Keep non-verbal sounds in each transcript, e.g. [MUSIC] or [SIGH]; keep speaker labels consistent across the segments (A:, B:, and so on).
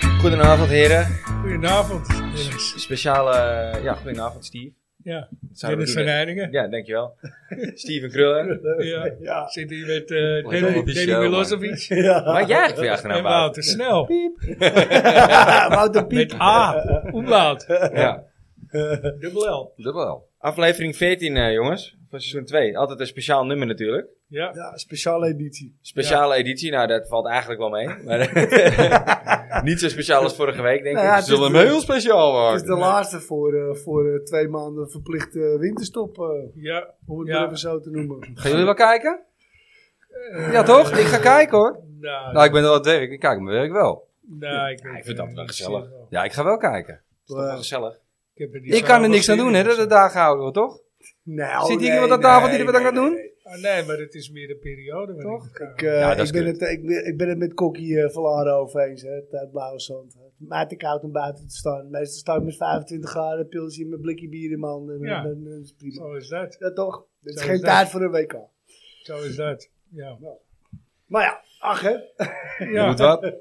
A: Goedenavond, heren.
B: Goedenavond, Dennis.
A: Speciale. eh, Ja, goedenavond, Steve.
B: Ja,
A: Zouden we
B: Dennis van
A: doen, hè?
B: Heiningen.
A: Ja, dankjewel. [LAUGHS] Steven Kruller.
B: Ja.
C: Ja.
B: Zit hier met eh
A: Wat
B: Danny,
A: een
B: Danny
A: show, man.
B: Milosevic
A: Maak jij eigenlijk weer
B: en
A: achternaam
B: Wouter Snel.
C: [LAUGHS] Wouter
B: Met
C: Piep.
B: A, omlaat,
A: Ja,
B: dubbel L.
A: dubbel wel. Aflevering 14, eh, jongens, van seizoen 2. Altijd een speciaal nummer natuurlijk.
B: Ja,
C: Ja, speciale editie.
A: Speciale editie, nou dat valt eigenlijk wel mee. Maar, [LAUGHS] niet zo speciaal als vorige week, denk
C: Nou
A: ik.
C: ja,
A: Het
C: het is
A: zullen
C: de-
A: hem heel speciaal
C: Het is de
A: maken.
C: laatste voor, eh, voor eh, twee maanden verplichte winterstop, eh,
B: ja.
C: om het
B: Ja.
C: maar even zo te noemen.
A: Gaan jullie wel kijken? Ja toch? Ik ga kijken hoor.
B: Nou,
A: Nou, ik ben er wel werk. Ik kijk mijn werk wel.
B: nou, ik, weet
A: ik vind dat wel
B: het niet.
A: gezellig.
B: Ik
A: Ja, ik ga wel kijken.
C: toch wel
A: gezellig.
B: heb er die
A: Ik kan er
B: zaal
A: niks aan
B: wel
A: doen, hè,
B: zin
A: dat
B: in.
A: de dagen houden we toch?
C: Nou,
A: Zit hier
C: nee,
A: iemand aan
C: nee,
A: tafel die er wat aan
C: nee,
A: gaat doen?
C: nee, nee.
B: Ah, nee, maar het is meer de periode. Toch?
C: Ik, eh,
A: Ja, dat is
C: ik, ben
A: kut.
C: het, ik, ben, ik ben het met Kokkie eh Verlaren over eens, hè, uit Blauwe Zand. Maar te koud om buiten te staan. Meestal sta ik met 25 graden, pilsje met blikje bier in mijn hand. En,
B: Ja.
C: en- en- en is prima.
B: Zo is dat.
C: Ja, toch? Het is
B: Zo
C: geen
B: is dat.
C: tijd voor een WK.
B: Zo is dat. Ja.
C: Maar ja, ach hè.
A: Je
B: ja.
A: Moet wat?
C: Zijn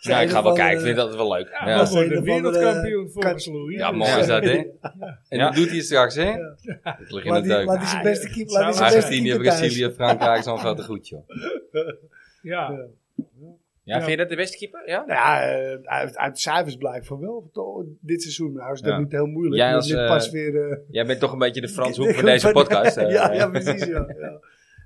A: Nou, ik
C: er
A: ga wel
C: van,
A: kijken.
C: eh,
A: Ik vind dat wel leuk.
B: Ja, we
A: Ja,
C: was-
B: worden
C: een of
B: wereldkampioen
C: andere-
B: volgens Louis.
A: ja
B: Dus,
A: mooi is dat, hè? En dat doet hij straks, hè?
C: Ja.
A: Ik lig in de
C: eh, Laat die, laat
A: deuk.
C: die zijn beste keeper.
B: Ah,
C: Laat die zijn beste
A: Argentinië,
C: keeper thuis.
A: Brazilië, Frankrijk, zo'n grote goed, joh.
B: Ja.
A: Ja, vind je dat de beste keeper? Ja?
C: Nou ja, eh, uit, uit de cijfers blijkt van wel. Toch, Dit seizoen nou is dat
A: Ja.
C: niet heel moeilijk.
A: Jij
C: Jij
A: als, eh,
C: pas weer, eh,
A: Jij bent toch een beetje de
C: [LAUGHS]
A: Frans Hoek van deze podcast. eh.
C: ja, ja, precies. Ja, ja.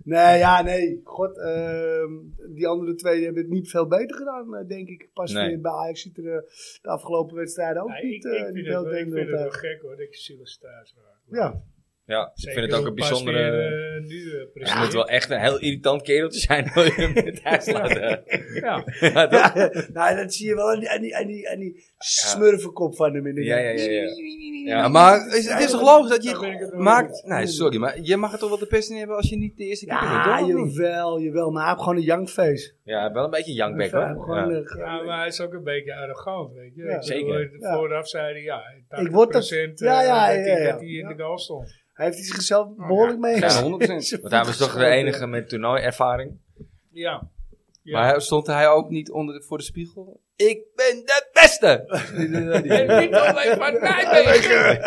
C: Nee, ja, nee. God, ehm, die andere twee hebben het niet veel beter gedaan, eh, denk ik. Pas
A: Nee.
C: weer bij Ajax ziet er eh, de afgelopen wedstrijden ook
B: Ja,
C: niet,
B: ik,
C: eh,
B: ik
C: niet
B: vind
C: heel
B: het, wel- ik
C: denderend
B: vind het wel
C: uit.
B: gek hoor, dat je Silas thuis raakt.
C: Ja,
A: Ja, ik
B: Zeker
A: vind het ook
B: hoe
A: een
B: Pas
A: bijzondere...
B: weer, eh, nu, eh,
A: Het moet
B: presteert.
A: wel echt een heel irritant kereltje zijn wil je hem met huis laten.
B: Ja,
A: Ja, toch?
C: ja, [LAUGHS] nou, dat zie je wel aan die, aan die, aan die, aan die smurfenkop van hem. in de-
A: Ja, ja, ja, ja.
C: Ja,
A: Ja, maar is- het is toch logisch dat
C: Daar ben ik het
A: je
C: wel mee
A: maakt...
C: eens.
A: Nee, sorry, maar je mag het toch wel de pest in hebben als je niet de eerste keeper bent,
C: Ja,
A: toch? Of niet?
C: jawel, jawel. Maar hij heeft gewoon een jankface.
A: Ja, wel een beetje jankback,
C: Hij heeft
A: hoor.
C: gewoon eh,
A: Ja.
C: een-
B: ja, maar hij is ook een beetje arrogant, weet je.
C: Ja.
B: Ik bedoel,
A: Zeker.
B: eh, Vooraf zei hij, ja, 80%
C: Ik word dat-
B: eh,
C: ja, ja,
B: dat, hij,
C: ja, ja.
B: dat hij in de goal stond.
C: Hij heeft hij
B: Oh,
C: zichzelf behoorlijk mee.
A: Ja,
C: [LAUGHS]
A: 100%. Want hij was toch de enige met toernooiervaring.
B: Ja. ja.
A: Maar hij- stond hij ook niet onder de- voor de
C: [LAUGHS]
A: spiegel? Ik ben de beste!
B: En niet alleen van Nijmegen.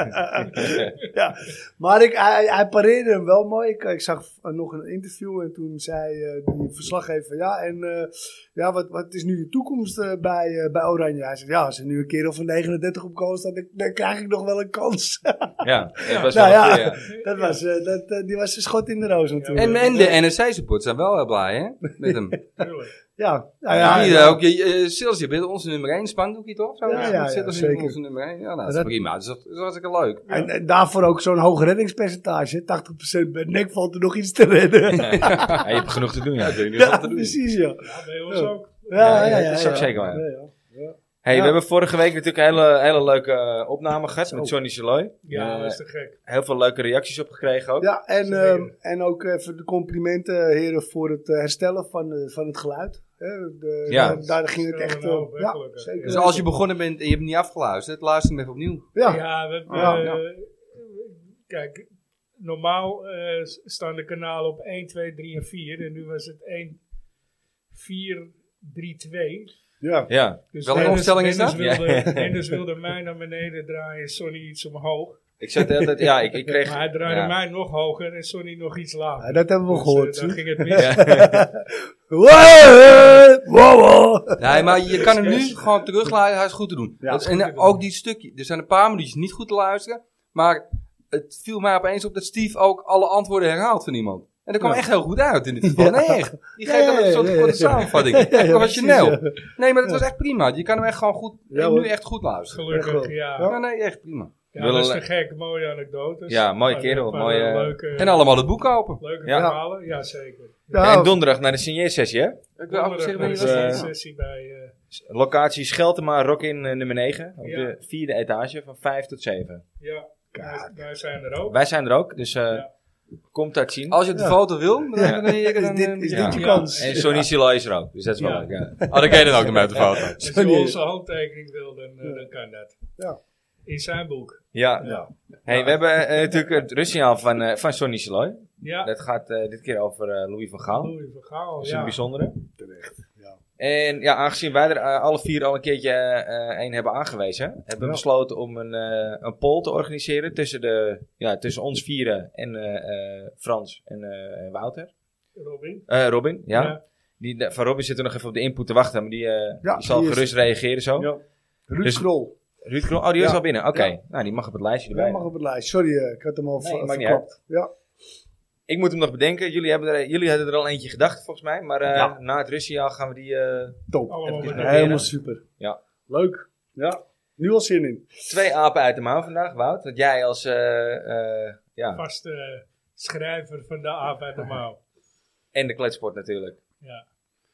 C: Maar ik, hij, hij pareerde hem wel mooi. Ik, ik zag eh, nog een interview en toen zei eh, die verslaggever: van, Ja, en eh, ja, wat, wat is nu je toekomst eh, bij, eh, bij Oranje? Hij zegt: Ja, als er nu een kerel van 39 op goal staat, dan, dan krijg ik nog wel een kans. [LAUGHS]
A: ja, dat was
C: Nou
A: wel
C: ja.
A: een keer, ja.
C: dat was, eh, dat, eh, die was een schot in de roos natuurlijk.
A: En, en de NSC-support zijn wel heel blij, hè? Met hem.
B: Tuurlijk.
C: ja, [LAUGHS] ja, ja,
A: Ja,
C: ja,
A: Hier, ook, je, je- Sils, je bent onze nummer 1 spandoekje, toch? Zo,
C: Ja, ja, ja,
A: Sils is
C: zeker.
A: onze nummer 1. Ja, nou, dat is
C: Dat-
A: prima. Dat is, dat is hartstikke leuk.
C: En, en daarvoor ook zo'n hoog reddingspercentage. 80% bij nek valt er nog iets te
A: [LAUGHS]
C: redden. Ja,
A: Ja, je hebt genoeg te doen, ja. Ik weet niet wat te doen.
C: precies ja.
B: Ja, bij ons
C: Ja.
B: ook.
A: Ja, ja, dat is ook zeker waar.
C: Ja, ja.
A: Hey,
C: Ja.
A: we hebben vorige week natuurlijk een hele, hele leuke eh, opname gehad met
C: Oh.
A: Johnny Saloy.
B: Ja,
A: Eh,
B: dat is te gek.
A: heel veel leuke reacties op gekregen ook.
C: Ja, en,
B: Zeker.
C: ehm, en ook even de complimenten, heren, voor het eh, herstellen van, eh, van het geluid. Hè, de-
A: Ja.
C: daar, daar ging het echt
B: Stellen we
C: om.
B: op, nou, hè,
C: Ja,
B: gelukkig.
C: zeker.
A: Dus als je begonnen bent en je hebt hem niet afgeluisterd, luister hem even opnieuw.
C: Ja, ja,
B: Ja, we-
C: Ja,
B: eh,
A: ja.
B: kijk, normaal eh, s- staan de kanalen op 1, 2, 3 en 4. En nu was het 1, 4, 3, 2.
C: ja.
A: Ja,
B: Dus
A: Welke opstelling is dat?
B: Dennis
A: Ja.
B: wilde, Dennis wilde mij naar beneden draaien, Sonny iets omhoog.
A: ik zat de hele tijd... Ja, ik, ik kreeg...
B: Maar hij draaide
A: ja.
B: mij nog hoger en Sonny nog iets lager.
C: dat hebben we
B: Dus, eh,
C: gehoord.
B: daar
C: zie.
B: ging het mis.
C: Wow, wow, wow.
A: Nee, maar je kan hem nu gewoon terugluisteren. Hij is goed te doen.
C: Ja,
A: Dat-
C: is
A: en
B: goed te doen.
A: ook die stukje. Er zijn een paar minuutjes niet goed te luisteren. Maar het viel mij opeens op dat Steve ook alle antwoorden herhaalt van iemand. En dat kwam
C: Ja.
A: echt heel goed uit in
C: [LAUGHS]
A: dit geval.
C: Ja.
A: Nee, echt. Die geeft
C: Ja,
A: dan een
C: ja,
A: soort
C: ja,
A: voor de
C: ja.
A: samenvatting.
C: [LAUGHS] Ja, ja,
A: Professioneel.
C: precies,
A: Nee, maar dat was echt prima. Je kan hem echt gewoon goed,
C: Ja,
A: en nu
C: hoor.
A: echt goed luisteren.
B: Gelukkig, ja.
C: Ja.
A: Ja, nee, echt prima.
B: Ja, dat is
A: Willen-
B: te gek. Mooie anekdotes.
A: Ja, mooie
B: Maar-
A: kerel,
B: maar
A: mooie- eh,
B: Leuke,
A: En allemaal het boek kopen.
B: leuke
A: Ja.
B: verhalen, ja zeker.
C: Ja,
D: Oh.
A: En donderdag naar de signeersessie, hè? Ik wil ook zeggen,
B: Donderdag
A: wanneer
B: was er een
A: was dat?
B: sessie bij... eh,
A: Locatie Scheltema, Rock in eh, nummer 9. Op
B: Ja.
A: de vierde etage van 5 tot 7.
B: Ja, wij, wij zijn er ook.
A: Wij zijn er ook, dus eh,
B: Ja.
A: komt dat zien.
D: Als je de
C: Ja.
D: foto wil, dan,
A: Ja.
D: dan, dan,
C: Is
D: dan,
C: dit, Oh, is
A: eh, ja.
C: dit je
B: Ja.
C: kans?
A: En Sonny Silla is er ook, dus dat is wel
B: Ja.
A: leuk. Ja.
D: [LAUGHS] Oh, dan ken je dan ook nog met de [LAUGHS] foto.
B: Als je
C: Sorry.
B: onze handtekening wil, dan, eh,
C: Ja.
B: dan kan dat.
C: Ja.
B: In zijn boek.
A: Ja.
C: Ja.
A: Hey, we hebben eh, natuurlijk het rustsignaal van, eh, van Sonny Saloy.
B: Ja,
A: Dat gaat eh, dit keer over eh, Louis van Gaal.
B: Louis van Gaal.
A: Dat is een
B: Ja.
A: bijzondere.
C: Terecht. Ja.
A: En ja, aangezien wij er eh, alle vier al een keertje eh een hebben aangewezen, hebben we
C: Ja.
A: besloten om een, eh, een poll te organiseren tussen, de, ja, tussen ons vieren en eh, eh, Frans en eh, Wouter.
B: Robin.
A: Eh, Robin, ja.
B: Ja.
A: Die, de- van Robin zit er nog even op de input te wachten, maar die, eh,
C: Ja,
A: die zal
C: die is-
A: gerust reageren zo.
C: Ja. Ruud
A: Dus-
C: Krol.
A: Ruud Krol, oh die is
C: Ja.
A: al binnen, oké.
C: Ja.
A: Nou, die mag op het lijstje
C: Jij
A: erbij.
C: mag op het lijst. Sorry, eh, ik had hem al
A: Nee,
C: ver-
A: maakt niet
C: verklapt. Ja.
A: Ik moet hem nog bedenken, jullie, hebben er, jullie hadden er al eentje gedacht volgens mij, maar eh,
C: Ja.
A: na het Russiaal gaan we die... eh,
C: Top.
B: Allemaal
A: Even
B: met
A: die-
B: elkaar.
C: Helemaal super.
A: Ja.
C: Leuk. Ja. Nu al zin in.
A: twee apen uit de mouw vandaag, Wout. Dat jij als... eh, eh, ja,
B: vaste eh, schrijver van de
C: [LAUGHS]
B: arbeid normaal.
A: en de kletsport natuurlijk.
B: Ja.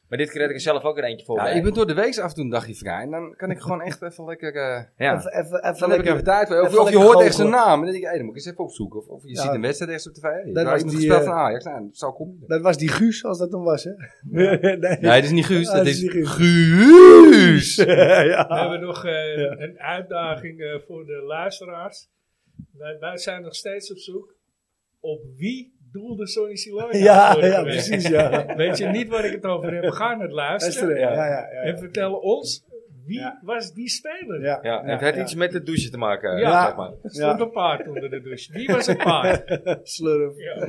A: Maar dit keer had ik er zelf ook er eentje voor.
D: Ja,
A: bij.
D: ik ben door de week af en toe een dagje vrij. En dan kan ik gewoon echt even lekker... eh
A: Ja.
C: Even, even, even
D: dan heb ik even tijd. voor. Of,
C: even
D: of je
C: lekker
D: hoort echt zijn
C: goochelen.
D: naam. En dan denk ik, hey, dan moet ik eens even opzoeken. Of, of je
C: Ja.
D: ziet een wedstrijd ergens op tv. Hey,
C: was
D: daar is een
C: die,
D: gespeeld
C: eh,
D: van Ajax. Nou, zo kom je.
C: Dat was die Guus, als dat hem was, hè? [LAUGHS] nee.
D: Nee, dat is niet Guus.
C: Ah,
D: Dat
C: dat
D: is
C: is niet Guus.
D: Guus.
C: [LAUGHS] ja.
B: We hebben nog eh,
C: Ah. Ja.
B: een uitdaging eh, voor de luisteraars. Wij, wij zijn nog steeds op zoek op wie doelde Sonny Siloy nou
C: ja, ja, precies, ja.
B: Weet je niet waar ik het over heb? Ga naar het
C: Luister,
B: luisteren
C: ja, ja, ja. ja,
B: en vertel ons wie
C: Ja.
B: was die speler?
C: ja.
A: Ja, het had
C: ja.
A: iets met de douche te maken.
B: Ja.
A: zeg maar.
B: Er stond
C: Ja.
B: een paard onder de douche. Wie was een paard?
C: [LAUGHS] Slurf.
B: Ja.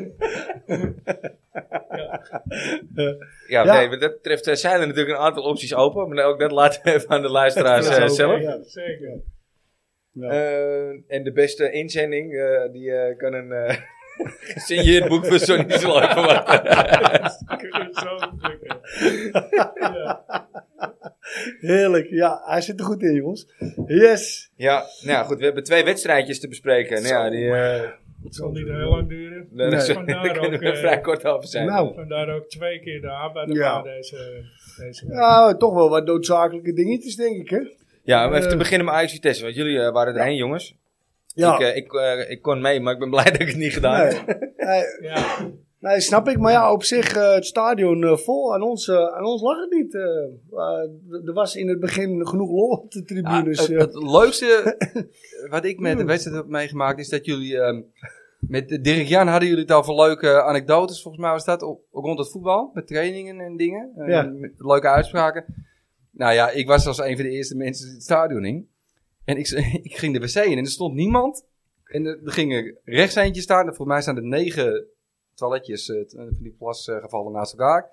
A: ja,
C: Ja.
A: Nee, wat dat betreft eh, zijn er natuurlijk een aantal opties open. Maar ook dat laten we even aan de luisteraars eh,
C: Ja,
A: zelf.
C: ja.
B: Zeker.
C: Ja.
A: Eh, en de beste inzending, eh, die eh, kan een eh [LAUGHS] gesigneerd boek van
C: [LAUGHS]
A: Sonny Sloan worden.
B: [LAUGHS] Zo gelukkig. Ja.
C: Heerlijk, ja, hij zit er goed in, jongens.
A: [LAUGHS]
C: Yes!
A: Ja, nou goed, we hebben twee wedstrijdjes te bespreken. Nou, ja, die, eh
B: Het zal niet heel lang duren.
A: daar
C: Nee. [LAUGHS]
A: daar
B: Vandaar
A: [LAUGHS] kunnen
B: ook,
A: we
B: eh,
A: vrij kort over zijn.
C: Nou,
B: Vandaar ook twee keer de arbeid
C: Ja.
B: deze, deze week.
C: nou, toch wel wat noodzakelijke dingetjes, denk ik, hè?
A: ja, maar even te
C: eh,
A: beginnen met Ajax Vitesse, want jullie eh, waren erheen, jongens.
C: Ja.
A: Ik, eh, ik, eh, ik kon mee, maar ik ben
D: [LAUGHS]
A: blij dat ik het niet gedaan heb.
C: Nee, [LAUGHS] nee,
B: Ja.
C: nee, snap ik. Maar ja, op zich, eh, het stadion eh, vol. Aan ons, eh, aan ons lag het niet. eh. Eh, d- er was in het begin genoeg lol op de
D: Ja,
C: tribunes.
D: het,
C: eh.
D: het leukste
C: [LAUGHS]
D: wat ik met de wedstrijd heb meegemaakt is dat jullie ehm, met Dirk Jan hadden jullie het over leuke anekdotes. Volgens mij was dat op- rond het voetbal met trainingen en dingen. eh,
C: Ja.
D: met leuke uitspraken. Nou ja, ik was als een van de eerste mensen het stadion in. En ik, [LAUGHS] ik ging de wc in en er stond niemand. En er, er gingen rechts eentje staan. Volgens mij staan er negen toiletjes eh, t- van die plas eh, gevallen naast elkaar.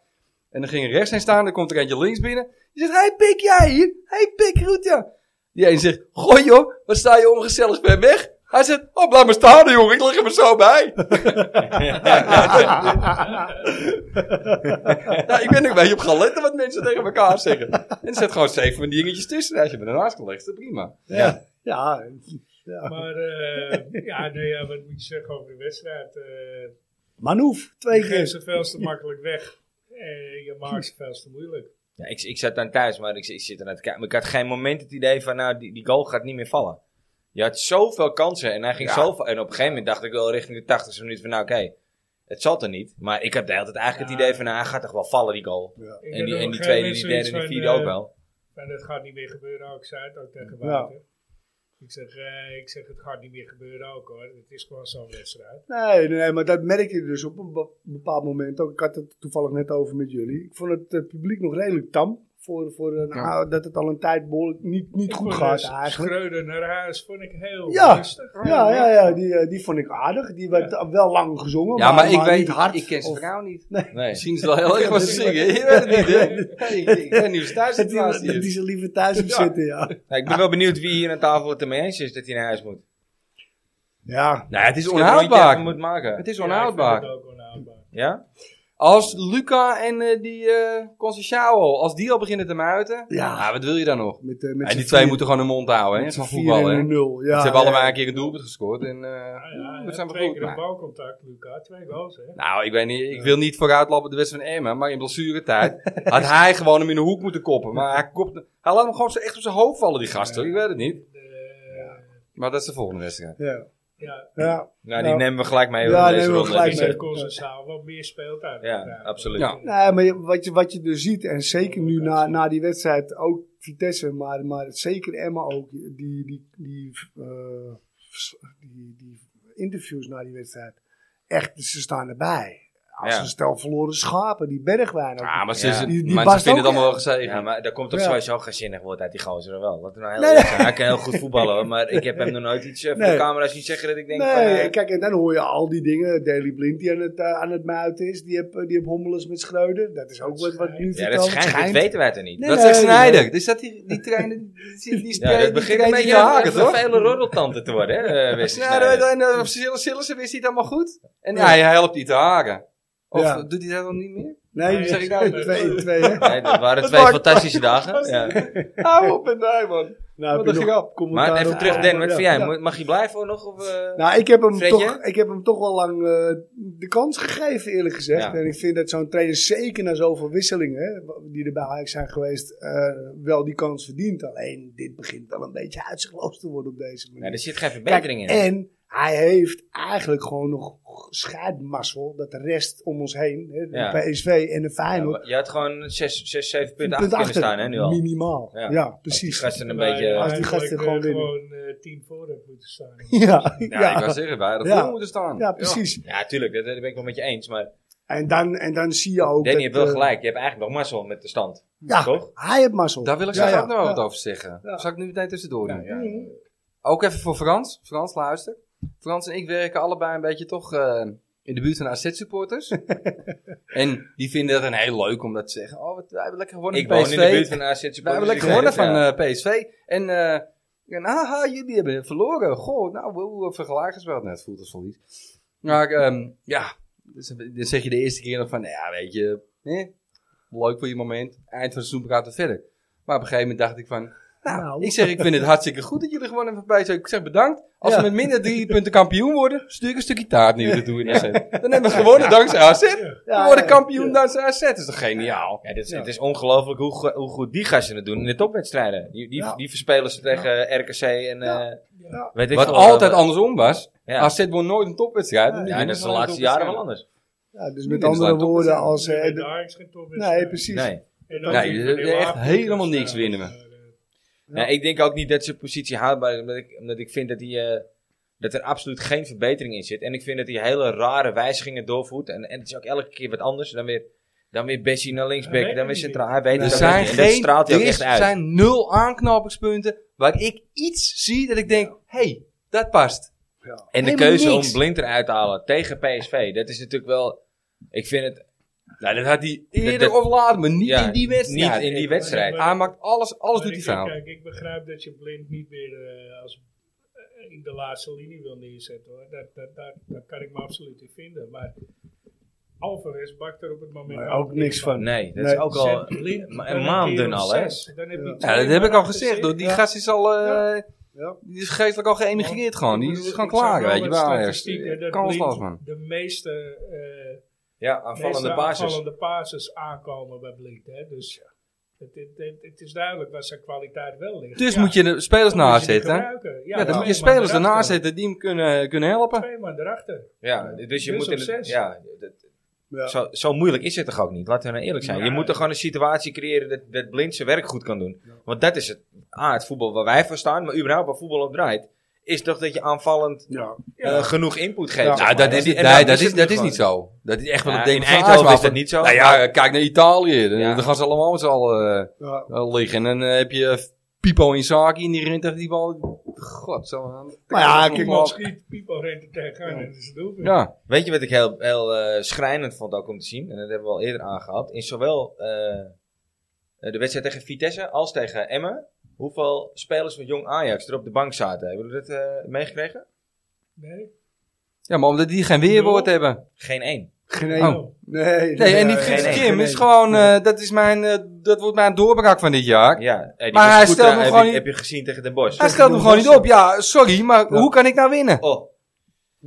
D: En dan ging er rechts heen staan, dan komt er eentje links binnen. Die zegt, hey pik jij hier? Hey pik roet ja. Die een zegt, goh joh, Oh, wat sta je ongezellig bij weg? Hij zegt, oh blijf maar staan jongen, ik lig er maar
C: [LAUGHS]
D: zo bij. nou, ik ben er een beetje op gaan letten wat mensen tegen elkaar zeggen. En er zit gewoon zeven van die dingetjes tussen. Als je me daarnaast kan leggen, is dat prima.
C: ja. Ja. ja.
B: Maar eh, ja, nee, ja, wat moet je zeggen over de wedstrijd? Eh
C: Manouf, twee
B: je geeft
C: keer.
B: ze veel te makkelijk weg. Eh, je maakt ze veel te moeilijk.
A: Ja, ik, ik zat dan thuis, maar ik, ik zit er naar te kijken. Maar ik had geen moment het idee van, nou, die, die goal gaat niet meer vallen. Je had zoveel kansen en hij ging zoveel... En op een gegeven moment dacht ik wel richting de 80 minuut van, nou, oké, het zal er niet. Maar ik had de hele tijd eigenlijk het
B: Ja.
A: idee van, nou, hij gaat toch wel vallen, die goal.
B: Ik
A: En die,
B: had
A: en
B: op
A: die
B: een
A: tweede,
B: gegeven
A: die
B: moment
A: derde, die
B: zoiets
A: vierde
B: van,
A: ook
B: eh,
A: wel.
B: En dat gaat niet meer gebeuren ook, zei het ook tegen
C: Ja.
B: Wouter. Ik, zeg, eh, ik zeg, het gaat niet meer gebeuren ook hoor. Het is gewoon zo'n wedstrijd.
C: Nee, nee, maar dat merk je dus op een be- bepaald moment ook. Ik had het toevallig net over met jullie. Ik vond het, eh, publiek nog redelijk tam. Voor, voor een,
D: Ja.
C: dat het al een tijd behoorlijk niet, niet
B: Ik vond,
C: goed gaat
B: eh,
C: eigenlijk.
B: Schreuder naar huis vond ik heel
C: Ja.
B: rustig.
C: Ja, ja, ja die, eh, die vond ik aardig. Die werd wel lang gezongen,
D: Ja, maar, ik weet,
C: niet hard.
D: ik ken zijn
C: Of-
D: vrouw niet.
A: Nee.
D: Misschien is het wel [LAUGHS] heel erg wat ze zingen. Je weet het niet, hè? Hey, ik- ik ben nieuws thuis
C: dat die,
D: situatie
C: dat die
D: hier.
C: ze liever thuis op
D: Ja.
C: zitten, ja.
A: Nou, ik ben wel benieuwd wie hier aan tafel het ermee eens is dat hij naar huis moet.
C: Ja,
A: Nou, het is
D: onhoudbaar.
A: moet maken.
D: Het is
B: Ja, ik
D: onhoudbaar.
B: vind het ook onhoudbaar.
A: Ja?
D: Als Luca en eh, die eh Conceciao, als die al beginnen te muiten.
C: Ja.
D: nou, wat wil je dan nog?
C: met, eh, met
D: En
C: z'n
D: die twee
C: vier-
D: moeten gewoon hun mond houden, hè?
C: met z'n
D: Van
C: vier
D: voetbal, hè?
C: en een nul. Ja,
D: ze hebben allemaal
C: ja.
D: een keer een doelpunt gescoord. En, eh,
B: Ja, ja,
D: oeh,
B: hij
D: dat
B: had
D: zijn we
B: twee
D: goed.
B: keer een
D: Maar-
B: balcontact, Luca. Twee goals, hè?
D: nou, ik, weet niet, ik wil niet vooruitlopen op de wedstrijd van Emmen. Maar
C: [LAUGHS]
D: in blessuretijd had hij gewoon hem in de hoek moeten koppen. Maar hij, kopte, hij laat hem gewoon zo echt op zijn hoofd vallen, die gasten. Ik weet het niet.
B: Eh,
D: Maar dat is de volgende wedstrijd.
C: Ja,
B: ja.
C: ja.
A: Nou, die
C: Ja.
A: nemen we gelijk mee. hoor,
C: Ja,
A: in deze
C: nemen we
A: ronde.
C: gelijk
B: is
C: mee.
B: het Constanzaal wat meer speelt uit.
A: Ja, absoluut.
D: Ja.
C: Nee, maar je- wat je, wat je dus ziet, en zeker nu na, na die wedstrijd, ook Vitesse, maar, maar zeker Emma ook, die, die, die, eh, vers- die, die interviews na die wedstrijd, echt, ze staan erbij. Als
A: Ja.
C: een stel verloren schapen, die bergwijn. ook.
D: Ja, Ah, maar ze,
A: Ja.
D: ze-
C: Die- die
D: mensen
C: past
D: vinden het
C: ook,
D: allemaal
A: Ja,
D: wel gezegend.
A: maar daar komt toch
C: Ja.
A: sowieso geen zinnig woord uit die gozer er wel. Laten we nou heel
C: Nee,
A: eerlijk zijn. Hij kan heel goed voetballen, hoor, maar ik heb hem nog nooit iets eh, voor
C: Nee.
A: de camera's zien zeggen dat ik denk van...
C: nee,
A: eh,
C: kijk, en dan hoor je al die dingen. Daily Blind die aan het, eh, aan het muiten is. Die heb, eh, die heb hommeles met Schreuder. Dat is ook wat, wat nu
A: ja,
C: verteld
A: dat schijnt,
C: schijnt.
A: dat weten wij toch niet.
C: Nee,
D: dat zegt
C: nee,
D: Snijder.
C: nee.
D: Dus dat die, die treinen, die, die,
A: ja, dat begint een beetje
D: te haken,
A: een
D: toch?
A: vele roddeltante te worden, hè, eh, Wesley
D: Ja,
A: Sneijder.
D: en, en, eh, Sille- Sillessen wist hij het allemaal goed. En ja, hij helpt die te haken. Of
C: Ja.
D: doet hij dat dan niet meer?
C: Nee,
B: Nee,
D: zeg ik
C: [LAUGHS]
D: nou?
C: twee, twee,
D: [LAUGHS]
C: hè?
A: Nee, dat waren
C: Dat
A: twee
C: maakt- [LAUGHS]
A: fantastische dagen. Ja.
D: Hou op en daar, man.
C: Nou,
D: Wat
C: heb
D: een
C: je nog
D: grap.
C: commentaar
A: Maar even
C: op?
A: terug, Dan, wat
C: Ja,
A: vind jij?
C: ja.
A: Mo- Mag je blijven hoor nog? Of, eh?
C: Nou, ik heb, hem
A: Fredje?
C: toch, ik heb hem toch wel lang eh, de kans gegeven, eerlijk gezegd.
A: Ja.
C: En ik vind dat zo'n trainer, zeker na zoveel wisselingen hè, die er bij Ajax zijn geweest, eh, wel die kans verdient. Alleen, dit begint wel een beetje uitzichtloos te worden op deze
A: Nou,
C: manier.
A: er zit geen verbetering
C: Kijk, eh,
A: in.
C: En hij heeft eigenlijk gewoon nog scheidmassel dat de rest om ons heen, hè, de
A: Ja.
C: PSV en de Feyenoord,
A: Je had gewoon 6, 7
C: een
A: punten achter kunnen staan, hè, nu al. Als
C: Minimaal,
A: Ja.
C: ja,
A: Die
C: precies.
A: gasten een
B: Waar
A: beetje...
B: je
C: Als die
B: eigenlijk,
C: gasten
B: eh,
C: gewoon winnen.
B: gewoon eh, tien voor hebt moeten staan.
C: [LAUGHS] [LAUGHS] Ja,
D: Ja,
C: ja.
D: ik wou zeggen, wij hadden
C: Ja.
D: voor moeten staan.
C: Ja, precies.
A: Ja, tuurlijk, dat, dat ben ik wel met je eens. Maar
C: En, dan, en dan zie je ook...
A: Danny
C: dat,
A: heeft wel
C: eh,
A: gelijk. Je hebt eigenlijk nog mazzel met de stand.
C: Ja,
A: Toch?
C: hij heeft mazzel.
D: Daar wil ik
C: Ja,
D: straks
C: ja,
D: ook nog wel
C: ja.
D: wat over zeggen.
C: Ja.
D: Zal ik nu meteen tussendoor doen? Ook even voor Frans. Frans, luister. Frans en ik werken allebei een beetje toch eh, in de buurt
A: [LAUGHS]
D: van AZ-supporters. en die vinden dat een heel leuk om dat te zeggen. Oh, wat, wij hebben lekker gewonnen
A: Ik
D: van
A: woon
D: PSV.
A: in de buurt van AZ
D: Wij hebben
A: supporters. dus
D: lekker
A: ik
D: gewonnen van
A: weet het,
D: eh, PSV. En, eh, en haha, jullie hebben verloren. Goh, nou, hoe hoe vergelijken ze wel? Nou, het voelt als verlies. Maar ehm, ja, dus dan zeg je de eerste keer nog van, nou ja, weet je, eh, leuk voor je moment. Eind van het seizoen gaat het verder. Maar op een gegeven moment dacht ik van, nou,
C: Nou.
D: ik zeg, ik vind het hartstikke goed dat jullie gewonnen hebben bij PSV. Ik zeg bedankt. Als
C: Ja.
D: we met minder drie punten kampioen worden, stuur ik een stukje taart naar jullie toe in AZ. Dan hebben we gewonnen dankzij AZ.
C: Ja,
D: we worden
C: ja,
D: kampioen
C: ja.
D: dankzij AZ. Dat is toch geniaal?
A: ja. Ja, dit is,
C: Ja.
A: Het is ongelooflijk hoe, go- hoe goed die gasten het doen in de topwedstrijden. Die, die,
C: Ja.
A: die verspelen ze tegen eh, RKC en... eh
C: Ja. Ja.
A: Weet ik
D: Wat
A: veel,
D: altijd
A: eh,
D: andersom was.
A: Ja,
D: AZ won nooit een topwedstrijd.
C: Ja,
D: En die
A: ja
D: winnen
A: dat is de
D: wel een
A: laatste jaren wel
D: topwedstrijd.
A: anders.
C: Ja, dus met
D: Nee,
C: andere
D: dat is
C: woorden als...
B: Ze
C: eh,
B: hebben
C: de-
B: daar is geen topwedstrijd.
C: nee, precies.
A: Nee.
B: En ook
D: Nee,
B: niet
D: je-
B: van heel
D: echt
B: Afrika
D: helemaal
B: staan,
D: niks winnen we.
B: maar, eh,
A: Ja. ik denk ook niet dat zijn positie houdbaar is. Omdat ik, omdat ik vind dat, hij, eh, dat er absoluut geen verbetering in zit. En ik vind dat hij hele rare wijzigingen doorvoert. En, en het is ook elke keer wat anders. Dan weer, dan weer Bessie naar
B: Hij
A: linksback.
B: weet
A: Dan weer
B: het
A: centraal. Hij weet
D: Er
A: het ook
D: zijn
A: niet. En dat
D: geen,
A: straalt hij ook
D: er
A: echt uit.
D: zijn nul aanknopingspunten waar ik iets zie dat ik denk, hey, dat past.
A: En de
D: helemaal
A: keuze
D: niks.
A: om Blind eruit te halen tegen PSV. Dat is natuurlijk wel... Ik vind het
D: Nou, dat had hij eerder
A: dat-
D: of later, maar niet
A: ja,
D: in die wedstrijd.
A: niet in die
D: Ik-
A: wedstrijd.
D: Hij maakt alles, alles
B: maar
D: doet hij
B: ik-
D: fout.
B: Kijk, ik begrijp dat je blind niet meer eh, als, eh, in de laatste linie wil neerzetten. Hoor. Dat, dat, dat, dat kan ik me absoluut in vinden. Maar Alvarez bakt er op het moment
C: Maar ook niks van.
A: Nee, dat is
C: Nee.
A: ook al
B: Zet Blind
A: ma-
B: dan
A: een maand
B: keer
A: dun
B: of
A: al, hè?
B: zes. Dan heb je
C: Ja.
D: Ja,
B: twee
D: dat heb ik al
B: maanden
D: gezegd.
B: zit.
D: Door die
C: Ja.
D: gast is al... eh,
C: Ja.
D: Die is geestelijk al geëmigreerd gewoon. Oh, Die
B: Ik
D: is
B: bedoel,
D: gewoon
B: ik zag
D: klaar,
B: wel
D: weet je
B: wat
D: wel. eh,
B: statistieken
D: ergens.
B: dat
D: Kansloos,
B: Blind
D: man.
B: De meeste, eh
A: ja,
B: meeste
A: aanvallende basis.
B: aanvallende basis aankomen bij Blind. Hè? Dus het, het, het, het is duidelijk waar zijn kwaliteit wel ligt.
D: Dus
B: Ja.
D: moet je de spelers
B: Dan moet
D: naast
B: je die
D: zetten.
B: gebruiken.
D: Ja, dan
B: twee
D: moet je
B: man
D: spelers
B: erachter.
D: ernaast zetten die hem kunnen, kunnen helpen.
B: Twee man erachter.
A: Ja, dus je
B: Dus
A: moet...
B: op
A: in het-
B: zes.
A: Ja, dat-
C: Ja.
A: Zo, zo moeilijk is het toch ook niet? Laten we nou eerlijk zijn. je
B: Ja.
A: moet er gewoon een situatie creëren dat, dat Blind zijn werk goed kan doen. Want dat is het, A, het voetbal waar wij voor staan, maar überhaupt waar voetbal op draait. Is toch dat je aanvallend
C: Ja.
A: eh, genoeg input geeft.
C: Ja.
A: zeg
D: Nou,
A: maar.
D: dat is,
A: En
D: nee,
A: daarom
D: dat is,
A: het
D: dat
A: nu
D: is niet
A: gewoon.
D: zo. Dat is echt wel
A: Ja,
D: het
A: in
D: ding van
A: Eindhoven
D: Ajax,
A: is dat
D: maar-
A: niet zo.
D: Nou ja, kijk naar Italië. Dan-
A: Ja.
D: Dan gaan ze allemaal met z'n allen
A: Oh.
C: Ja.
D: eh, eh, liggen. En dan eh, heb je Pipo Inzaghi en die rent tegen die bal. God, zo aan.
C: Maar ja,
D: Dat is
C: kijk,
D: nog wel-
A: Oh.
B: Iemand schiet, Pipo rent er tegenaan en dat is het doelpunt.
D: Ja,
A: Weet je wat ik heel, heel eh, schrijnend vond ook om te zien? En dat hebben we al eerder aangehaald. In zowel eh, de wedstrijd tegen Vitesse als tegen Emmen. Hoeveel spelers van jong Ajax er op de bank zaten. Hebben jullie dat eh, meegekregen?
B: Nee?
D: ja, maar omdat die geen weerwoord
B: Nul.
D: hebben.
A: Geen één.
C: Geen
D: Oh.
C: één.
B: Nou,
C: Nee,
D: Nee, en die
C: nee,
D: Frits
A: nee,
D: Kim
C: nee.
D: is gewoon... eh, dat, is mijn, eh, dat wordt mijn doorbraak van dit jaar.
A: Ja, eh, die
D: Maar
A: was
D: hij
A: goed
D: stelt
A: eraan,
D: me
A: heb
D: gewoon
A: je-
D: niet-
A: Heb je gezien tegen Den Bosch?
D: Hij stelt hem gewoon niet op. Ja, sorry, maar
C: Ja.
D: hoe kan ik nou winnen?
A: Oh,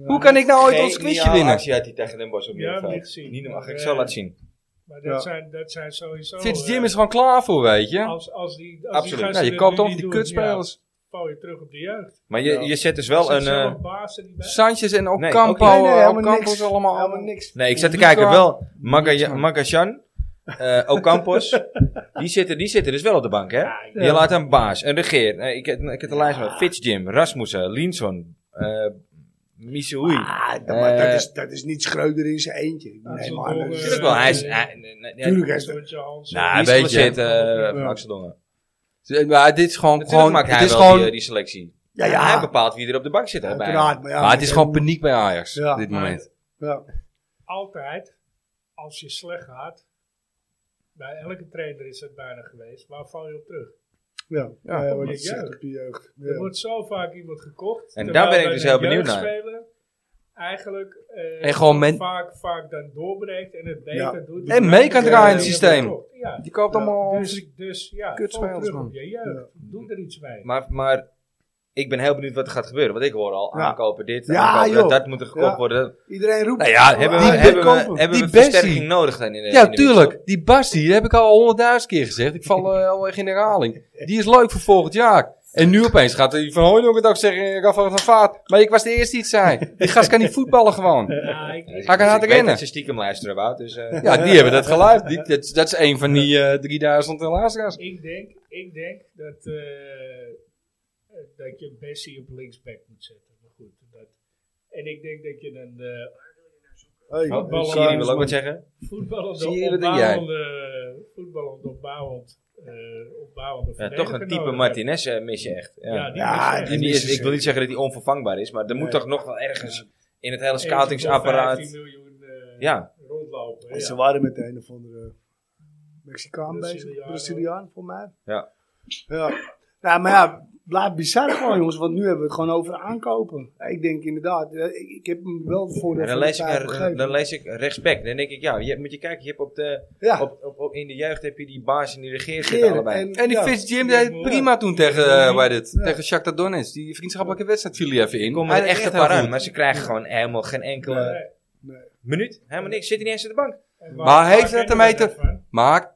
D: Hoe kan ik nou ooit ons
A: Geniaal
D: quizje winnen?
A: actie had hij tegen Den Bosch op
B: Ja,
A: middenveld.
B: niet gezien.
A: Niet normaal.
B: Maar,
A: Ik
B: eh,
A: zal laten zien.
B: maar dat,
C: Ja.
B: zijn, dat zijn sowieso...
D: Fitz
B: eh,
D: Jim is gewoon klaar voor, weet je.
B: Als, als die, Oh, als
A: Absoluut.
B: Die
D: Ja,
B: gasten
D: je
B: het
D: koopt
B: nu
D: toch
B: niet
D: die
B: doen,
D: kutspelers.
B: Ja, val je terug op de jeugd.
A: Maar je,
C: Ja.
A: je zet dus wel
B: Is er
A: een...
B: zelf
A: eh,
B: bazen die bij?
D: Sanchez en
A: Nee,
D: Ocampo.
A: ook
C: Nee, nee, helemaal
D: Ocampo
C: niks.
D: is allemaal...
C: Helemaal niks.
A: nee, ik zat te
D: Luca.
A: kijken. Wel
D: Luca.
A: Magajan, eh Ocampos. die, zitten, die zitten dus wel op de bank, hè? Je laat een baas, een regeer. eh, ik, heb- ik heb de lijst van Fitz Jim, Rasmussen, Linson, eh Missouri.
C: Ah, dat, maar dat,
A: Eh.
C: is, dat is niet Schreuder in zijn eentje. Nee, maar dat
A: Tuurlijk
C: is, eh,
A: wel, hij is... Hij, nee, nee, nee,
C: Tuurlijk,
A: nou,
C: hij is-
B: Zo'n Hans.
D: Nou,
A: hij is
D: weet je.
A: geblesseerd, eh,
B: Ja.
A: van Axel Dongen.
D: Z- Maar dit is gewoon...
A: Natuurlijk
D: gewoon
A: maakt
D: het
A: hij
D: is
A: wel
D: gewoon,
A: die, eh, die selectie.
C: ja, ja.
A: Hij bepaalt wie er op de bank zit. Hè, bij
C: uiteraard, maar ja.
D: maar het is gewoon paniek bij Ajax.
C: Ja.
D: op dit moment.
C: Ja.
B: altijd, als je slecht gaat, bij elke trainer is het bijna geweest, waar val je op terug?
C: Ja, ja, wat je
B: is
C: zegt
B: jeugd.
C: op je jeugd.
B: Er
C: Ja.
B: wordt zo vaak iemand gekocht.
A: En
B: terwijl
A: daar ben ik
B: bij
A: dus
B: de
A: heel benieuwd naar.
B: jeugdspeler Eigenlijk eh,
D: En gewoon men-
B: vaak, vaak dan doorbreekt en het beter
C: Ja.
B: doet. Dus
D: En mee kan draaien in het
B: Ja,
D: systeem.
B: Ja,
D: Die koopt
C: Ja,
D: allemaal...
B: dus, dus ja,
D: Kutspelers,
B: val terug
D: man.
B: op je jeugd. Doe er iets mee.
A: Maar, maar ik ben heel benieuwd wat er gaat gebeuren. Want ik hoor al,
C: Ja.
A: aankopen dit,
C: Ja,
A: aankopen dat,
C: joh.
A: dat moet er gekocht
C: Ja.
A: worden.
C: Iedereen roept.
D: Nou ja,
A: Hebben
D: Die
A: we, hebben
C: kopen.
A: we, eh, hebben
D: Die
A: we
D: Bessie.
A: versterking nodig dan in de in
D: Ja,
A: de
D: tuurlijk.
A: winterstop?
D: Die Basti, dat heb ik al honderdduizend keer gezegd. Ik val eh, alweer in herhaling. Die is leuk voor volgend jaar. En nu opeens gaat hij van Hooydonk het ook zeggen. Ik van vaat. Maar ik was de eerste die het zei. Die gast kan niet voetballen gewoon.
B: Ja, Nou, ik,
D: Hij kan
A: Dus
D: hard
A: ik weet
D: rennen.
A: dat ze stiekem luisteren, Wout. Dus, eh,
D: Ja, die hebben dat geluid. Die, dat, dat is een van die eh 3000 luisteraars.
B: ik, denk, ik denk dat, eh, dat je Bessie op linksback moet zetten. Maar goed, dat, en ik denk dat je een eh,
C: Hey,
A: Oh,
B: Voetballen-
A: Siri wil ook wat zeggen.
B: voetballende,
D: Zie je, wat denk jij?
B: opbouwende, voetballende, opbouwend, eh opbouwende
A: Ja,
B: verdediger
A: toch een type
B: nodig hebt.
A: Martinez eh, mis je echt. Ja.
B: Ja, die
C: Ja,
B: is echt.
A: en die
C: mis
A: is,
C: je
A: ik wil
C: zeker.
A: niet zeggen dat hij onvervangbaar is, maar er moet
C: Nee.
A: toch nog wel ergens in het hele
B: Eentje voor 15
A: scoutingsapparaat...
B: miljoen eh,
A: Ja,
B: rondlopen. hè,
C: En Ze
B: ja.
C: waren met een of andere Mexicaan bezig.
B: Braziliaan.
C: Braziliaan, voor mij.
A: Ja.
C: ja. Nou, maar ja, blijf bizar gewoon, jongens. Want nu hebben we het gewoon over aankopen. Ik denk inderdaad, eh, ik, ik heb hem wel voor de
A: en dan
C: voor de
A: lees, ik,
C: tijd
A: er-
C: gegeven.
A: dan lees ik respect. Dan denk ik, ja, je, moet je kijken, je hebt op de,
C: Ja,
A: op, op, op- in de jeugd heb je die baas en die regeert zitten
C: Geren
A: allebei.
D: En die
C: ja.
D: Fitz Jim deed het prima toen tegen, eh, waar dit,
C: Ja.
D: tegen Shakhtar Donetsk. Die vriendschappelijke wedstrijd viel hij even in.
A: Die komen er
D: Hij deed
A: echt een
D: heel
A: paar aan,
D: goed.
A: maar ze krijgen gewoon helemaal geen enkele
B: Nee.
A: minuut. Helemaal niks. Zit hij niet eens op de bank.
B: En
D: Maar
B: waar-
D: heeft
B: waar
D: het
B: ken
D: ermee
B: je dat
D: te-
B: van?
D: Maar,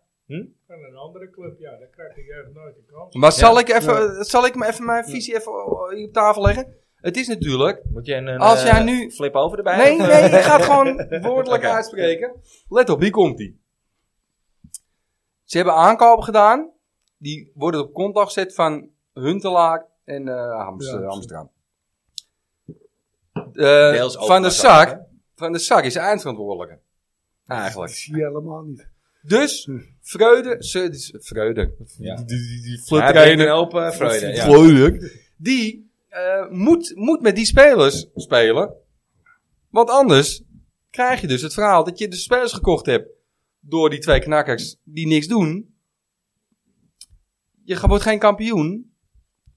B: Van een andere club, ja, dan krijgt de jeugd nooit een kans.
D: maar zal,
A: Ja.
D: ik even, zal ik me even mijn visie even oh, hier op tafel leggen? Het is natuurlijk
A: Moet je een, een,
D: Als jij
A: eh,
D: nu-
A: flip over erbij?
D: Nee, nee,
A: [LAUGHS]
D: ik ga het [LAUGHS] gewoon woordelijk
A: Oké.
D: uitspreken. Let op, hier komt ie. Ze hebben aankopen gedaan. Die worden op contact gezet van Huntelaar en eh Hamster,
C: Ja,
D: Amsterdam. Eh,
A: Deels ook
D: van, de
A: maar zo,
D: zak, van de zak is eindverantwoordelijke.
A: Ah,
D: Eigenlijk.
C: dat zie je helemaal niet.
D: Dus, Freude, ze- die- Freude,
A: Ja.
D: die, die, die, die
A: Hij brengt een hoop eh, vreugde. Ja.
D: Vrolijk. Die eh, moet, moet met die spelers spelen. Want anders krijg je dus het verhaal dat je de spelers gekocht hebt door die twee knakkers die niks doen. Je ge- wordt geen kampioen.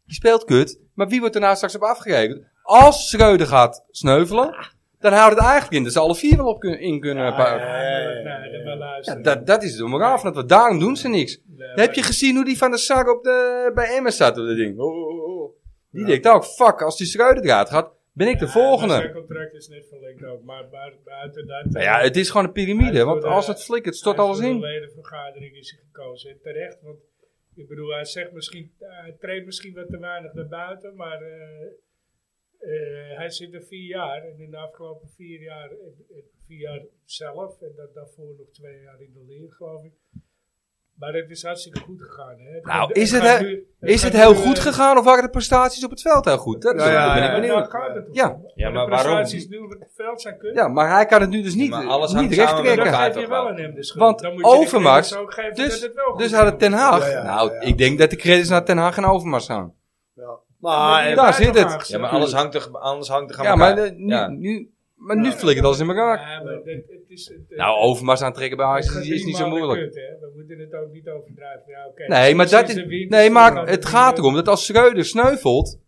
D: Je speelt kut. Maar wie wordt er nou straks op afgerekend? Als Schreuder gaat sneuvelen, dan houdt het eigenlijk in dat ze alle vier wel op kun- in kunnen. pa-
B: Ja,
C: ja, ja,
B: nee, dan maar
D: Ja,
B: luisteren.
D: dat, dat is de moraal van het verhaal. Daarom doen ze niks.
B: Nee,
D: Eh, Heb
B: maar-
D: je gezien hoe die van de Sar op de, bij Emmen staat op dat ding? Oh, oh, oh. Die denkt ook, fuck, als die Schreuder eruit gaat, ben ik de
B: Ja,
D: volgende.
B: maar Zijn contract is net verlengd ook, maar buiten, buiten dat...
D: Nou ja, het is gewoon een piramide,
B: Hij
D: want
B: doet,
D: als
B: eh,
D: het flikkert, stort
B: Hij
D: alles
B: is eh, Voor
D: in.
B: de ledenvergadering is hij gekozen. En terecht, want ik bedoel, hij zegt misschien, hij treedt misschien wat te weinig naar buiten, maar eh, eh, hij zit er vier jaar. En in de afgelopen vier jaar, eh, eh, vier jaar zelf, en dat daarvoor nog twee jaar in de leer, geloof ik. Maar het is hartstikke goed gegaan. Hè. Het
D: Nou,
B: gaat-
D: is het,
B: gaat
D: hè-
B: nu-
D: Is het
B: gaat
D: heel
B: nu,
D: goed
B: eh,
D: gegaan of waren de prestaties op het veld heel goed? Dat, is-
C: Ja, ja,
D: daar ben
C: ja.
D: ik benieuwd.
B: daar gaat het om.
D: Ja.
A: Ja,
B: En
A: maar
B: de
A: waarom?
B: prestaties nu op het veld zijn kunnen.
D: Ja, maar hij kan het nu dus niet,
A: maar alles
D: niet
A: hangt
D: recht
A: samen met
B: Dan
D: trekken.
A: elkaar.
B: geef
A: toch
B: je wel
A: wel.
B: aan hem de schuld.
D: Want
B: Dan moet je de
D: Overmars,
B: credits ook geven
D: Dus,
B: dat het wel goed
D: dus had het
B: is.
D: Ten Haag.
C: Ja, ja,
D: nou,
C: ja.
D: ik denk dat de credits naar Ten Haag en Overmars gaan.
C: Ja.
B: Maar
C: Maar,
D: daar
B: eh,
D: zit het.
B: buitenmaats,
A: Ja,
B: hè.
A: maar alles hangt er, alles hangt er aan
D: Ja,
A: elkaar.
D: maar eh, nu,
A: Ja.
D: nu, maar nu flikkert alles in elkaar.
B: Ja, maar dit- dit is- het-
D: Nou, Overmars aantrekken bij
B: het
D: Ajax
B: gaat
D: is is niet zo
B: driemaal de
D: moeilijk.
B: kut, hè. We moeten het ook niet overdrijven. Ja, oké.
D: Nee, maar, dat
B: Precies de
D: is,
B: winst,
D: nee,
B: dan
D: maar het
B: de-
D: gaat erom dat als Schreuder sneuvelt,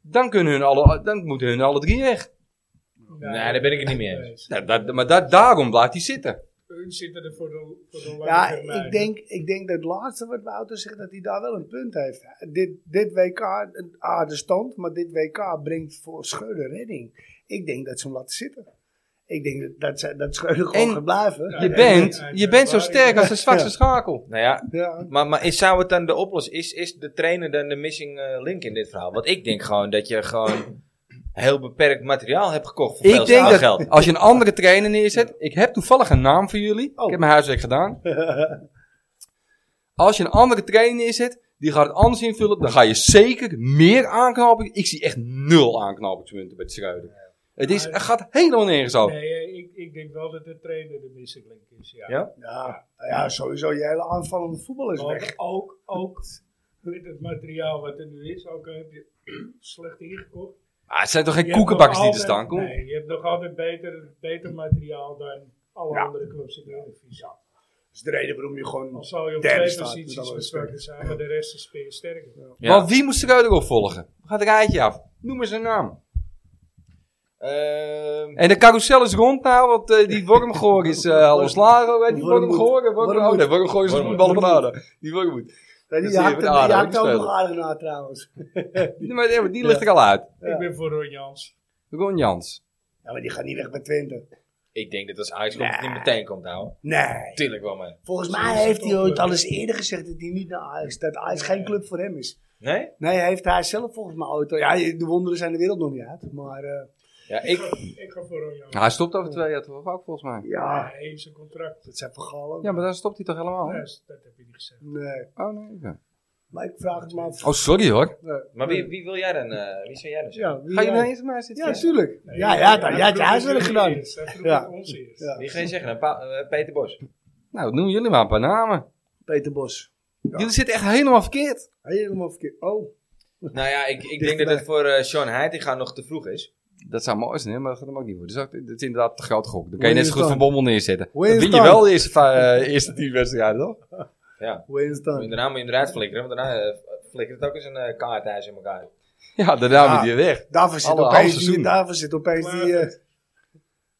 D: dan, kunnen hun alle, dan moeten hun alle drie weg.
A: Nee, daar ben ik het niet mee eens.
D: Nou, dat, maar dat, daarom blijft hij zitten.
B: Hun zitten er voor de, voor de lange
C: ja,
B: termijn.
C: ik denk, ik denk dat het laatste wat Wouter zegt, dat hij daar wel een punt heeft. Dit, dit WK, ah, de stand, maar dit WK brengt voor Schreuder redding. Ik denk dat ze hem laten zitten. Ik denk dat, dat, ze- dat Schreuder gewoon
D: En
C: gaat blijven.
B: Ja,
D: Je
B: ja,
D: bent,
B: ja, ja,
D: je bent zo
B: ja.
D: sterk als de zwakste schakel.
A: Nou ja,
C: Ja.
A: maar, maar is, zou het dan de oplossing... Is, is de trainer dan de missing eh, link in dit verhaal? Want ik denk gewoon dat je gewoon heel beperkt materiaal hebt gekocht voor veel
D: Ik denk
A: geld.
D: dat als je een andere trainer neerzet, ik heb toevallig een naam voor jullie,
C: Oh.
D: ik heb mijn huiswerk
B: [LAUGHS]
D: gedaan. Als je een andere trainer neerzet, die gaat het anders invullen, dan ga je zeker meer aanknopen. Ik zie echt nul aanknopingspunten bij Schreuder. Het, is,
B: Maar-
D: het gaat helemaal nergens over.
B: Nee, eh, ik, ik denk wel dat de trainer de misseling is. Ja.
A: Ja?
C: Ja, ja, sowieso. Je hele aanvallende voetbal is
B: Want
C: weg.
B: ook, ook met het materiaal wat er nu is, ook al heb je [CLEARS THROAT] slecht ingekocht.
D: Ah, het zijn toch
B: Je
D: geen
B: hebt
D: koekenbakkers
B: nog
D: die er
B: altijd-
D: staan, kom.
B: Nee, je hebt nog altijd beter, beter materiaal dan alle andere clubs in de Eredivisie.
C: Dat is de reden waarom je gewoon...
B: Al zou je op
C: Derde
B: twee
C: staat, met
B: posities
C: alle
B: besproken zijn, maar de rest is veel sterker.
A: Ja.
D: Maar wie moest Schreuder opvolgen? Gaat het rijtje af. Noem eens een naam.
A: Ehm,
D: En de carousel is rond nou, want eh, die Wormgoor is eh, al ontslagen. Weet je, die
C: Wormwoed.
D: Wormgoor? Wormgoor oh, nee, Wormgoor is een
A: Wormwood.
D: voetballer van Aarde. Die Wormgoed.
C: Nee, die
D: Dat zie je
C: haakt
D: met Aarde,
C: haakt
D: ook
C: ook
D: niet
C: nog aardig na trouwens.
D: Die, maar- ja, maar die ligt er al uit.
C: Ja.
B: Ik ben voor Ron Jans.
D: Ron Jans.
C: Ja, maar die gaat niet weg bij Twente.
A: ik denk dat als Ajax komt, het niet meteen komt houden.
C: Nee.
A: Tuurlijk wel, man.
C: Volgens
B: Zo
C: mij
B: is het
C: heeft hij
B: toch,
C: ooit
B: eh.
C: al eens eerder gezegd dat hij niet naar Ajax... Dat Ajax geen club voor hem is.
A: Nee?
C: Nee, heeft hij zelf volgens mij ooit al... Ja, de wonderen zijn de wereld nog niet uit. Maar eh,
A: Ja,
B: Ik,
A: ik,
B: ga- ik ga voor Ron Jans.
D: Nou, hij stopt over twee jaar toch ook, volgens mij.
C: ja,
B: Hij heeft zijn contract.
C: dat zijn verhalen.
D: Ah. Ja, maar dan stopt hij toch helemaal?
B: Ja, dat heb je niet gezegd.
C: Nee,
D: Oh, nee. ja.
C: maar ik vraag het maar af.
D: Oh, sorry hoor.
A: maar wie, wie wil jij dan? eh, wie zou jij dan zijn?
C: Ja, wie
D: Ga je
C: jij?
D: nou eens met mij zitten?
C: Ja, tuurlijk.
B: Nee,
C: ja, ja, dan,
B: hij
C: jij hebt je
B: vroeg
C: huiswerk
B: het
C: gedaan.
B: eerst. Hij vroeg
C: Ja.
B: het ons eerst.
C: Ja.
A: Wie ga je zeggen? Nou, Pa- eh, Peter Bos.
D: Nou, noem jullie maar een paar namen.
C: Peter Bos. Ja.
D: Jullie zitten echt helemaal verkeerd.
C: Helemaal verkeerd. Oh,
A: Nou ja, ik, ik denk dat
C: Dichtbij.
A: het voor eh Sean Heitinga nog te vroeg is.
D: Dat zou mooi zijn, hè, maar dat gaat hem ook niet worden. Dus dat, dat is inderdaad een groot gok. Dan kan je
C: Hoe
D: net
C: is
D: zo goed
C: het
D: Van
C: dan?
D: Bommel neerzetten.
C: Hoe
D: Dan
C: is het
D: win je
C: dan?
D: wel de eerste, va- eh, [LAUGHS] eerste tien wedstrijden, toch?
C: hoe is het
A: Moet je
C: dan?
A: Daarna moet je hem eruit flikkeren, want daarna eh, flikkert het ook eens een eh, kaart thuis in elkaar.
D: Ja, daarna
C: Ja.
D: moet je weg.
C: Daarvoor zit
D: Alle
C: opeens
D: halve seizoen.
C: die... Daarvoor zit opeens die... eh,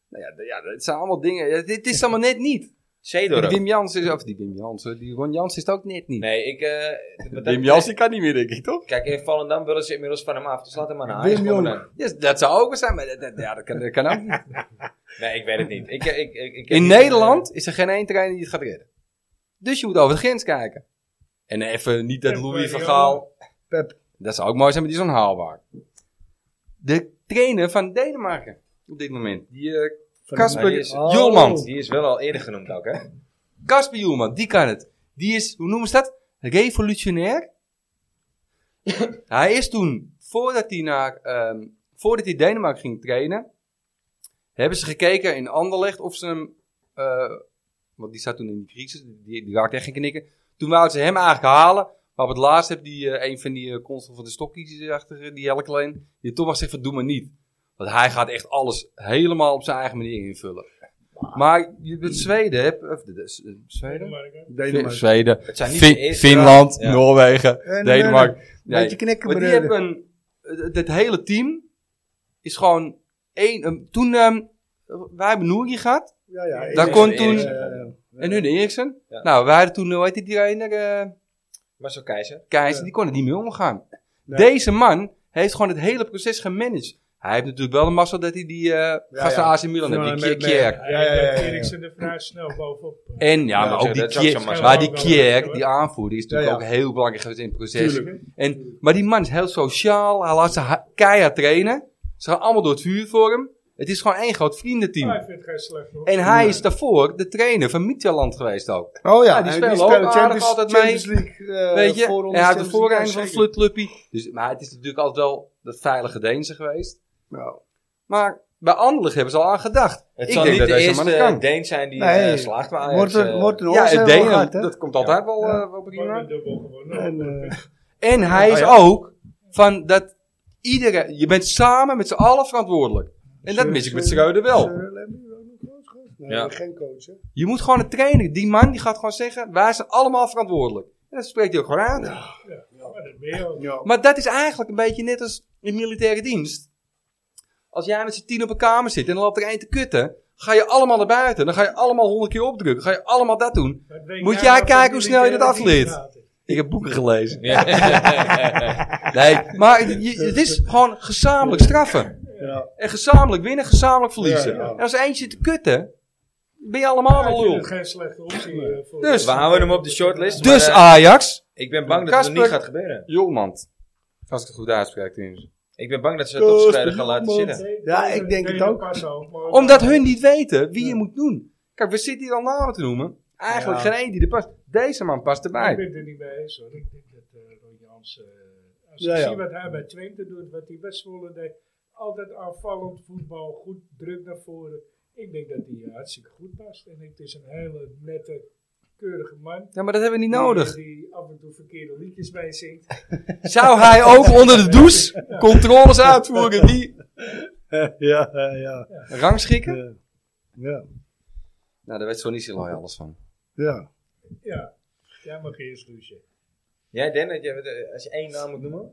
D: Nou ja, d- ja, het zijn allemaal dingen. Ja, dit is allemaal net [LAUGHS] niet. Die
A: Zeedorf.
D: Wim Jans is, of die Wim Jans, hoor, die Ron Jans is het ook net niet.
A: Nee, ik... eh, wat dat-
D: Wim Jans die kan niet meer, denk ik, toch?
A: Kijk, in Volendam willen ze inmiddels van hem af, dus laat hem maar naar Ajax
C: Wim
A: komen
C: Jong.
A: dan.
D: Ja, dat zou ook wel zijn, maar dat, dat- ja, dat, kan, dat [LAUGHS] kan ook niet.
A: Nee, ik weet het niet. Ik, eh, ik, ik, ik-
D: In
A: ik-
D: Nederland is er geen één trainer die het gaat redden. Dus je moet over de grens kijken. En even niet dat
B: Pep
D: Louis van
B: Guardiola.
D: Gaal...
C: Pep.
D: Dat zou ook mooi zijn, maar die is onhaalbaar. De trainer van Denemarken op dit moment. Die, eh,
C: van-
A: Maar die
D: Kasper
A: is-
D: Julman.
A: Die is wel al eerder genoemd ook, hè?
D: Kasper Julman, die kan het. Die is, hoe noemen ze dat? Revolutionair. hij is toen, voordat hij, naar, ehm, voordat hij Denemarken ging trainen, hebben ze gekeken in Anderlecht of ze hem, eh, want die zat toen in die crisis, die, die raakte echt geen knikken. Toen wouden ze hem eigenlijk halen, maar op het laatst heb die eh, een van die eh, consul van de stokkies achter, eh, die Helle Klein, die toch maar zegt van doe maar niet. Want hij gaat echt alles helemaal op zijn eigen manier invullen. Maar je met Zweden hebt, of de, de- de- Zweden?
B: Denemarken.
C: Denemarken.
D: Zweden,
A: Het zijn niet
D: Fin-
A: de eerste
D: Finland,
A: raad. Ja.
D: Noorwegen,
C: En,
D: Denemarken. Nee,
C: Beetje knikken,
D: maar die
C: broeder.
D: hebben een, het- het hele team is gewoon één. een- toen ehm, wij hebben Nouri gehad
C: Ja, ja.
B: Daar
C: ik-
D: kon
C: eh,
D: toen-
C: eh,
D: en hun Eriksen.
A: Ja.
D: Nou, we hadden toen, hoe heet die trainer? eh
A: Marcel Keizer.
D: Keizer,
C: Ja.
D: die kon er niet mee omgaan.
C: Nee.
D: Deze man heeft gewoon het hele proces gemanaged. Hij heeft natuurlijk wel een mazzel dat hij die eh gasten
C: ja.
D: AC Milan
C: Ja,
D: heeft, die
C: met- met-
D: Kjær.
B: Ja,
C: Ja, ja, ja, ja, ja.
B: Eriksen er vrij snel bovenop. eh.
D: En ja,
A: Ja,
D: maar
A: dat
D: ook
A: is-
D: die
A: dat is ook zo'n
D: Kjær,
A: mazzel.
D: maar die
B: Ja, ja.
D: Kjær, die aanvoerder, is natuurlijk
C: Ja, ja.
D: ook heel belangrijk geweest in het proces.
C: Tuurlijk.
D: En, maar die man is heel sociaal. Hij laat ze ha- keihard trainen. Ze gaan allemaal door het vuur voor hem. Het is gewoon één groot vriendenteam.
B: Maar ik vind het geen slecht hoor.
D: En hij is daarvoor de trainer van Midtjylland geweest ook.
C: Oh ja,
D: die
C: en
D: spelen ook aardig altijd
C: Champions League, eh,
D: Weet je?
C: voorrondes,
D: En hij had de
C: Champions League,
D: voorrein
C: ja,
D: van het
C: zeker.
D: flutclubje. Dus, maar het is natuurlijk altijd wel dat veilige Deense geweest.
C: Nou,
D: Maar bij Anderlecht hebben ze al aan gedacht.
A: Het
D: Ik
A: zal
D: denk
A: niet
D: dat
A: de
D: deze man het
A: eerste
D: kan.
A: Deen zijn die
C: Nee.
A: eh, slaagt, maar Ajax...
C: Morten,
A: eh,
C: Morten
D: ja,
C: Hoors
D: het
C: hebben we al
D: Denen,
C: gehad, hè?
D: dat komt altijd wel, eh, wel
B: Wordt
D: prima.
B: een dubbel gewonnen.
C: En, eh,
D: En hij is ook van dat iedereen... Je bent samen met z'n allen verantwoordelijk. En dat mis ik met Schreuder wel.
C: Sir Eh, Lemmy, ook nog wel eens gehad? Nee,
A: Ja.
C: geen coach, hè?
D: Je moet gewoon een trainer. Die man die gaat gewoon zeggen: wij zijn allemaal verantwoordelijk. En dat spreekt hij ook gewoon
B: Ja,
D: uit.
B: maar dat ben je ook.
C: Ja.
D: Maar dat is eigenlijk een beetje net als in militaire dienst. Als jij met z'n tien op een kamer zit en dan loopt er één te kutten, ga je allemaal naar buiten. Dan ga je allemaal honderd keer opdrukken. Ga je allemaal dat doen.
B: Maar weet
D: Moet
B: jij
D: jij
B: nou
D: kijken
B: van
D: hoe snel je dat
B: militaire
D: afleert?
B: dienst?
D: Ik heb boeken gelezen.
A: [LAUGHS] Ja.
D: Nee, maar je- het is gewoon gezamenlijk straffen.
C: Ja.
D: En gezamenlijk winnen, gezamenlijk verliezen.
C: Ja, ja.
D: En als er eentje zit te kutten, ben je allemaal
B: Ik
D: een
B: vind
D: lul.
B: het geen slechte optie. eh, voor
D: Dus-
A: we houden hem op de shortlist. Maar,
D: Dus
A: eh,
D: Ajax.
A: ik ben bang dat het nog
D: Kasper-
A: niet gaat gebeuren.
D: Jolmand. Als ik het goed uitspreek, tenminste.
A: Ik ben bang dat ze het
C: Kasper
A: toch strijden gaan laten
C: Jongman.
A: zitten.
C: Ja, ik denk het ook.
D: Omdat hun niet weten wie je moet doen. Kijk, we zitten hier al namen te noemen. Eigenlijk
C: Ja.
D: geen één die er past. Deze man
B: Ik
D: past erbij.
B: ben er niet mee eens hoor. Ik denk dat eh Ron Jans. eh, als
C: Ja,
B: ik
C: ja.
B: zie wat hij bij Twente doet, wat hij bij Zwolle deed. altijd aanvallend voetbal, goed druk naar voren. Ik denk dat hij eh, hartstikke goed past. En het is een hele nette, keurige man.
D: Ja, maar dat hebben we niet nodig.
B: Die, die af en toe verkeerde liedjes meezingt.
D: Zou hij ook onder de douche controles uitvoeren? Wie?
C: ja, ja, ja.
D: Rangschikken?
C: Ja. Ja.
D: Nou, daar weet Sonny Siloy alles van.
C: ja.
B: Ja, jij mag eerst douchen.
A: Jij, Dennis, jij bent, eh, als je één naam moet noemen.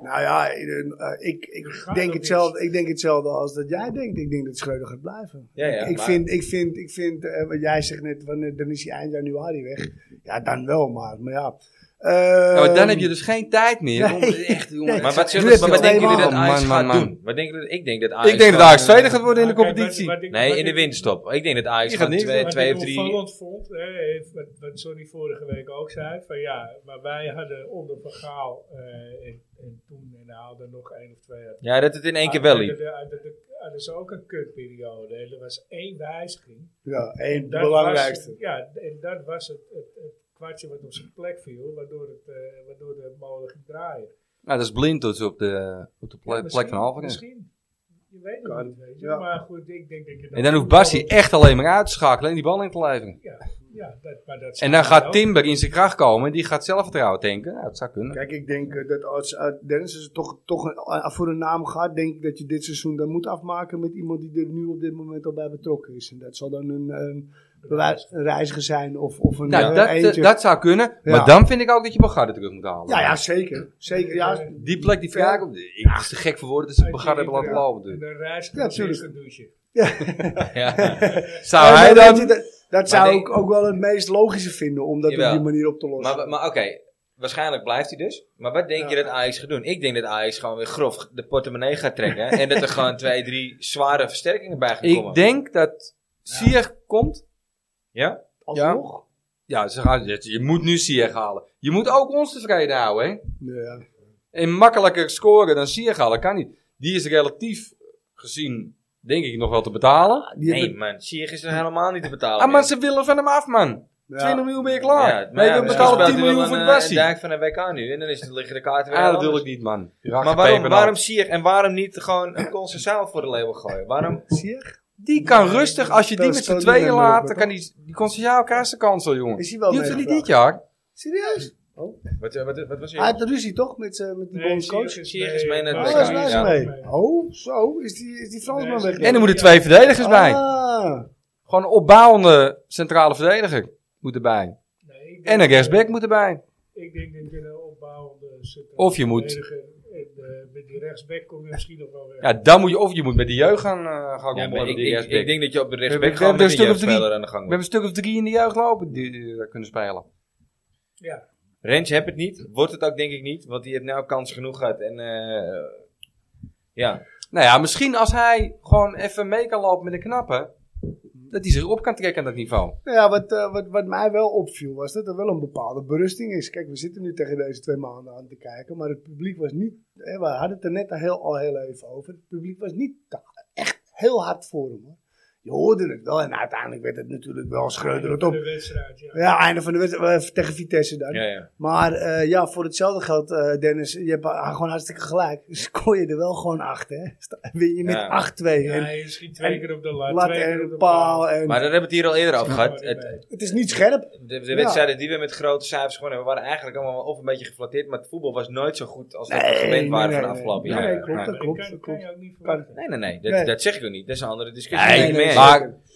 C: Nou ja, eh, eh, ik, ik,
B: Gaat
C: denk
B: dat
C: hetzelfde, ik denk hetzelfde als dat jij denkt. Ik denk dat Schreuder gaat blijven.
A: Ja, ja,
C: ik,
A: maar-
C: vind, ik vind, ik vind eh, wat jij zegt net, wanneer, dan is hij eind januari weg. Ja, dan wel maar. Maar ja.
D: Ja, maar dan
C: Ehm,
D: heb je dus geen tijd meer.
C: [LAUGHS]
D: om-
C: Nee.
D: Echt, jongen.
C: Nee.
A: Maar wat,
C: Doe
A: zullen,
C: het
A: maar
C: wel.
A: wat denken jullie dat
D: Man,
A: Ajax
D: man,
A: gaat
D: man.
A: doen? Wat denken jullie, ik denk dat Ajax
D: Ik denk dat
A: gewoon,
D: Ajax tweede
A: eh,
D: gaat worden in de
B: Maar Ah, kijk, wat-
D: competitie.
B: wat ik-
A: Nee,
B: wat
A: in de
B: ik-
A: winststop. Ik denk dat Ajax
D: Die
A: gewoon
D: gaat niet
A: twee,
D: winnen.
A: twee of
B: wat ik
A: drie...
B: opvallend vond, hè, wat, wat Sonny vorige week ook zei, van ja, maar wij hadden onder vergaal eh en, en toen en haalden nog één of twee. uit.
A: Ja, dat het in één keer wel
B: Hadden-
A: liep.
B: hadden- hadden- Hadden ze ook een kutperiode. En Er was één wijziging.
C: Ja, één, de
B: Dat
C: belangrijkste.
B: was- ja, en dat was het, het, het kwartje wat op zijn plek viel, waardoor, het, eh, waardoor de molen ging draaien.
D: Nou, dat is blindtoets op de, op de ple-
B: Ja,
D: plek van
B: misschien-
D: Halvingen.
B: Misschien. Je weet het
C: Kan.
B: niet, weet je.
C: Ja.
B: Maar goed, ik denk dat je...
D: En dan hoeft Bassi echt alleen maar uit te schakelen en die bal in te leveren.
B: Ja, ja, dat, maar dat
D: En dan gaat
B: Tim.
D: Timber in zijn kracht komen en die gaat zelfvertrouwen tanken. Nou, dat zou kunnen.
C: Kijk, ik denk eh, dat als eh, Dennis is toch, toch een- eh, voor een naam gaat, denk ik dat je dit seizoen dan moet afmaken met iemand die er nu op dit moment al bij betrokken is. En dat zal dan een, een, bewijs- een reiziger zijn of, of een
D: Nou,
C: eh,
D: dat, eh,
C: eentje.
D: dat zou kunnen.
C: Ja.
D: Maar dan vind ik ook dat je Bogarde terug moet halen.
C: ja, ja, zeker. Zeker, ja.
D: Die plek die vraag op. Ik het is te gek voor woorden dat ze Bogarde hebben laten lopen.
B: En
D: natuurlijk.
B: dan reis
C: Ja,
B: ja,
C: tuurlijk.
B: een douche.
A: Ja.
D: Zou
C: Nee, maar
D: hij dan...
C: weet je, dat, dat zou
A: nee.
C: ik ook wel het meest logische vinden om dat
A: Jawel.
C: op die manier op te lossen.
A: Maar, maar oké, waarschijnlijk blijft hij dus. Maar wat denk
C: Ja.
A: je dat Ajax gaat doen? Ik denk dat Ajax gewoon weer grof de portemonnee gaat trekken. [LAUGHS] en dat er gewoon twee, drie zware versterkingen bij gaan komen.
D: Ik denk dat Sier komt.
A: Ja?
C: Alsnog?
D: Ja, ze gaan, je moet nu Sier halen. Je moet ook ons tevreden houden, hè.
C: Ja.
D: En makkelijker scoren dan Sierga, dat kan niet. Die is relatief gezien, denk ik, nog wel te betalen.
C: Die
A: Nee,
C: hebben-
A: man. Sierg is er helemaal niet te betalen.
D: Ah, maar
A: meer.
D: ze willen van hem af, man.
C: ja.
D: 20 miljoen ben je klaar.
A: Ja, maar
D: nee,
A: ja,
D: we
A: misschien
D: betalen
A: speelt hij
D: 10 miljoen
A: wel
D: voor de
A: een,
D: Bassie.
A: eh, dijk van een WK nu. En dan is, liggen de kaarten weer
D: ah, dat
A: heel
D: wil ik
C: dus-
A: anders.
D: niet, man.
A: Maar waarom, waarom Sierg en waarom niet gewoon een consensueel voor de leeuwen gooien? Waarom?
C: Zie je?
D: Die kan rustig, als je die
C: Dat
D: met
C: is
D: z'n
C: zo
D: tweeën
C: dynamisch,
D: laat, dan
C: toch?
D: kan die, die Concecao krijgt zijn kans al, jongen.
C: Is hij wel
D: Die hoeft er niet dit
C: meegevraagd?
D: jaar.
C: Serieus?
A: Wat, eh, wat, wat was
C: Hij
A: hier?
C: heeft ruzie toch met, eh, met die bondscoach?
B: Sierg
A: Sierg is mee naar
C: Oh,
A: het
C: daar is
A: WK,
C: Wijs
A: ja.
C: mee. Oh, zo. Is die, is die Fransman
B: Nee,
C: weg?
D: En er moeten
B: Ja.
D: twee verdedigers bij.
C: Ah.
D: Gewoon een opbouwende centrale verdediger moet erbij.
B: Nee, ik denk
D: En een
B: dat-
D: rechtsback moet erbij.
B: Ik denk dat je een opbouwende centrale
D: Of je moet-
B: verdediger En eh, met die rechtsback kom je misschien nog wel weer.
D: Ja, dan moet je, of je moet met de jeugd gaan, eh gaan
A: Ja,
D: rommelen
A: maar
D: met
A: ik,
D: die
A: ik,
D: rechtsback.
A: ik denk dat je dus op de
D: We hebben-
A: rechtsback
D: we
A: gewoon
D: hebben
A: met
D: een
A: een
D: stuk of drie.
A: jeugdspeler aan de gang
D: We
A: moet.
D: hebben een stuk of drie in de jeugd lopen die, die daar kunnen spelen.
B: Ja.
A: Rens heb het niet. Wordt het ook denk ik niet. Want die heeft nou kans genoeg gehad. En eh, ja.
D: Nou ja, misschien als hij gewoon even mee kan lopen met de knappen. Dat hij zich op kan trekken aan dat niveau.
C: Nou ja, wat, eh, wat, wat mij wel opviel was dat er wel een bepaalde berusting is. Kijk, we zitten nu tegen deze twee maanden aan te kijken, maar het publiek was niet. Hè, we hadden het er net al heel, al heel even over. Het publiek was niet ta- echt heel hard voor hem. Hoor. Je hoorde het wel en uiteindelijk werd het natuurlijk wel schreuderd
B: De
C: op.
B: wedstrijd, ja.
C: Ja, einde van de wedstrijd eh, tegen Vitesse dan.
A: ja, ja.
C: Maar eh, ja, voor hetzelfde geld, eh, Dennis, je hebt ah, gewoon hartstikke gelijk. [LAUGHS] Scoor je er wel gewoon acht, hè? Sta- Win je met
A: Ja.
C: 8-2.
B: Ja,
C: en
B: je schiet twee keer op de lat,
C: lat
B: twee keer op
C: en
B: de
C: paal. En,
A: Maar daar hebben we het hier al eerder over
B: Maar
A: gehad.
B: niet
A: Het,
B: bij.
C: het is niet scherp.
A: de, de wedstrijden die we met grote cijfers gewonnen hebben, waren eigenlijk allemaal of een beetje geflatteerd. Maar het voetbal was nooit zo goed als dat we gewend waren van de afgelopen
C: nee,
A: jaren.
C: Nee, klopt,
A: Nee.
C: dat
B: Maar dat
C: klopt.
B: kan,
C: Dat
B: kan
C: klopt.
B: je ook niet verwachten.
A: Nee, nee, nee. Dat,
C: Nee.
A: dat zeg ik ook niet. Dat is een andere discussie.
D: Nee,
A: Ik meen-
D: maar-
C: zeker.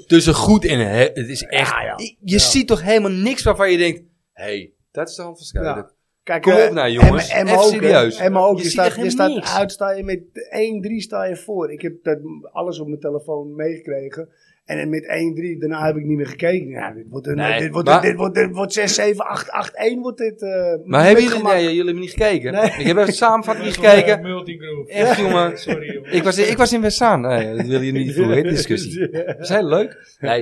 D: Tussen goed en hè, het is echt.
C: Ja, ja.
D: Je ziet toch helemaal niks waarvan je denkt: hé, hey, dat is de hand van Schuil.
C: Ja. Kijk,
D: Kom
C: eh,
D: op nou, jongens.
C: Emma- Emma
D: Even
C: ook,
D: serieus.
C: hè. Emma ook.
D: Je
C: Je,
D: ziet
C: staat,
D: echt
C: je staat
D: niks.
C: uit, sta je met 1-3 sta je voor. Ik heb dat alles op mijn telefoon meegekregen. En met 1-3, daarna heb ik niet meer gekeken. Ja, dit wordt, een,
D: Nee,
C: dit, wordt
D: maar-
C: dit, wordt, dit wordt 6, 7, 8, 8, 1 wordt dit. eh,
D: Maar
C: met
D: hebben jullie,
C: gemak.
D: nee, jullie hebben niet gekeken.
C: Nee.
D: Ik heb even samenvatting [LAUGHS]
B: Maar
D: niet
B: voor, eh,
D: gekeken.
B: Multigroove.
D: Echt, jongen.
B: Sorry, jongen.
D: Ik was, ik was in Westzaan. Nee, dat wil je niet voeren, hè,
C: [LAUGHS]
D: discussie. Dat is heel leuk. Nee,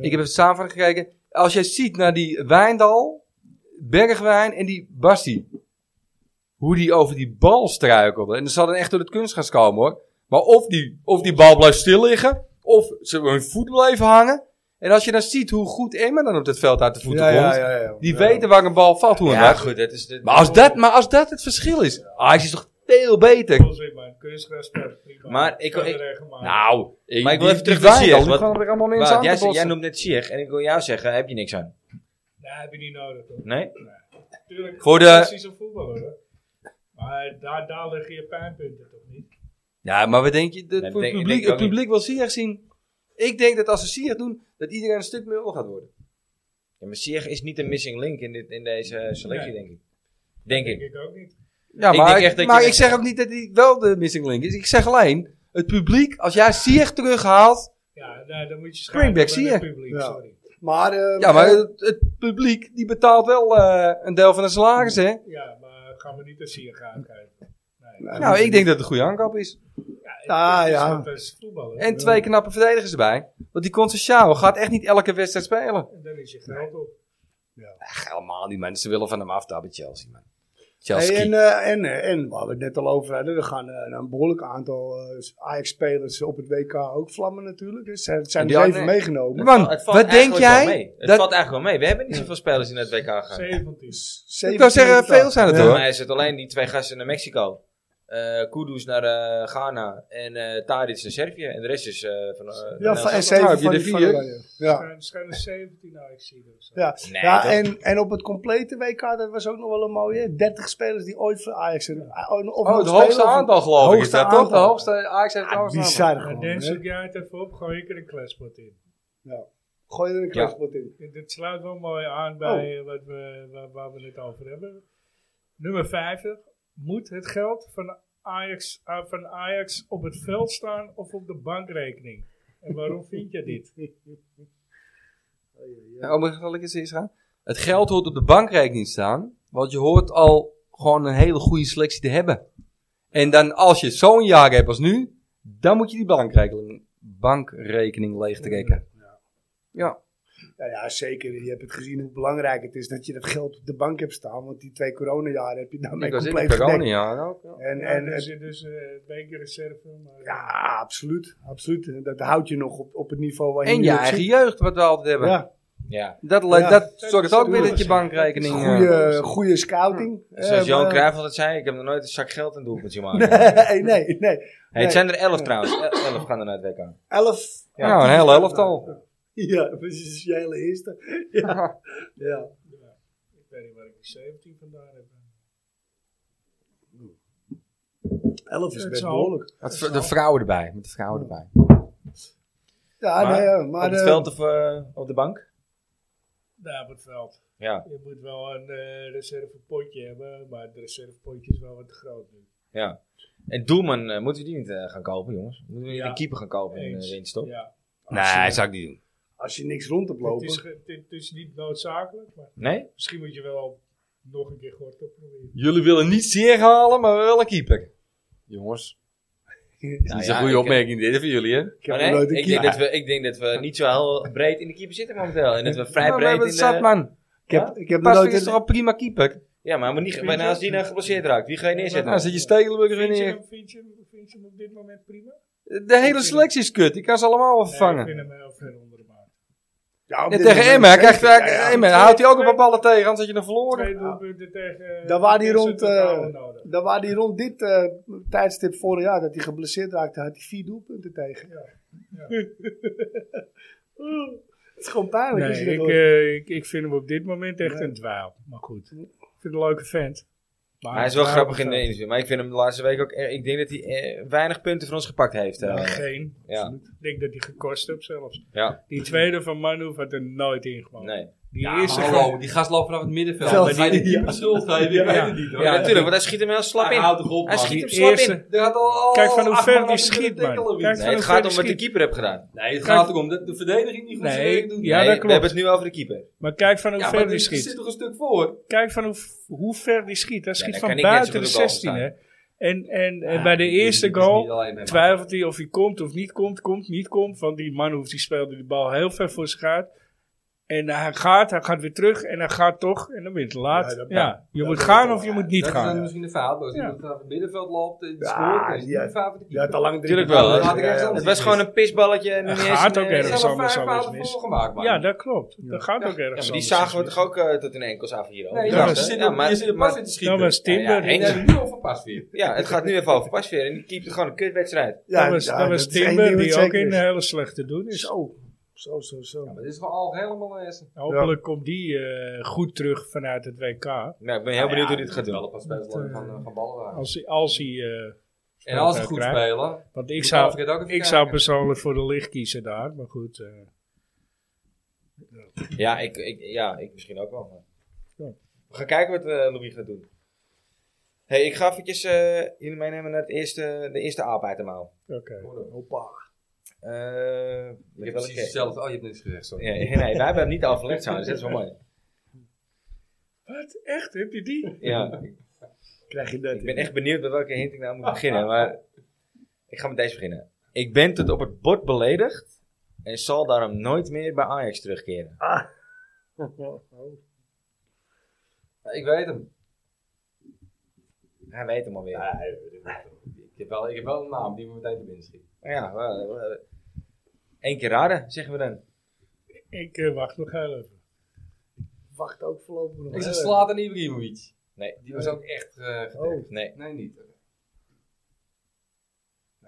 D: ik heb even samenvatting gekeken. Als jij ziet naar die Wijndal, Bergwijn en die Basti. Hoe die over die bal struikelde. En dat zal dan echt door het kunstgras komen hoor. Maar of die, of die bal blijft stil liggen. Of ze hun voet blijven hangen. En als je dan ziet hoe goed Emma dan op dat veld uit de voeten
C: Ja,
D: komt.
C: ja, ja, ja.
D: Die
C: Ja.
D: weten waar een bal valt, hoe en
A: Ja,
D: wat.
A: goed. Dat is de,
D: Maar als, dat, maar als dat het verschil is. Ajax is toch veel beter.
B: Onzin, man. Kunstgras speelt prima.
A: Maar ik-
B: Kan
A: ik-
B: er echt maken.
A: Nou,
D: Ik,
A: Maar ik wil
D: die-
A: even terug
D: die
A: naar Ziyech,
D: Wijndal, die
A: want-
D: gaan er allemaal
A: Wout,
D: mensen aan te
A: jij, zegt- jij
D: botsen.
A: noemt net Sieg en ik wil jou zeggen, heb je niks aan.
B: Nee, heb je niet nodig. Hoor.
A: Nee?
B: Tuurlijk,
D: Voor de-
B: fantastisch een voetballer. Hoor. Maar daar, daar liggen je pijnpunten toch niet?
D: Ja, maar wat denk je?
A: Nee,
D: Het
A: denk-
D: publiek,
A: denk ik
D: het
A: ook
D: publiek wil Ziyech zien. Ik denk dat als ze Ziyech doen, dat iedereen een stuk minder gaat worden.
A: Ja, maar Sieg is niet een missing link in, dit, in deze eh, selectie,
B: Nee.
A: denk ik. Denk
B: Denk
A: ik.
B: ik ook niet.
D: Ja,
A: Ik
D: maar,
A: denk
D: ik,
A: echt dat
D: maar
A: je-
D: ik zeg ook niet dat hij wel de missing link is. Ik zeg alleen, het publiek, als jij Ziyech terughaalt...
B: Ja, nee, dan moet je
D: Springback,
B: schaden
D: zie
B: met het
D: je.
B: publiek.
C: Ja.
B: Sorry.
C: Maar, eh,
D: Ja, maar het, het publiek, die betaalt wel eh, een deel van de salaris, hè?
B: Ja, maar gaan we niet naar Sier gaan kijken. Nee.
C: Nou,
D: Nou, ik denk dat het een goede aankoop is.
C: Ah,
B: het is
C: ja.
B: wat als voetballer.
D: En twee knappe verdedigers erbij. Want die Concecao gaat echt niet elke wedstrijd spelen.
B: En dan is je geld op.
D: Ach, helemaal niet, man. Ze willen van hem af daar bij Chelsea, man.
C: Hey,
D: Chelsea.
C: en, eh, en, eh, en waar we het net al over hadden, er gaan eh, een behoorlijk aantal eh, Ajax-spelers op het WK ook vlammen natuurlijk. Dus er zijn
D: En die
C: er
D: ook,
C: zeven
D: nee.
C: meegenomen.
D: Man,
A: Het valt
D: wat denk
A: eigenlijk wel
D: jij?
A: mee. Het
D: dat-
A: valt eigenlijk wel mee. We hebben niet zoveel spelers in het WK gaan.
B: 17.
D: Ik wou zeggen, veel zijn het,
A: Volgens
D: hoor.
A: mij is het alleen die twee gasten naar Mexico. Eh Kudus naar eh, Ghana en eh Tadic naar Servië. En de rest is eh, van... eh,
C: Ja,
A: van-
C: van, en
D: Nou,
C: zeven
D: heb je
C: van,
D: er
C: die van
D: vier?
C: Oranje. Ja,
B: Schijn- schijnen 17 Ajax zien of zo.
C: ja.
A: Nee,
C: ja
A: dat-
C: en, en op het complete WK, dat was ook nog wel een mooie. hè. 30 spelers die ooit voor Ajax zijn. eh, Of
D: Oh, het hoogste aantal, geloof ik. Is
C: hoogste
D: dat toch? Ah, De
C: aantal.
D: hoogste. Ajax heeft het
C: Ja,
D: hoogste aantal.
C: bizar
B: En
C: gewoon.
B: dan
C: hè.
B: zoek jij het even op, gooi ik er een klaspot in.
C: Gooi er een krachtpot in.
B: Dit- Dit sluit wel mooi aan bij
C: Oh.
B: eh, wat we, waar, waar we het over hebben. Nummer 50. Moet het geld van Ajax, ah, van Ajax op het veld staan of op de bankrekening? En
C: [LAUGHS]
B: waarom vind je dit?
D: Ja, Oh, maar zal ik eens eerst gaan? Het geld hoort op de bankrekening te staan. Want je hoort al gewoon een hele goede selectie te hebben. En dan als je zo'n jaar hebt als nu, dan moet je die bankrekening, bankrekening leeg trekken. Ja.
C: Ja, Nou ja, zeker. Je hebt het gezien hoe belangrijk het is dat je dat geld op de bank hebt staan. Want die twee coronajaren heb je daarmee
D: Ik was in
C: compleet
D: de
C: gedekt.
D: corona ook. ja.
C: En,
B: En
C: en,
B: er
C: en,
B: zit dus eh, een beetje reserve. Maar,
C: ja, absoluut. absoluut. En Dat houdt je nog op, op het niveau waar je
D: En
C: nu
D: je
C: op
D: eigen
C: zit.
D: jeugd, wat we altijd hebben.
C: Ja,
A: ja.
D: Dat, le-
C: Ja.
D: dat zorgt ook weer dat je
B: Tuurlijk.
D: bankrekening... eh,
C: goede, goede scouting.
D: Hm.
A: Zoals
C: Eh,
A: Johan
C: maar-
A: Cruijff altijd zei, ik heb nog nooit een zak geld een doelpuntje maken.
C: [LAUGHS] Nee, nee, nee.
A: Hey, het
C: Nee.
A: zijn er elf trouwens. El- elf gaan er naar het WK.
C: Elf.
D: Ja, een hele elftal.
C: [LAUGHS] Ja, precies. Je hele eerste. [LAUGHS] Ja. ja.
B: Ik weet niet waar ik die 17 vandaan heb.
C: Elf is
B: Het
C: best
B: zal.
C: behoorlijk.
D: Met v- De vrouwen erbij. Met de vrouwen erbij.
C: Ja,
A: Maar
C: nee, ja, maar
A: op het
C: eh,
A: veld of eh, op de bank?
B: Daar op het veld.
A: Ja,
B: Je moet wel een eh, reservepotje hebben, maar het reservepotje is wel wat te groot nu.
A: ja. En Doelman, eh, moeten we die niet eh, gaan kopen, jongens? Moeten we niet
B: Ja.
A: een keeper gaan kopen in,
B: Eens.
A: eh, de instop?
B: Ja.
D: Nee, zou ik niet doen.
C: als je niks rond hebt
B: Het
C: lopen.
B: is, ge- het is niet noodzakelijk, maar
A: Nee?
B: misschien moet je wel nog een keer Gorter proberen.
D: Jullie willen niet zeer halen, maar wel een keeper. Jongens.
A: Nou
D: Dat is
A: ja,
D: een goede
A: ik-
D: opmerking dit voor jullie, hè?
C: Ik heb
A: Maar Ah, nee,
C: nog nooit een
A: ik,
C: keer-
A: denk dat we, ik denk dat we niet zo heel breed in de keeper zitten momenteel. En dat we vrij
D: Ja, we
A: breed
D: hebben
A: in
D: het zat,
A: de...
D: man.
C: ik heb, ik heb nog
D: Pasveer
C: nooit
D: is toch
C: een,
D: een prima keeper?
A: Ja, maar, we niet, maar als die nou geblesseerd raakt, wie ga je neerzetten?
D: Nou, zet je Stekelenburg weer
B: Vind je,
D: neer.
B: hem, vind, je hem, vind je hem op dit moment prima?
D: De hele selectie is kut. Die kan ze allemaal wel
B: Nee, ik
D: vervangen.
B: vind hem eh, heel ver onder de maat.
C: Ja, op
D: En
C: dit
D: tegen
C: moment
D: Emmen, hij
C: zeker.
D: krijgt hij-
C: Ja, ja.
D: Emmen, hij houdt hij ook een paar ballen tegen, anders had je hem verloren.
B: Twee doelpunten tegen...
C: Ah.
B: eh,
C: Daar waren die
B: tegen
C: rond,
B: Centraal
C: eh,
B: nodig.
C: Dan waren die rond dit eh, tijdstip vorig jaar dat hij geblesseerd raakte, had hij vier doelpunten tegen.
B: Ja.
C: [LAUGHS] Het is gewoon pijnlijk als je
B: Nee,
C: dat
B: ik,
C: hoort.
B: eh, ik, ik vind hem op dit moment echt
C: Nee.
B: een dwaal. Maar goed, ik vind het een leuke vent. Maar
A: Hij is wel
B: een
A: grappig in
B: dwaal-
A: de interview, maar ik vind hem de laatste week ook... eh, Ik denk dat hij eh, weinig punten van ons gepakt heeft. eh.
B: Ja, geen.
A: ja.
B: Ik denk dat hij gekost heeft zelfs.
A: Ja.
B: Die tweede van Manhoef had er nooit ingemaakt.
A: Nee.
B: Die eerste van-
D: die gast loopt vanaf het middenveld.
C: Veld. Maar die- die- die-
D: schuld geven,
B: ik weet het
D: niet
A: Ja, natuurlijk, want hij schiet hem heel slap in.
D: toch op,
A: Hij schiet
B: Die
A: hem slap in.
B: eerste- Kijk van hoe ver die schiet, man. Kijk
A: Nee, het gaat om wat de keeper heeft gedaan.
D: Nee, het
B: gaat
D: erom dat de verdediging niet
B: goed zijn werk doet.
A: Nee,
B: Ja, dat klopt.
A: We hebben het nu over de keeper.
B: Maar kijk van hoe ver die schiet.
D: toch een stuk voor.
B: Kijk van hoe, hoe ver die schiet. Hij schiet
A: daar
B: van
A: kan ik net zo
B: buiten
A: goed op
B: de
A: de goal
B: 16. Hè. En, en, en bij de eerste goal twijfelt hij of hij komt of niet komt, komt, niet komt. Want die man hoeft die speelde die bal heel ver voor zich uit. En hij gaat, hij gaat weer terug en hij gaat toch en dan ben je te laat.
C: Ja,
B: Ja,
C: dat-
B: je
C: dat-
B: moet
C: dat-
B: gaan of je moet niet
D: dat is
B: gaan.
D: dan misschien de foutloos. Die
B: Ja.
D: moet vanaf het middenveld loopt, en
C: Ja,
D: scoort, en is
C: die
D: niet
C: had-
D: de fout van de
C: Je had
D: keeper.
C: al lang
A: Tuurlijk
C: drie-
A: wel, hè?
C: Ja, ja, ja.
A: Het was gewoon een pisballetje en
B: Dat
A: niet eens
B: gaat
A: een,
B: ook
A: eh,
D: Er zijn
B: ergens
D: wel
B: anders
D: vijf
B: wel eens
D: fouten
B: mis.
D: voor gemaakt, man.
B: Ja, dat klopt. Dat gaat ook
A: Ja,
B: ergens
A: maar die
B: anders
A: zagen we
B: mis.
A: toch ook eh, tot in enkels af hier.
D: Nee,
A: ook.
D: ja,
B: Ja,
D: je
B: hè?
D: zit
A: ja,
D: er- je
A: maar,
D: zit er pas
A: maar-
D: in te
B: Dat
D: schieten.
B: was Timber.
A: Ja, ja,
D: En
A: eens.
D: dan nu over pas weer.
A: ja, het gaat nu even over pas weer. En die keept gewoon een kutwedstrijd.
C: Ja,
B: dat was,
C: ja,
B: dat was
C: dat is één
B: Timber
C: ding wat
B: die ook
C: zeker
B: in eh,
C: is.
B: een hele slechte doen is.
C: Zo. Zo, zo, zo.
D: Maar dit is gewoon al helemaal een S.
B: Hopelijk komt die eh, goed terug vanuit het WK.
A: Nou, ik ben heel benieuwd hoe dit gaat
D: Wel
A: doen.
D: een paar spelers lang van eh, van ballen
C: Oh,
D: waren.
B: Als, hij- als hij... eh,
D: En als ze
B: speeltijd
D: goed
B: krijgt.
D: spelen.
B: Want ik
D: moet
B: zou,
D: Alfred ook even
B: ik zou
D: kijken.
B: persoonlijk voor de licht kiezen daar. Maar goed, eh,
A: Ja ik, ik, ja, ik misschien ook wel. maar-
B: Ja.
A: We gaan kijken wat eh Louis gaat doen. hey, ik ga eventjes eh, jullie meenemen naar het eerste, de eerste aap uit de mouw.
B: oké.
C: Hoppa.
A: Eh,
D: Je
A: met
D: hebt
A: welke-
D: precies hetzelfde. Oh, je hebt niks gezegd, sorry.
A: Ja, nee, wij hebben het niet overlegd, zo. Dus dat is wel mooi.
B: Wat? Echt? Heb je die?
A: Ja,
C: Krijg je dat?
A: ik ben echt benieuwd met welke hint ik nou moet beginnen. Maar ik ga met deze beginnen. Ik ben tot op het bord beledigd en zal daarom nooit meer bij Ajax terugkeren.
D: Ja, Ik weet hem.
A: Hij weet hem alweer.
D: Ja, Ik heb wel, ik heb wel een naam die me meteen te binnen schiet.
A: Maar ja, wel, wel- Eén keer raden, zeggen we dan.
B: Ik eh, wacht nog heel even.
C: Wacht ook voorlopig nog.
D: Ik zeg
C: heel
D: Zlatan Ibrahimovic.
A: Nee.
D: Die was ook echt eh,
C: even.
D: getikt.
C: Oh,
A: Nee.
D: Nee, niet.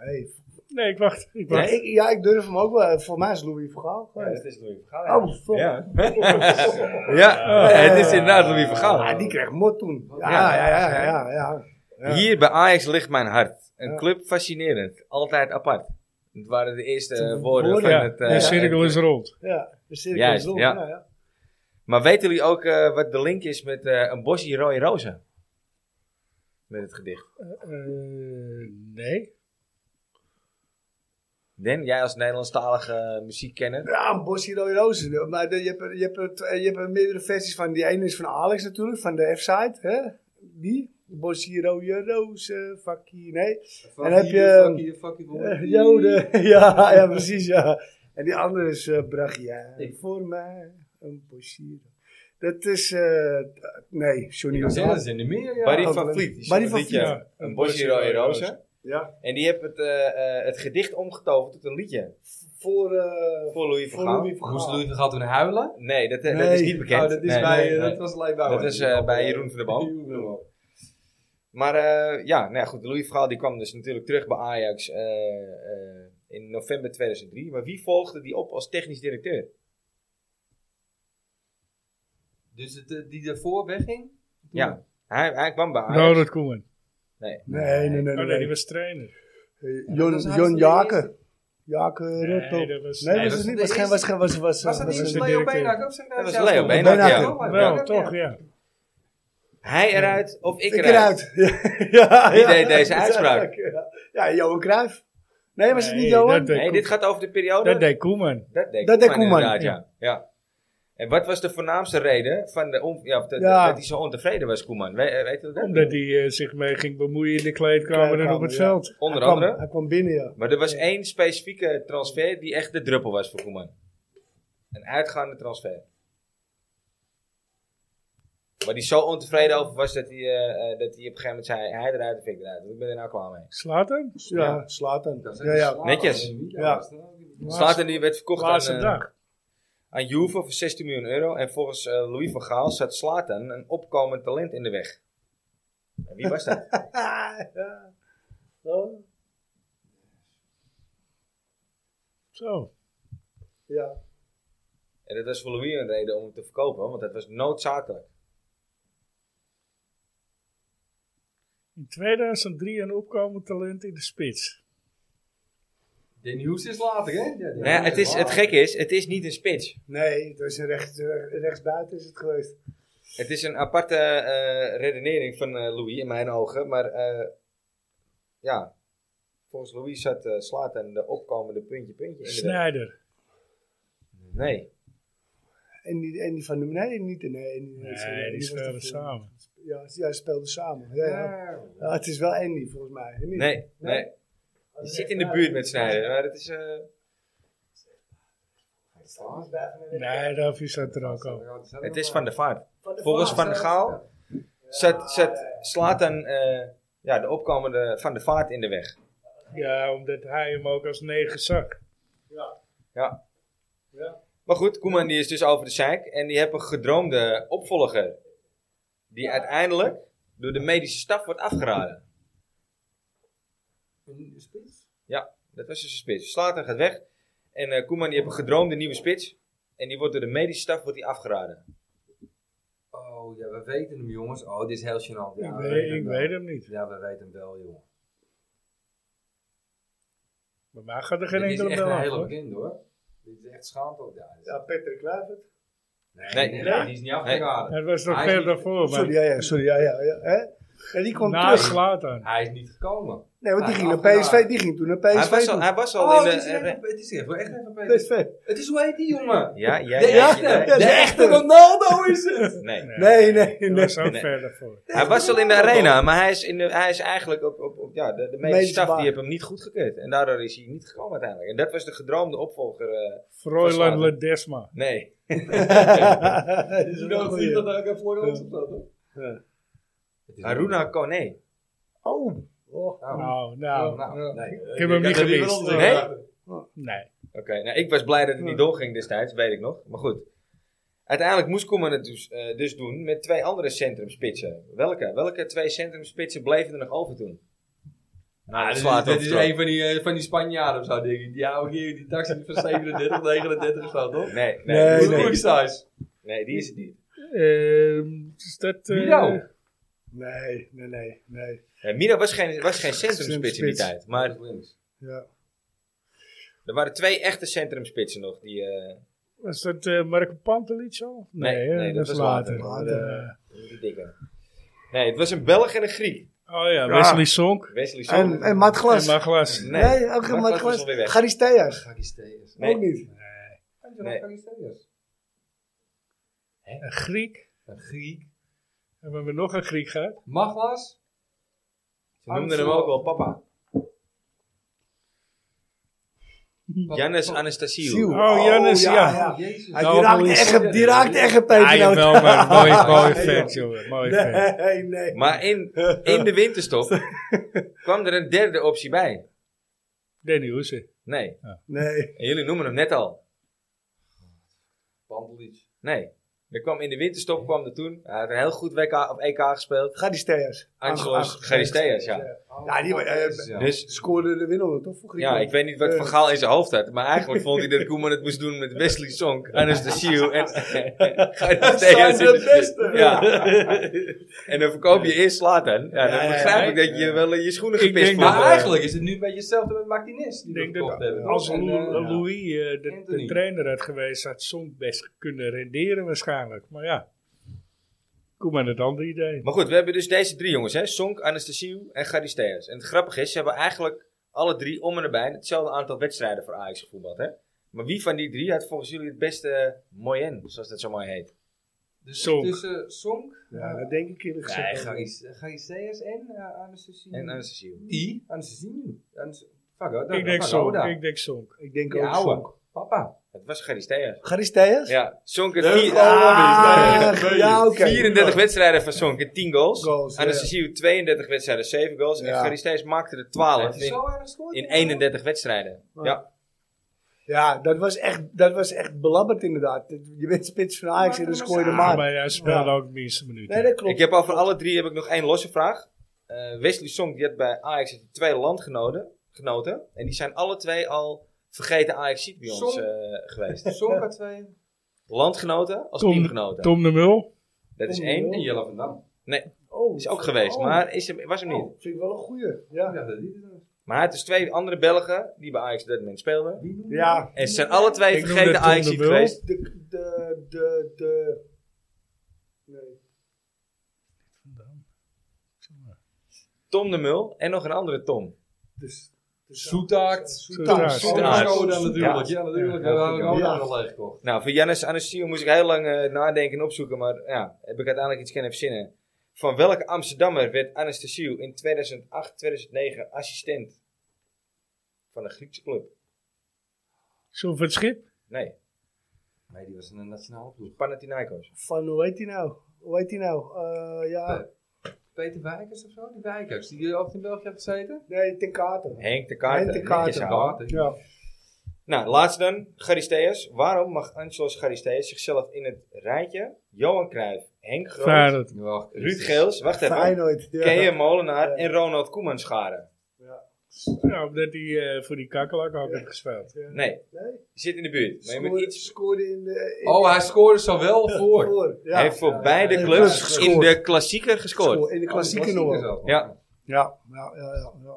C: nee.
B: Nee, ik wacht. Ik
C: Maar
B: wacht.
C: Ik, ja, ik durf hem ook wel. Voor mij is Louis Vergaal geweest.
A: is Louis
C: Oh, fuck.
A: Ja. Oh. ja,
B: Oh.
A: het is inderdaad Louis van Gaal.
C: [LAUGHS] Ah, die kreeg mot toen. Ja,
A: Oh. Ja.
C: ja, ja, ja. ja, ja, ja. Ja.
A: Hier bij Ajax ligt mijn hart. Een
C: Ja.
A: club fascinerend, altijd apart. Het waren de eerste eh, woorden
C: Woorden,
A: van
B: ja.
A: het...
B: De
A: eh,
B: cirkel is rond.
C: Ja, dus de cirkel
A: Juist,
C: is rond,
A: ja.
C: ja, ja.
A: Maar weten jullie ook eh, wat de link is met eh, een bosje rode rozen? Met het gedicht.
B: Eh, nee.
A: Den, jij als Nederlandstalige eh, muziekkenner.
C: Ja, een bosje rode rozen. Maar de- je hebt, er- je, hebt er twee- je hebt er meerdere versies van. Die ene is van Alex natuurlijk, van de F-site. Hè? Die. Bosje rode rozen, fucking... Nee. En heb je-
D: Fuck you, fuck you, fuck you.
C: Eh, Joden. [LAUGHS] ja, ja, precies, ja. En die andere is eh bracht jij voor mij een bosje. Dat is... eh, nee, Johnny
D: Die
C: Rosato.
D: zenders in de meer, ja.
A: Barry
C: ook
A: van
C: wel-
A: Vliet. die
C: Barry
A: zong
C: van
A: het liedje,
C: Vliet.
A: eh, Een bosje rode rozen.
C: Ja.
A: En die heeft het, eh, eh, het gedicht omgetoverd tot een liedje.
C: Voor, eh
A: Voor Louis van
C: voor
A: Gaal.
C: Louis van
D: Moest
C: Gaal.
D: Louis van Gaal toen huilen?
A: Nee, dat, eh, dat
C: Nee.
A: is niet bekend.
D: Oh, dat is
A: Nee,
D: bij,
A: nee,
D: eh,
A: nee.
D: dat was alleen bij
A: Dat is, eh, bij Jeroen van der Boom.
D: Jeroen van der Boom.
A: Maar eh, ja, nou ja, goed, Louis van Gaal die kwam dus natuurlijk terug bij Ajax eh, eh, in november 2003. Maar wie volgde die op als technisch directeur?
D: Dus het, eh, die daarvoor wegging?
A: Ja, hij, hij kwam bij Ajax.
B: Ronald Koeman.
A: Nee.
C: Nee, nee, nee.
B: Ah, Oh
C: nee,
B: nee,
C: nee.
B: die was trainer.
C: Eh,
D: Dat
C: Jon,
D: was
C: Jon
D: hartstikke
C: Jaken. Jaken Rotto.
B: Nee, dat was...
C: Nee,
D: Nee,
C: was het
D: dat is
C: niet.
D: de
C: Was geen, was geen, was, was,
D: Was dat
C: was-
D: niet
B: was
D: met
B: de
D: Leo
B: directeur.
D: Beenhakker? Of zeg ik nou
A: Dat was
D: zelfs
A: Leo
D: wel?
A: Beenhakker,
D: Beenhakker,
C: ja.
D: wel,
B: Wel,
D: ja.
B: toch, ja.
A: Hij eruit of ik
C: Ik
A: eruit?
C: eruit. [LAUGHS] ja,
A: Wie deed deze uitspraak?
C: Ja, ja, Johan Cruijff. Nee, was het niet
B: Nee,
C: Johan?
B: dat deed-
A: Nee, dit gaat over de periode.
B: Dat deed Koeman.
A: dat deed
C: dat deed
A: Koeman
C: Koeman,
A: inderdaad, ja. ja. En wat was de voornaamste reden van de on- ja, of de-
C: Ja.
A: dat hij zo ontevreden was, Koeman? We, eh, weet je dat?
B: Omdat hij eh, zich mee ging bemoeien in de kleedkamer en op het
C: Ja.
B: veld.
A: Onder
C: Hij kwam-
A: andere.
C: Hij kwam binnen, ja.
A: Maar er was één specifieke transfer die echt de druppel was voor Koeman. Een uitgaande transfer. Waar hij zo ontevreden over was dat hij, eh, eh, dat hij op een gegeven moment zei: hij eruit of ik eruit. Ik ben er nou klaar mee.
B: Slaat hem?
C: Ja, slaat hem.
D: Dat is
C: Ja,
D: echt
C: ja.
D: slaap.
A: Netjes.
C: Ja.
A: Slaat en die werd verkocht
B: Laatste
A: aan, eh,
B: dag.
A: aan Juve voor 16 miljoen euro. En volgens eh, Louis van Gaal zat Slatan een opkomend talent in de weg. En wie was dat?
C: ja. Oh,
B: Zo.
C: ja.
A: en dat was voor Louis een reden om hem te verkopen, want dat was noodzakelijk.
B: In 2003 een opkomend talent in de spits.
D: Danny Hoes is later, hè? Ja, die-
A: Nou ja, het, is, het gekke is, het is niet een spits.
C: Nee, het was een rechts, eh, rechtsbuiten is het geweest.
A: Het is een aparte eh, redenering van eh, Louis in mijn ogen. Maar eh, ja, volgens Louis zat eh Slatan de opkomende puntje puntje in de weg.
B: Snijder.
A: Nee,
C: En die, en die van de nee, niet. Nee, die,
B: Nee, die
C: was er
B: speelden
C: voor-
B: samen.
C: Ja, ja, speelden samen. Ja, ja.
D: Ja.
C: Ja, het is wel Andy, volgens mij. Andy.
A: nee, nee. Je zit in de buurt met Snijder, maar het is... eh,
B: Nee, Rafi zat er ook al.
A: Het is Van de Vaart. Volgens Van de eh, Gaal zet, zet Slatan ja, de opkomende Van de Vaart in de weg.
B: Ja, omdat hij hem ook als negen zag.
A: Ja.
B: Ja.
A: Maar goed, Koeman die is dus over de zeik. En die hebben een gedroomde opvolger. Die uiteindelijk door de medische staf wordt afgeraden.
D: Een spits?
A: Dat was dus een spits. Slater gaat weg. En eh, Koeman die heeft een gedroomde nieuwe spits. En die wordt door de medische staf wordt die afgeraden.
D: Oh ja, we weten hem jongens. Oh, dit is heel gênant. Ja,
B: ik
D: we
B: weet,
D: weten hem
B: ik
D: wel.
B: weet hem niet.
D: Ja, we weten hem wel, jongen.
B: Maar mij gaat er geen
D: Dit is
B: enkele
D: echt
B: bel
D: een
B: af.
D: hele
B: hoor.
D: bekende hoor. Dit is echt schaamte ook daar.
C: Ja, Patrick Kluivert.
D: Nee,
A: Nee.
D: nee, nee, die is niet afgeraden.
B: Het was nog
D: Hij is
B: veel
D: niet-
B: daarvoor.
C: Sorry,
B: Maar
C: ja, ja, sorry, ja, ja. ja hè? En die kwam
B: na
C: terug.
B: Slatan.
D: Hij is niet gekomen.
C: Nee, want die
D: Ja,
C: ging naar
D: afgedaan.
C: PSV. Die ging toen naar PSV.
A: Hij was al,
C: toe.
A: hij was al
D: Oh,
A: in
D: dit is
A: de...
D: echt, het is echt, echt even beter.
C: PSV.
D: Het is hoe heet die jongen?
A: ja, ja, ja,
D: De
A: ja,
D: echte,
A: ja.
C: ja,
D: de
C: ja.
D: echte Ronaldo is
A: [LAUGHS]
D: het!
A: Nee.
C: Nee, nee,
B: Hij
C: nee.
B: was ook
A: Nee.
B: verder voor.
A: Hij was al in de arena, maar hij is, in de, hij is eigenlijk op, op, op ja, de, de medische
C: Medische
A: staf die
C: baas.
A: heeft hem niet goedgekeurd. En daardoor is hij niet gekomen uiteindelijk. En dat was de gedroomde opvolger. eh,
B: Froilan
A: Slatan.
B: Ledesma.
A: nee.
C: dat is wel een goeie.
D: hij ook een voor ons op
A: Aruna Kone.
C: Oh. oh.
B: Nou, nou.
D: nee.
B: Ik heb hem niet gemist.
A: Nee?
B: Nee.
A: Oké, nou ik was blij dat het niet doorging destijds, weet ik nog. Maar goed. Uiteindelijk moest Koeman het dus, eh, dus doen met twee andere centrumspitsen. Welke? Welke twee centrumspitsen bleven er nog over toen?
D: Nou,
A: dat
D: dit,
A: slaat
D: is,
A: op
D: dit is
A: toch?
D: een van die, eh, van die Spanjaarden of zo, denk ik. Die oude keer, die taxi van [LAUGHS] 37, 39 of zo, toch?
A: Nee, nee,
C: Nee,
A: die-
D: Nee,
C: nee.
D: nee. size.
A: nee, die is het niet.
B: Ehm, is dat... eh,
D: Milo.
C: Nee, nee, nee, nee.
A: Eh, Mino was geen, was geen centrumspits in die
C: Centrumspits.
A: tijd. Maar
D: links.
C: Ja.
A: er waren twee echte centrumspitsen nog. Die, eh,
B: Was dat eh, Marco Pantelic al?
A: Nee,
B: hè,
A: nee, dat
B: dat is
A: was later.
B: later.
C: eh, Later,
B: Eh,
A: die dikke. Nee, het was een Belg en een Griek.
B: Oh ja, Wesley Sonk.
A: Wesley Song.
C: En, en Matt Glas.
B: En Maglas.
A: Nee,
C: Nee, ook
A: Matt
C: geen Matt
A: Glas was
C: Glas.
A: alweer weg.
C: Garis Theas.
D: Gagistelius.
A: Nee.
C: Ook niet.
A: Nee.
D: Gagistelius.
B: Een Griek.
D: Een Griek.
B: Hebben we nog een Griek gehad?
D: Maglas.
A: Ze noemden hem ook wel
C: [LAUGHS]
A: papa. Jannes
C: Siel.
A: Anastasiou.
B: Oh, Jannes, ja.
D: Jezus.
C: Hij,
B: Nou,
C: die raakte
B: Molly
C: echt,
D: Sanders.
C: op- die raakte echt
B: Ja,
C: een pepernoot.
B: Ah, jawel, maar mooi,
C: [LAUGHS]
B: mooi
D: Ja,
B: vet, jongen. Mooi vet.
C: Nee, nee.
A: Maar in, in de winterstop
C: [LAUGHS]
A: kwam er een derde optie bij.
B: Danny Hoese.
A: Nee.
C: Nee.
A: En jullie noemen hem net al.
D: Bandelic.
A: Nee. Er kwam in de winterstop kwam er toen. Hij had een heel goed WK of EK gespeeld.
C: Garis Theas.
A: Angelos Charisteas, ja.
C: Ja, die eh,
A: Dus
C: scoorde de winnaar toch voor
A: ja,
C: Griekenland? Eh,
A: ik weet niet wat Van Gaal in zijn hoofd had. Maar eigenlijk vond hij dat Koeman het moest doen met Wesley Song, Anastasio [LAUGHS] en
C: Dat zijn
A: Charisteas. in
C: de
A: de-
C: beste.
A: Ja. En dan verkoop je eerst Slatan. Ja,
C: Ja,
A: dan
C: ja,
A: begrijp
D: ja.
A: ik dat je wel eh, je schoenen
B: Ik
A: gepist
B: denk
A: wordt.
B: dat-
D: Maar eigenlijk is het nu een beetje hetzelfde met Martinez. Die
B: Ik
D: we
B: denk
D: gekocht
B: dat
D: hebben.
B: als
D: En,
B: Lou-
D: eh, ja.
B: Louis eh, de, de
D: Anthony.
B: trainer had geweest, had Sonk best kunnen renderen waarschijnlijk. Maar ja, kom maar het andere idee.
A: Maar goed, we hebben dus deze drie jongens, hè? Sonk, Anastasiou en Garisteas. En het grappige is, ze hebben eigenlijk alle drie om en nabij hetzelfde aantal wedstrijden voor Ajax gevoetbald, hè? Maar wie van die drie had volgens jullie het beste eh, moyen, zoals dat zo mooi heet?
D: Dus
B: Sonk.
D: tussen Sonk,
C: Ja, dat denk ik eerlijk
A: Nee,
C: gezegd.
A: ga-
D: Garisteas en uh, Anastasia.
A: En Anastasiou.
D: Die? Anastasio.
B: Ik denk Sonk, ik denk Sonk.
C: Nou, Ik denk
D: Die
C: ook
D: ouwe.
C: Sonk.
D: Papa.
A: Het was Garisteas.
C: Garis Theas?
A: Ja, Sonk had
C: Ah,
A: vier-
C: ja, oké.
A: 34 wedstrijden van Sonk en 10 goals.
C: Goals, ja.
A: Anastasiou 32 wedstrijden, 7 goals. En
C: Ja.
A: Garisteas maakte er 12
D: Heeft hij
A: in,
D: zo erg gescoord?
A: in 31 wedstrijden.
C: Ja.
A: Ja,
C: Ja, dat was echt, dat was echt belabberd inderdaad. Je bent spits van Ajax en dan scoor je de
B: Maar,
C: maat.
B: maar hij speelde
C: Ja.
B: ook het minste minuut.
C: Nee, dat klopt.
A: Ik heb over alle drie heb ik nog één losse vraag. Eh, Wesley Song die had bij Ajax had hij twee landgenoten. Genoten, en die zijn alle twee al vergeten ajax bij ons
D: Song.
A: eh, geweest.
D: Sonk had twee.
A: Landgenoten als
B: Tom-
A: teamgenoten.
B: Tom de Mul.
A: dat is
C: Tom
A: één.
C: Mul.
D: En [LAUGHS] Jelle van Dam.
C: Oh,
A: Is ook geweest,
C: oh.
A: maar is hem, was hem niet.
C: Oh, vind ik wel een goeie.
D: Ik
C: Ja.
D: dacht dat die het was.
A: Maar hij had dus twee andere Belgen die bij Ajax op dat moment speelden.
D: Wie noemde
C: Ja.
A: En ze zijn alle twee
B: Ik noemde
A: vergeten
B: Tom de
A: ajax
B: Mul.
A: geweest.
C: De, de, de, de... Nee.
A: Tom de Mul en nog een andere Tom.
C: Dus... dus
D: Soetaart.
B: Soetaart.
D: Soetaart. Oh, dan natuurlijk. Ja, natuurlijk.
B: Ja.
D: We hadden ook
C: Ja.
D: nog wel leeg gekocht.
A: Nou, voor Jannes Anastasio moest ik heel lang eh, nadenken en opzoeken, maar ja, heb ik uiteindelijk iets kunnen verzinnen. Van welke Amsterdammer werd Anastasio in 2008-2009 assistent van een Griekse club?
B: John van het Schip.
A: Nee.
D: Nee, die was in een nationale ploeg.
A: Panathinaikos.
C: Van, hoe heet die nou? Hoe heet die nou? Eh, ja,
D: Peter Wijkers of zo? Die Wijkers, die altijd in België heeft gezeten?
C: nee, ten kaarten.
A: Henk de Kaarten.
C: Henk de Kaarten.
A: Netjes houden.
D: Kaarten.
C: Ja.
A: Nou, laatst dan, Charisteus. Waarom mag Angelos Charisteus zichzelf in het rijtje Johan Cruijff, Henk Groot,
B: Vaardig.
D: Ja,
A: Ruud Geels, wacht even,
C: Feyenoord. Ja.
A: Kea Molenaar en Ronald Koeman scharen?
B: Nou, omdat hij eh, voor die kakkelak had gespeeld.
C: Ja.
A: Nee,
C: Nee.
A: je zit in de buurt. Maar je moet
C: Scoorde-
A: iets...
C: scoorde in de... in
D: Oh,
C: de-
D: hij scoorde zowel voor.
C: voor. Ja.
A: Hij heeft voor beide
C: ja, ja.
A: clubs
C: Gescoord.
A: in de klassieker gescoord.
C: In de klassieke nog wel.
A: Ja.
C: Ja, ja, ja. ja, ja.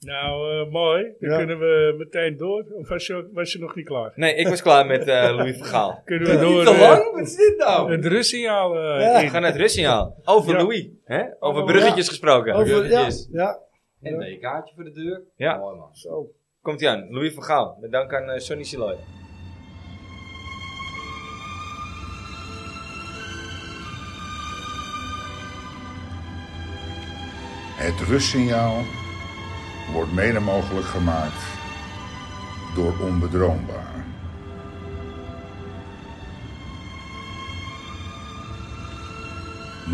B: Nou, eh, mooi. Dan
C: Ja.
B: kunnen we meteen door. Of was je, was je nog niet klaar?
A: Nee, ik was klaar met eh Louis Vergaal.
B: Kunnen we door
A: Te
B: eh,
A: lang? Wat is dit nou?
B: het rustsignaal eh,
C: Ja.
A: We
B: in.
A: gaan naar het rustsignaal. Over
B: Ja.
A: Louis. Hè? Over bruggetjes gesproken.
C: Over, ja,
D: Is.
C: ja,
D: En een EK'tje voor de deur.
A: Ja.
D: Mooi man.
C: zo.
A: Komt hij aan. Louis Vergaal. Met dank aan eh, Sonny Siloy.
E: Het rustsignaal wordt mede mogelijk gemaakt door onbedroombaar.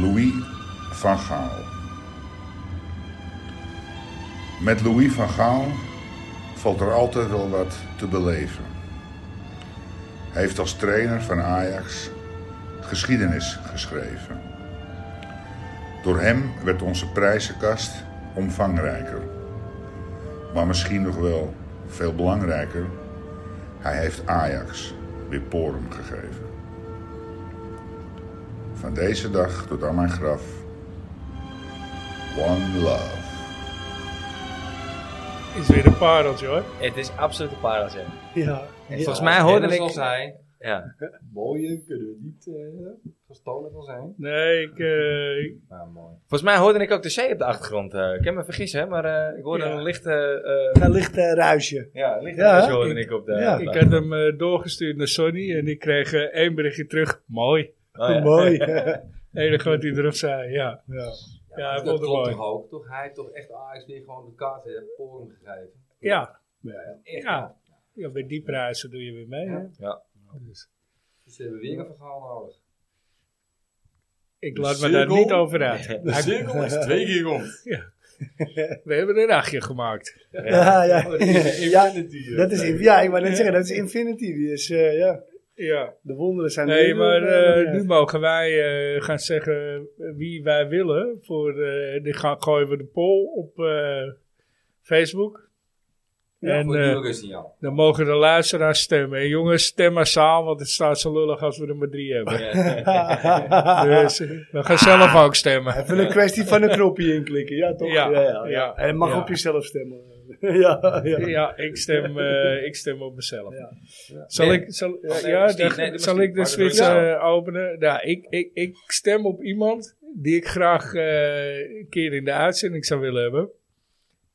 E: Louis van Gaal. Met Louis van Gaal valt er altijd wel wat te beleven. Hij heeft als trainer van Ajax geschiedenis geschreven. Door hem werd onze prijzenkast omvangrijker. Maar misschien nog wel veel belangrijker, hij heeft Ajax weer porum gegeven. Van deze dag tot aan mijn graf. One love.
B: Is weer een pareltje hoor.
A: Het is absoluut een parel. zeg.
C: Ja.
A: En Volgens mij hoorde
D: Dennis al
A: ik...
D: zei,
A: Ja.
D: mooie kunnen niet eh, verstandig wel zijn.
B: Nee, ik, eh, ik-
D: Maar mooi.
A: Volgens mij hoorde ik ook de zee op de achtergrond. eh. ik heb me vergissen, hè, maar eh, ik hoorde
B: Ja.
A: een lichte... eh,
C: Daar ligt eh, ruisje.
A: ja, een lichte
C: Ja,
A: ruis hoorde ik,
C: ik-
A: op de... Oh,
C: ja.
A: op de
B: ik had
A: achtergrond.
B: hem eh, doorgestuurd naar Sonny en ik kreeg eh, één berichtje terug. Mooi.
A: Oh, ja.
C: Mooi. [LAUGHS]
B: Enige wat hij erop zei, ja.
C: ja.
B: Ja, hij
D: dat
B: vond het
D: klopt
B: mooi.
D: toch ook, toch? Hij heeft toch echt Ajax weer gewoon de kaart eh, porum gegeven.
B: Ja.
D: Echt.
B: Ja. ja, bij die prijzen doe je weer mee. hè.
A: Ja.
B: Dus
D: Dus ze hebben weer een verhaal nodig.
B: ik
F: De
B: laat me daar
F: cirkel.
B: niet over uit.
F: De cirkel
D: [LAUGHS]
F: is twee keer rond.
B: We hebben er een achtje gemaakt.
C: Ja,
D: Oh,
C: ja.
F: [LAUGHS]
C: Ja,
F: Infinity,
C: dat is,
F: eh,
C: ja, ik wou net zeggen, dat is Infinity. Dus eh, ja,
B: Ja.
C: de wonderen zijn
B: Nee,
C: nu-
B: maar
C: eh, [LAUGHS]
B: eh, nu mogen wij eh, gaan zeggen wie wij willen. Voor, eh die gaan, gooien we de poll op eh, Facebook.
D: Ja,
B: en
D: voor
B: eh,
D: de rustsignaal.
B: dan mogen de luisteraars stemmen. En jongens, stem massaal, want het staat zo lullig als we er maar drie hebben. Dus eh, we gaan zelf ook stemmen.
C: Even een kwestie van een knopje inklikken, ja toch?
B: Ja,
C: ja, ja.
B: ja.
C: En het mag
B: Ja.
C: op jezelf stemmen. [LAUGHS] ja, ja.
B: Ja, ik stem, eh, ik stem op mezelf.
C: Ja. Oh,
B: Zal
A: Nee.
B: ik, zal,
A: nee, doe
B: ja,
A: maar
B: dan-
A: Steve. Nee, doe maar
B: zal
A: Steve.
B: ik de
A: Maar dat
B: switch
A: doe ik
B: eh, openen? Ja, ik, ik, ik stem op iemand die ik graag eh, een keer in de uitzending zou willen hebben.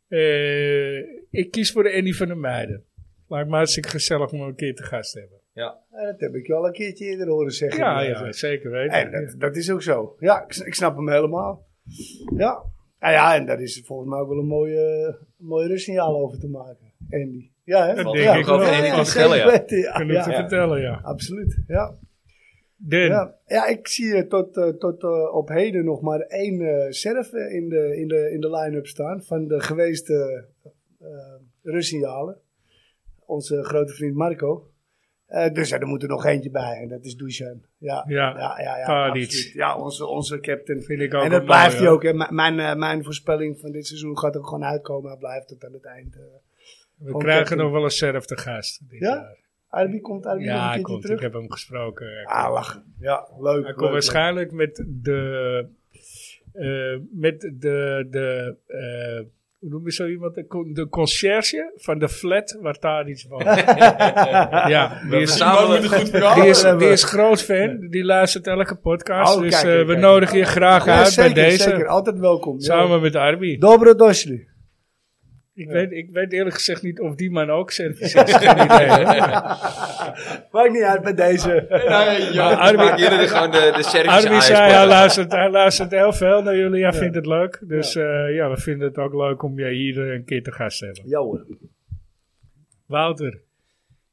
B: Eh, ik kies voor Annie van der Meijden. Lijkt me hartstikke gezellig om hem een keer te gast te hebben.
C: Ja, Eh, Dat heb ik je al een keertje eerder horen zeggen.
B: Ja, ja, zeker weten.
C: En dat, dat is ook zo. Ja, ik, s- ik snap hem helemaal. Ja. Ah ja, en daar is volgens mij ook wel een mooie, mooie rustsignaal over te maken, Andy. Ja, hè?
B: Dat
C: ja.
B: denk ik wel.
C: Ja,
B: Dat
C: ja,
B: kan
A: vertellen,
C: zeker
A: ja.
C: weten, ja.
B: Genoeg te
C: ja.
B: vertellen, ja.
C: Absoluut, ja.
B: Den,
C: Ja, ja ik zie eh, tot, eh, tot eh, op heden nog maar één eh Serf eh, in de, in de, in de line-up staan van de geweeste eh Russialen. Onze grote vriend Marco. Eh, dus ja, er moet er nog eentje bij en dat is Dusan. Ja,
B: Ja,
C: ja, ja, ja,
B: Tadic.
C: absoluut. ja onze, onze captain.
B: vind ik ook
C: en
B: wel
C: dat blijft
B: mooi,
C: hij
B: hoor.
C: ook. Hè. M- Mijn, eh, mijn voorspelling van dit seizoen gaat ook gewoon uitkomen. Hij blijft het aan het eind. eh.
B: We
C: Gewoon
B: krijgen
C: captain.
B: nog wel een Serf te gast. dit
C: Ja?
B: jaar.
C: Arby komt Arby nog een
B: Ja,
C: keertje
B: komt.
C: terug.
B: Ik heb hem gesproken. Hij komt.
C: Ah, lachen. Ja, leuk.
B: Hij
C: leuk,
B: komt waarschijnlijk met de. eh, met de. de eh, hoe noem je zo iemand? De, con- de conciërge van de flat waar Tadic
C: [LAUGHS]
B: woont. ja, die is,
A: verzamelen-
F: moet het goed
B: die,
A: [LAUGHS]
B: is,
C: hebben.
B: die is groot fan. Die luistert elke podcast.
C: Oh,
B: dus
C: kijk,
B: eh,
C: kijk,
B: we
C: kijk.
B: nodigen je graag
C: Ja,
B: uit
C: zeker,
B: bij deze.
C: zeker. Altijd welkom. ja.
B: Samen met Arby.
C: Dobro došli.
B: ik, weet, ik weet eerlijk gezegd niet of die man ook zijn. is. Geen [LAUGHS] idee, hè?
C: Maakt niet uit met deze.
A: Nee, joh,
B: Armin-
A: maken jullie er gewoon de, de Servische
B: [LAUGHS] Armin zei,
A: Ajax-podcast.
B: hij luistert, hij luistert heel veel naar jullie. Hij vindt het leuk. Dus ja. ja, we vinden het eh, ook leuk om je hier eh, een keer te gast te hebben.
C: Ja hoor.
B: Wouter,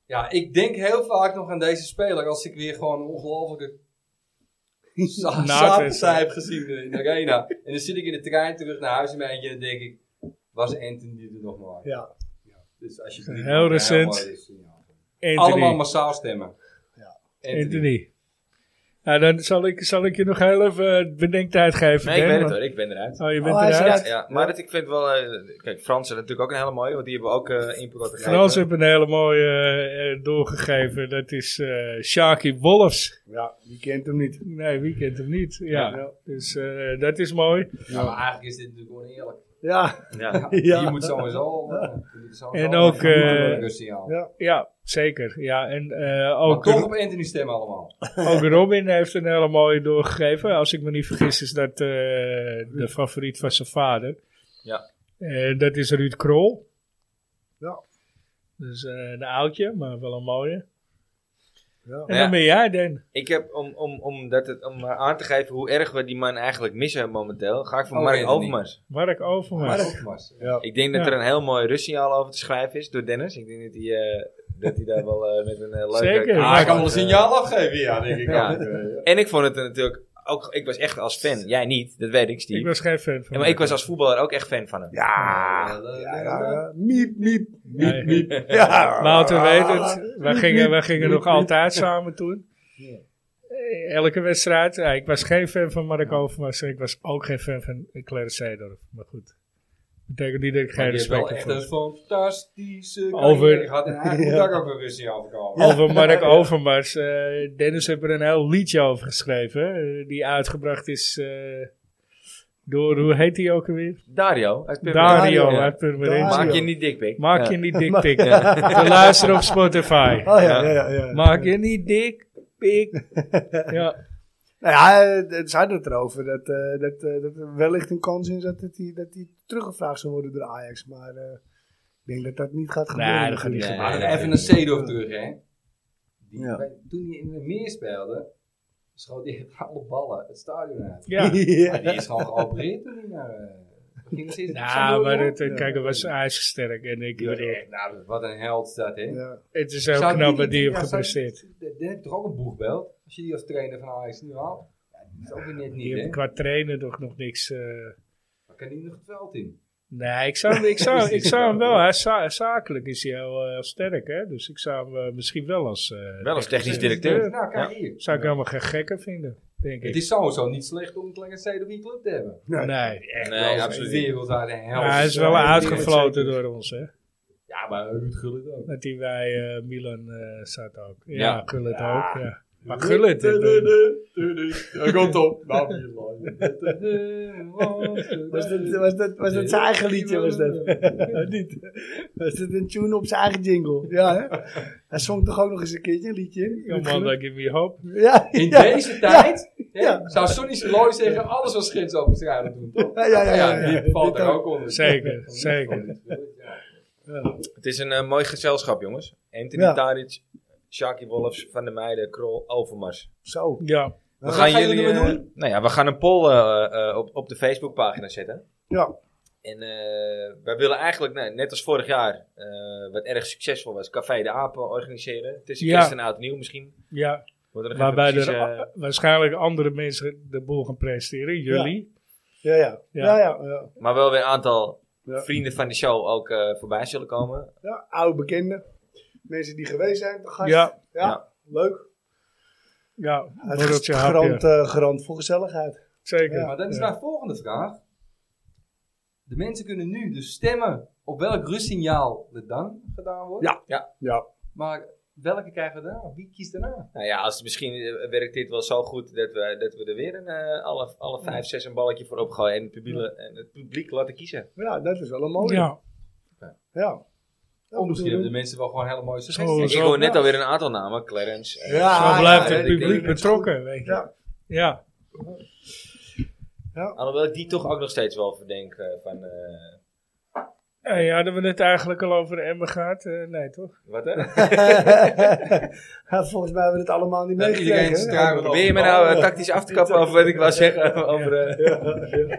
D: Ja, ik denk heel vaak nog aan deze speler als ik weer gewoon een
C: [LAUGHS]
D: ongelofelijke za- zaterdag heb gezien eh, in de arena. En dan zit ik in de trein terug naar huis in mijn eentje en dan denk ik, was Anthony dit er nog maar?
C: Ja.
D: Dus alsjeblieft.
B: Heel recent.
D: mooi is, ja.
B: Anthony.
D: Allemaal massaal stemmen. Anthony.
B: Anthony. Nou, dan zal ik, zal ik je nog heel even eh, bedenktijd geven.
A: Nee, ik
B: Ben,
A: weet het
B: want-
A: hoor, ik ben eruit.
B: Oh, je bent
C: Oh, hij is
B: eruit.
C: eruit.
A: Ja, maar dat, ik vind wel... eh, kijk, Frans is natuurlijk ook een hele mooie, want die hebben ook eh input laten geven.
B: Frans heeft een hele mooie eh, eh, doorgegeven. Dat is eh Shaki Wolfs.
C: Ja, die kent hem niet.
B: Nee, wie kent hem niet? Ja,
C: Ja.
B: dus eh, dat is mooi.
D: Ja, maar eigenlijk is dit natuurlijk oneerlijk.
C: Ja,
A: Ja.
C: Ja.
D: Je moet sowieso. eh, je moet sowieso
B: En ook,
D: een
B: eh,
D: rustig houden.
C: ja.
B: Ja, zeker. Ja, en eh,
D: dus Maar
B: ook,
D: toch op Anthony stemmen allemaal.
B: ook Robin heeft een hele mooie doorgegeven. Als ik me niet vergis is dat eh, de favoriet van zijn vader.
A: Ja.
B: Eh, dat is Ruud Krol.
C: Ja.
B: Dus eh, een oudje, maar wel een mooie.
C: ja.
B: En
A: Ja.
B: dan ben jij, Den.
A: Ik heb, om, om, om, dat het, om maar aan te geven hoe erg we die man eigenlijk missen momenteel, ga ik voor
D: Oh,
A: Mark
D: weet het niet.
A: Overmars.
B: Mark Overmars.
D: Maar dat was.
A: Ik denk dat
B: Ja.
A: er een heel mooi Russiaal over te schrijven is door Dennis. Ik denk dat hij, eh, dat hij daar wel eh, met een eh, leuke...
B: Zeker.
A: kaart,
B: Ah,
D: hij kan wel
A: eh,
D: een signaal afgeven, ja, denk ik.
A: Ja.
D: ook, eh, ja.
A: En ik vond het natuurlijk ook... Ik was echt als fan. Jij niet, dat weet ik, Steve.
B: Ik was geen fan van
A: Ja, maar ik was als voetballer ook echt fan van hem.
C: Ja. Ja, ja, ja. Miep, miep, miep,
B: Nee.
C: miep.
B: [LAUGHS]
C: Ja.
B: Wouter weet het. Wij
C: Miep,
B: gingen,
C: miep,
B: wij gingen
C: miep,
B: nog
C: miep.
B: altijd samen toen. Eh, Elke wedstrijd. Ja, ik was geen fan van Mark Overmars. en Ik was ook geen fan van Claire Seedorf. Maar goed. Betekent niet dat ik geen
D: Maar die heeft wel
B: respect heb.
D: echt een
B: voor-
D: fantastische
B: Over-
D: carrière gehad. En eigenlijk moet daar ook een Russie overkomen.
B: Over Mark Overmars. eh, Dennis heeft er een heel liedje over geschreven. eh, die uitgebracht is eh, door, hoe heet die ook alweer?
A: Dario. uit Purmerend.
B: Dario
A: Ja.
B: uit Purmerend.
C: Dario.
A: Maak je niet dikpik.
B: Maak
A: Ja.
B: je niet dikpik. We luisteren op
C: [LAUGHS]
B: Spotify.
C: Oh ja, ja, ja. ja.
B: Maak je niet dik, pik. Ja,
C: Nou ja, eh, ze hadden het erover dat, eh, dat, eh, dat er wellicht een kans in zat dat hij dat die teruggevraagd zou worden door Ajax. Maar eh, ik denk dat dat niet gaat gebeuren.
B: Nee, dat gaat niet
D: Maar
A: Nee,
D: dan
A: nee,
D: even een Seedorf terug, hè. Die,
C: Ja.
D: bij- toen hij in de meer speelde, schoot hij alle ballen het stadion
C: [LAUGHS]
D: uit.
B: ja.
D: Maar die is gewoon geopereerd toen hij naar... eh, ging ze-
B: Nou, maar het,
C: Ja.
B: kijk, dat was ijzersterk. En ik
D: Die was
B: bedoel,
D: echt, nou, wat een held is dat, hè.
C: Ja.
B: het is heel
D: Zou
B: knap
D: niet-
B: wat die
D: ja,
B: heeft
D: zou-
B: gepresteerd.
D: Dan heb je toch ook een boegbeeld? Als je die als trainer van Ajax nu haalt. Ja, dat is ook weer net
B: Die
D: niet,
B: heeft
D: hè.
B: qua trainen toch nog niks... eh,
D: Dan kan hij nog het veld in.
B: Nee, ik zou, ik
D: [LAUGHS]
B: zou, ik zou hem wel... Hij is za- zakelijk is hij heel, eh, heel sterk, hè. Dus ik zou hem eh, misschien wel als... eh,
A: Wel als technisch directeur.
D: Nou, kijk hier.
B: Zou ik helemaal geen gekker vinden, denk
D: Het
B: ik.
D: is sowieso niet slecht om het lekker Seedorf in je club te hebben.
B: Nee.
A: Nee, absoluut niet.
D: Wereld waar de hel.
B: Maar hij is wel
D: Ja,
B: uitgefloten door ons, hè.
D: Ja, maar Ruud Gullit ook.
B: Dat hij bij eh, Milan eh, zat ook. Ja,
A: Ja.
B: Gullit ook, ja. Maar Gullit... eh,
D: Daar komt op.
B: Nou,
D: [LAUGHS]
C: Was dat, was, dat, was dat zijn eigen liedje? Was dat? [LAUGHS] Oh, Niet. Was dat een tune op zijn eigen jingle? Ja, hè? Hij zong toch ook nog eens een keertje een liedje? in?
B: Come on, like, give me hope.
C: Ja,
D: In
C: ja.
D: deze tijd hè,
C: Ja.
D: zou Sonny Siloy zeggen: alles wat schins over het schuilen doen, toch?
C: Ja, ja, ja, ja, ja.
D: die valt
C: Dit
D: er ook onder.
B: Zeker, zeker.
D: Ja.
A: Het is een eh, mooi gezelschap, jongens. Anthony
C: Ja.
A: Tadic, Shaki Wolfs, Van der Meijden, Krol, Overmars.
C: Zo.
B: Ja.
A: We
D: gaan jullie
A: eh,
D: ermee doen?
A: nou ja, we gaan een poll eh, eh, op, op de Facebookpagina zetten.
C: Ja.
A: En eh, wij willen eigenlijk, nou, net als vorig jaar, eh, wat erg succesvol was, Café de Apen organiseren. Tussen
B: Ja.
A: kerst en oud en nieuw misschien.
B: Ja,
A: Wordt er nog
B: waarbij
A: even
B: er
A: precies, eh,
B: a- waarschijnlijk andere mensen de boel gaan presteren. Jullie.
C: Ja, ja.
B: Ja.
C: Ja, ja. ja.
A: eh, maar wel weer een aantal
C: Ja.
A: vrienden van de show ook eh, voorbij zullen komen.
C: Ja, Oude bekenden. Mensen die geweest zijn, de
B: Ja,
C: gast.
B: ja.
C: Ja, Leuk. Het is
B: borreltje, hapje.
C: garant, eh, garant voor gezelligheid.
B: Zeker.
D: Maar dan is
B: Ja.
D: mijn volgende vraag. De mensen kunnen nu dus stemmen op welk rustsignaal er dan gedaan wordt.
C: Ja. Ja.
D: Maar welke krijgen we daarna? Wie kiest daarna?
A: Nou ja, als, misschien eh, werkt dit wel zo goed dat we, dat we er weer een, eh, alle, alle vijf, zes een balletje voor opgooien. En het publiek, en het publiek laten kiezen.
C: Ja, dat is wel een mooie.
B: Ja.
C: Ja.
D: Of
A: Oh,
D: misschien hebben de mensen wel gewoon hele mooie suggesties.
B: Zo,
A: Ik, ik
B: zo
A: hoor net
C: ja.
A: alweer een aantal namen. Clarence. eh,
C: Ja,
B: Zo blijft
C: ja,
B: het
C: ja, ik
B: publiek
C: denk-
B: betrokken, weet je. Ja.
C: Ja.
B: Ja.
A: Alhoewel ik die toch ook nog steeds wel verdenk eh, van... eh,
B: ja, hadden we het eigenlijk al over Emmen gehad? Eh, nee, toch?
A: wat [LAUGHS] hè?
C: [LAUGHS] Ja, Volgens mij hebben we het allemaal niet
D: Dat iedereen
C: meegekregen.
D: zijn
C: hè?
D: trui
A: Probeer je me nou eh, tactisch af te kappen over wat ik wou zeggen? Over, eh,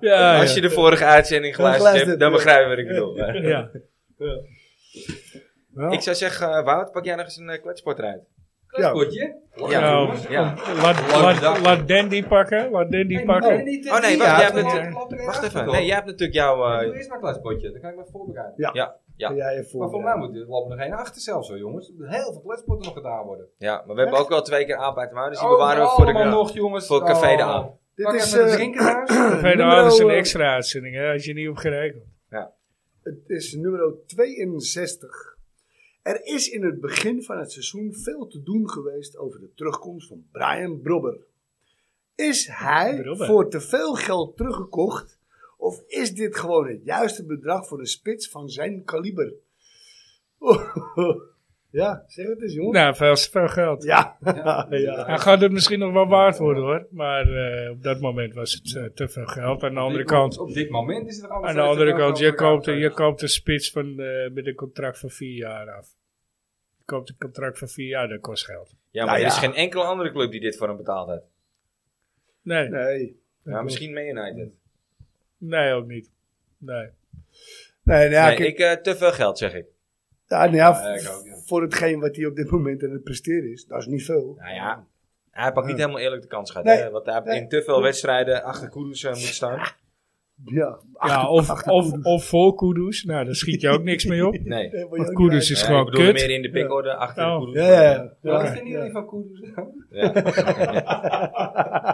B: Ja,
A: als je de vorige uitzending
C: Ja,
A: geluisterd hebt,
C: geluisterd,
A: dan
C: ja.
A: begrijp je wat ik bedoel.
B: ja.
C: Wel.
A: Ik zou zeggen, eh, Wout, pak jij nog eens een eh, kletsport uit.
C: Ja.
D: Kletspotje?
A: Ja.
B: Nou,
A: Ja.
B: Laat, laat,
D: dag.
B: laat Dandy pakken. Laat Dandy pakken.
A: Oh, nee, wacht, jij hebt het- Wacht even. Nee, jij hebt natuurlijk jouw... eh,
D: Doe eerst maar een kletspotje, dan kan ik me voorbereiden.
A: Ja.
C: Ga jij je
D: Maar
C: voor. eh,
D: voor mij moet er lopen nog één achter zelfs hoor, jongens. Er moeten Heel veel kletsporten nog gedaan worden.
A: ja, maar we hebben ook wel twee keer aap uit de mouw, dus die
D: Oh,
A: bewaren we voor de...
D: allemaal nog, jongens.
A: voor Café de
D: Oh.
A: Aap.
C: Dit
D: Pak
C: is,
D: even
C: eh,
D: een drinken
B: [CLEARS THROAT]
D: thuis.
B: Verder
C: Nummer,
B: hadden ze een
C: eh,
B: extra uitzending, hè, als je niet op gerekend.
C: Het is nummer 62. Er is in het begin van het seizoen veel te doen geweest over de terugkomst van Brian Brobber. Is hij
B: Brobber.
C: voor te veel geld teruggekocht? Of is dit gewoon het juiste bedrag voor een spits van zijn kaliber? [LAUGHS] ja, zeg het eens, jongen.
B: Nou, veel te veel geld.
C: Ja, ja.
B: Hij gaat het misschien nog wel waard worden hoor. Maar eh, op dat moment was het eh, te veel geld. Aan de andere
D: Dit-
B: kant,
D: Op dit moment is het er anders.
B: aan de andere kant je, koopt, je koopt een spits van, eh, met een contract van vier jaar af. Je koopt een contract van vier jaar, dat kost geld.
A: Ja, maar
C: Nou
A: er is
C: ja.
A: geen enkele andere club die dit voor hem betaald heeft.
B: Nee, nee,
C: [LAUGHS] Nee.
A: Ja, misschien Man United.
B: ook niet. Nee.
C: Nee, nou ja,
A: Nee,
C: kijk,
A: ik eh, te veel geld, zeg ik.
C: ja, nou ja,
D: Ja, ik ook, ja.
C: voor hetgeen wat hij op dit moment aan het presteren is, dat is niet veel.
A: Nou ja, hij pakt niet helemaal eerlijk de kans gehad.
C: Nee.
A: hè, Want hij heeft
C: Nee.
A: in te veel wedstrijden achter Koeders eh, moet staan.
C: Ja,
B: Ja, of, of, of voor Kudus, nou daar schiet je ook niks
A: [LAUGHS]
B: mee op.
A: Nee.
C: Eh, wil je
B: Want
C: ook
D: dus
B: Kudus
C: niet
B: is
A: Ja,
B: gewoon
A: ik bedoel
B: kut.
A: meer in de pickorder achter
B: Oh.
A: Koeders.
C: uit- Ja, ja,
D: Wat
C: ja.
D: vinden jullie van Koeders?
A: Ja.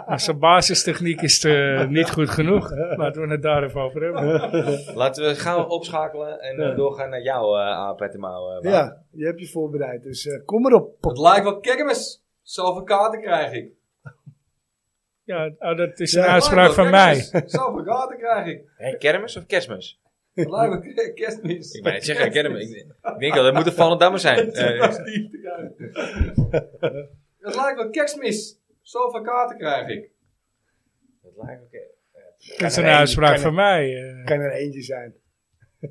B: Maar Zijn basistechniek is eh, niet goed genoeg. Laten we het daar even over hebben.
A: Laten we gaan opschakelen en eh, doorgaan naar jou, eh Aap uit de mouw. eh, Wout.
C: Ja, je hebt je voorbereid, dus eh, kom
D: [LAUGHS]
C: erop.
D: [LAUGHS] Het lijkt wel kermis. Zoveel kaarten krijg ik.
B: Ja, oh, dat is
C: Ja,
B: een
C: maar
B: uitspraak van mij. [LAUGHS]
D: Zoveel kaarten krijg ik.
A: Hé, kermis of kerstmis?
D: Het lijkt wel ke- kerstmis.
A: Ik ben het
D: [LAUGHS]
A: zeggen, kermis. Ik, ik denk dat het moet een Vallendammer zijn. Eh,
D: Het lijkt wel kerstmis. Zoveel kaarten krijg ik.
A: dat lijkt oké.
B: Dat is een
C: Kan er
B: uitspraak
C: één-
B: van mij. eh.
C: Kan er eentje zijn. [LAUGHS]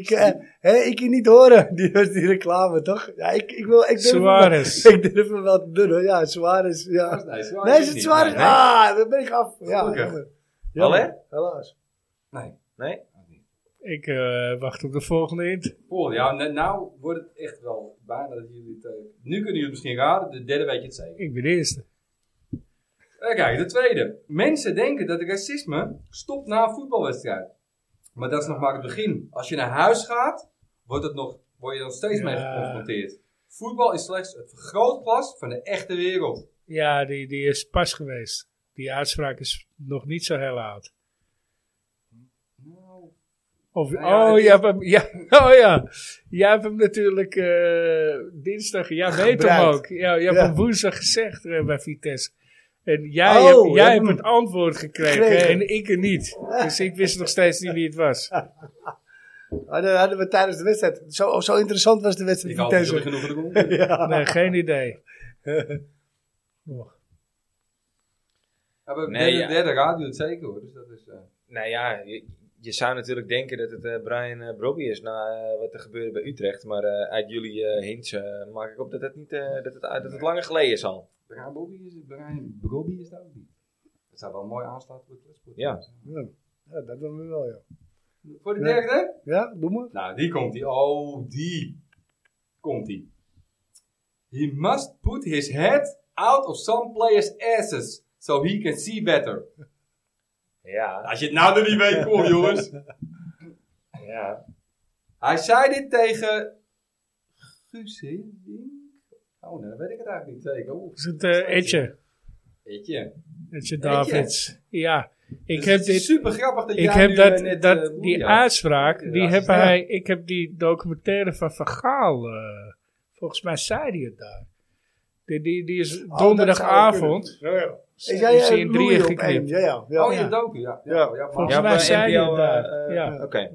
C: ik, eh, hè, ik kan niet horen, [LAUGHS] die, die reclame, toch? Ja, ik, ik, wil, ik, durf hem wel-
B: Suarez.
C: [LAUGHS] ik durf hem wel te doen, hoor. ja, Suarez.
D: Dat is-
C: Ja.
D: Nee, zwaar
C: Nee, is
D: het
C: het
D: niet.
C: Suarez?
D: Nee, nee.
C: Ah, daar ben ik af. Ja,
D: Gelukkig.
C: jammer.
A: Wel, hè?
C: Jammer, Helaas.
D: Nee.
A: Nee?
B: Ik eh, wacht op de volgende hint.
D: Volgende, ja, nou- nou wordt het echt wel bijna dat jullie het... eh, nu kunnen jullie het misschien raden, de derde weet je het zeker.
B: Ik ben de eerste.
D: Eh, Kijk, de tweede. Mensen denken dat racisme stopt na een voetbalwedstrijd. Maar dat is nog maar het begin. Als je naar huis gaat, wordt het nog, word je nog steeds
B: Ja.
D: mee geconfronteerd. Voetbal is slechts het vergrootglas van de echte wereld.
B: Ja, die, die is pas geweest. Die uitspraak is nog niet zo heel oud. Of,
D: Nou ja,
B: oh,
D: het
B: jij hebt hem, ja, [LAUGHS] oh ja, jij hebt hem natuurlijk eh, dinsdag, jij weet hem
C: Gebruikt.
B: ook. Ja, jij hebt
C: Ja.
B: hem woensdag gezegd eh, bij Vitesse. En jij,
C: Oh,
B: hebt, jij
C: ja,
B: hebt
C: hm.
B: het antwoord gekregen,
C: Gekregen.
B: en ik er niet. Dus ik wist nog steeds niet wie het
C: [LAUGHS]
B: was.
C: Ah, dat hadden we tijdens de wedstrijd. Zo, zo interessant was de wedstrijd.
D: Ik hoop
C: van
D: dat jullie
C: Vitesse.
D: genoeg hebben
C: [LAUGHS]
D: gevonden.
C: ja.
B: Nee, geen idee. Oh.
D: Ja, maar
A: Nee,
D: derde,
A: ja.
D: derde radio het zeker hoor. Dus dat is, eh,
A: Nou ja, je, je zou natuurlijk denken dat het eh, Brian eh Brobby is na eh, wat er gebeurde bij Utrecht. Maar eh, uit jullie eh, hints eh, maak ik op dat het, niet, eh, dat, het, dat het langer geleden is al.
D: Brian Bobby is het, Brian Bobby is dat ook niet. Dat zou wel mooi aansluiten voor het kletspot.
A: Ja.
C: Ja, dat doen we wel, ja.
D: Voor de derde?
C: Ja, doe maar.
D: Nou, die komt die. Oh, die. Komt die. He must put his head out of some players' asses. So he can see better.
A: Ja,
D: Als je het nou nog niet weet, kom jongens.
A: ja.
D: Hij zei dit tegen... Guzing? Oh, nee, dat weet ik het eigenlijk niet zeker. Oeh,
B: Is het eh, Etje?
D: weet je.
B: Etje Davids. Ja,
D: Dus
B: ik heb dit
D: super grappig dat
B: Ik
D: jij nu
B: heb
D: eh,
B: dat,
D: net...
B: dat,
D: eh,
B: die
D: ja.
B: uitspraak,
D: Ja,
B: die
D: ja,
B: heb
D: ja.
B: hij, ik heb die documentaire van Van Gaal, eh, volgens mij zei hij het daar. Die, die, die is
C: Oh,
B: donderdagavond,
C: Is
B: is
C: jij
B: hij
C: in
B: in
C: drieën
B: drieën
C: op één?
B: geknipt.
C: Ja, ja. ja.
D: Oh, je
B: Ja.
D: docu, ja. Ja,
C: Ja.
D: ja, maar-
B: volgens
A: Ja,
B: mij
A: bij
B: zei hij
A: NPO,
B: het daar.
A: eh, eh,
B: ja,
A: Oké.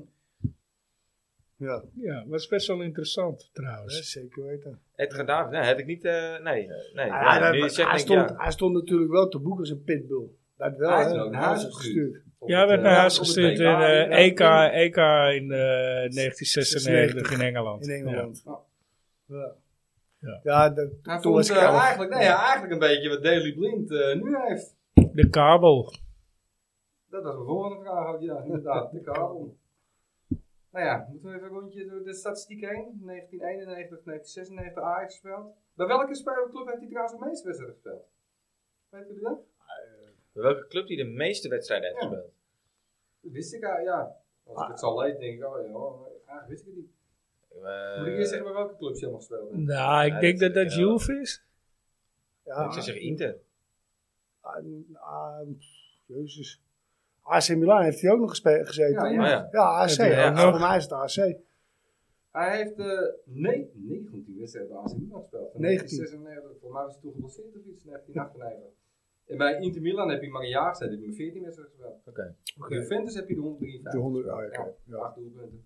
C: ja.
B: ja, was best wel interessant
C: Ja,
B: trouwens.
C: zeker weten.
A: Edgar Davids, nee, had ik niet... eh, nee, eh, nee.
C: Ah,
A: Ja,
C: dat-
A: nu je
C: maar
A: het zegt,
C: hij,
A: denk ik,
C: stond,
A: ja.
C: hij stond natuurlijk wel te boek als een pitbull. Dat wel,
D: Hij is
C: hè.
D: ook naar
C: Hij
D: huis
C: is
D: gestuurd. Op
B: Ja,
D: het,
B: werd
D: eh,
B: naar
D: op
B: huis
D: het
B: gestuurd in
D: WK,
B: eh,
D: inderdaad.
B: EK, EK in eh, 1996 in Engeland.
C: in Engeland.
D: Ja.
C: Ja, ja.
B: Ja.
C: dat,
D: Hij
C: toen was
D: vond
C: ik
D: eh,
C: elf.
D: eigenlijk, nee, ja, eigenlijk een beetje wat Daily Blind eh, nu heeft.
B: Ja. De kabel.
D: Dat was mijn volgende vraag. ook, Ja, inderdaad, de kabel. Nou ja, moeten we even een rondje door de statistiek heen. 1991, 1996 Ajax gespeeld. Bij welke spelerclub heeft hij trouwens de meeste wedstrijden gespeeld? Weet jullie dat?
A: Bij welke club die de meeste wedstrijden heeft
D: Ja.
A: gespeeld?
D: Dat wist ik, eh, ja. Als ik het zal lezen, denk ik, oh ja, oh, eigenlijk wist ik het niet.
A: Eh,
D: Moet ik eerst zeggen bij welke club je allemaal gespeeld hebt?
B: Nou, ik
A: Ja,
B: denk
A: dat-
B: dat dat
A: ja.
B: Juve is.
C: Ja,
A: Ik zou zeggen Inter.
C: ah, ah, jezus. AC Milan heeft hij ook nog gespe- gezeten.
D: Ja,
C: Ja,
D: ja.
A: Oh ja.
C: AC.
B: Ja,
A: ja.
C: Voor mij is het AC.
D: Hij heeft eh nee, 19 wedstrijden bij AC Milan gespeeld. Van
C: 19.
D: 1996, volgens mij was hij toen geblesseerd of iets, 1998. En bij Inter Milan heb je maar een jaar gezeten, heb je maar 14 wedstrijden gespeeld.
A: Oké.
D: Bij Juventus heb je de 153.
C: De 100, ah, oké.
D: Ja, acht doelpunten.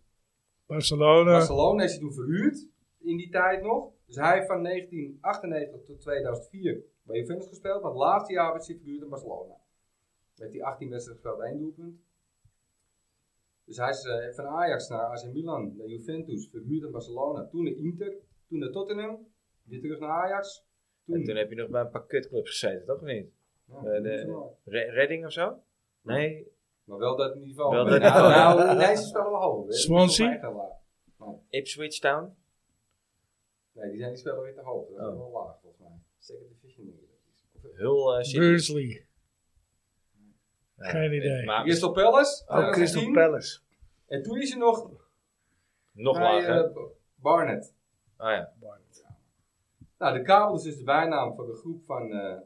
B: Barcelona.
D: Barcelona is hij toen verhuurd in die tijd nog. Dus hij heeft van 1998 tot 2004 bij Juventus gespeeld. Maar het laatste jaar werd hij verhuurd in Barcelona. Met die 18 wedstrijden gespeeld, één doelpunt. Dus hij is eh, van Ajax naar AC Milan, naar Juventus, verhuurd in Barcelona. Toen naar Inter, toen naar Tottenham, weer terug naar Ajax. Toen, nou,
A: En toen heb je nog bij een paar kutclubs gezeten, toch of niet?
D: Ja,
A: eh, de-
D: maar.
A: Re- Redding of zo? Nee.
D: maar wel dat niveau.
A: Wel
D: Maar
A: dat
D: nou,
A: niveau.
D: nou, nee, ze spelen wel hoog. hè. Die
B: Swansea?
D: spelen echt heel laag.
A: Ipswich Town?
D: Nee, die zijn die spelen weer te hoog. Dat is
A: Oh.
D: wel laag volgens mij. Second division denk ik. Of-
A: Hul eh City?
B: Burnsley.
A: Ja.
B: Geen idee.
A: Maar
D: Crystal Palace.
C: Oh,
D: 2010.
C: Crystal Palace.
D: En toen is hij nog
A: nog
D: bij
A: lager.
D: eh, Barnet.
A: oh ja.
D: Nou, de kabel is dus de bijnaam van de groep van eh,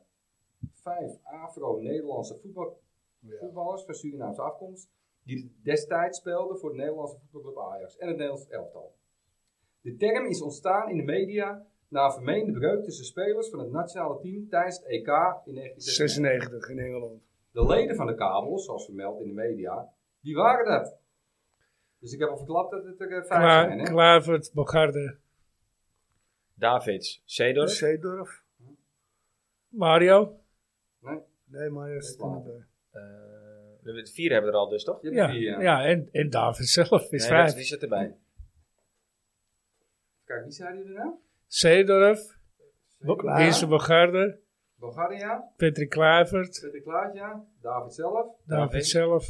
D: vijf Afro-Nederlandse voetbal voetballers van Surinaamse afkomst. Die destijds speelden voor de Nederlandse voetbalclub Ajax en het Nederlands elftal. De term is ontstaan in de media na een vermeende breuk tussen spelers van het nationale team tijdens het EK in 1996.
C: 96 in Engeland.
D: De leden van de kabel, zoals vermeld in de media, die waren dat. Dus ik heb al verklapt dat het er eh, vijf
B: Kla-
D: zijn, hè?
B: Klavert, Bogarde.
A: Davids.
C: Dus-
A: Seedorf?
C: Zeedorf.
B: Mario.
C: Nee, maar dat is
D: Dat is
C: niet, eh,
A: Eh, de vier hebben er al dus, toch?
D: Je hebt
B: Ja,
D: er vier, ja.
B: ja en, en David zelf is
A: Nee,
B: vijf.
A: dat- Wie zit erbij? [LAUGHS]
D: Kijk, wie zeiden jullie nou?
B: Seedorf.
C: Klaar.
B: Eerste Bogarde.
D: Bulgaria,
B: Patrick Klavert.
D: Peter Klaasja, David zelf.
B: David zelf.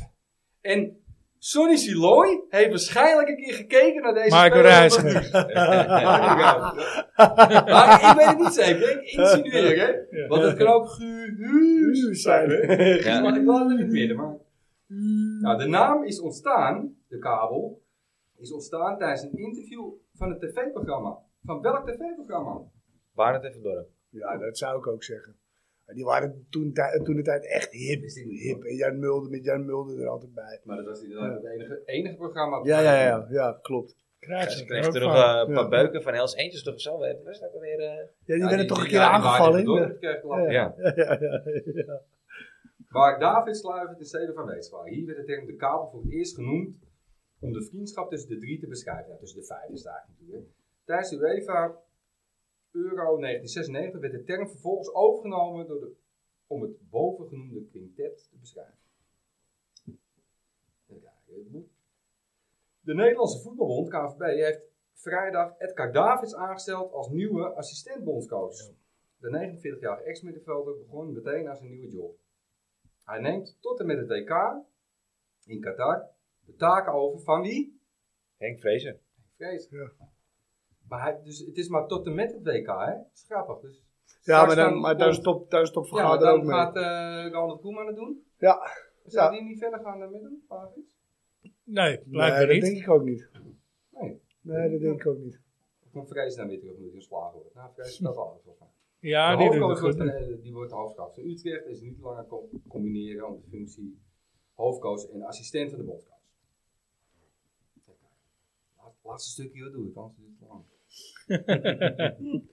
D: En Sonny Siloy heeft waarschijnlijk een keer gekeken naar deze
B: Marco
D: speler.
B: Reisger. [LAUGHS]
D: Ja. maar ik weet het niet zeker, ik insinueer, hè?
B: Ja.
D: Want het kan ook gehuur zijn.
B: [LAUGHS]
A: Ja.
D: Maar ik laat het in het midden, maar... Nou, de naam is ontstaan, de kabel, is ontstaan tijdens een interview van het tv-programma. Van welk tv-programma?
A: Barnet en Van Dorp.
C: Ja, dat zou ik ook zeggen. Maar Die waren toen, tij- toen de tijd echt hip. hip. En Jan Mulder, met Jan Mulder er altijd bij.
D: Maar dat was inderdaad Eh, het enige, enige programma. op
C: Ja, ja, ja, ja klopt.
A: Ja,
B: Kruijs
A: ze
B: had
A: kreeg
B: er
A: toen
B: ook
A: nog
B: van.
A: eh, een paar
C: Ja.
A: beuken van Hells Angels toch of zo. Wat was dat weer?
C: Ja, die
D: Ja,
C: werden toch een
D: die-
C: keer
D: ja, die
C: aangevallen.
D: Maarten
C: hè?
D: Dorp kreeg klap.
C: Ja.
A: ja.
C: Ja, ja, ja, ja.
D: Waar David sluivert en Steden van Weeswaar. Hier werd de term de kabel voor het eerst genoemd om de vriendschap tussen de drie te beschrijven. Ja, tussen de vijf is het eigenlijk natuurlijk. hè. Tijdens de UEFA Euro 1996 werd de term vervolgens overgenomen door de, om het bovengenoemde quintet te beschrijven. Even kijken, dit moet. De Nederlandse voetbalbond KNVB heeft vrijdag Edgar Davids aangesteld als nieuwe assistent-bondscoach. De 49-jarige ex-middenvelder begon meteen aan zijn nieuwe job. Hij neemt tot en met het WK in Qatar de taken over van wie?
A: Henk Vrezen.
D: Vrees.
C: Ja.
D: Maar hij, dus het is maar tot en met het WK, hè? Dat is grappig. Dus
C: Ja, maar,
D: straks
C: dan, maar daar
D: komt-
C: stopt, daar stopt
D: ja, maar
C: Vergader ook
D: dan
C: mee.
D: gaat eh Ronald Koeman het doen.
C: Ja,
D: Zou
C: Ja.
D: die niet verder gaan dan met hem? David?
B: Nee, blijkbaar
C: nee, dat
B: niet.
C: denk ik ook niet.
D: Nee.
C: Nee, dat denk ik ook niet.
D: Of komt Vrees dan weer terug omdat hij ontslagen wordt? Nou, Vrees dat alles. volgens mij.
B: Ja,
D: De
B: die doet het
D: hoofdcoach
B: goed.
D: wordt, eh, die wordt de hoofdcoach. In Utrecht is niet langer co- combineren om de functie hoofdcoach en assistent van de bondscoach. Laat- Laatste stukje, wat doe ik? Anders is het te lang.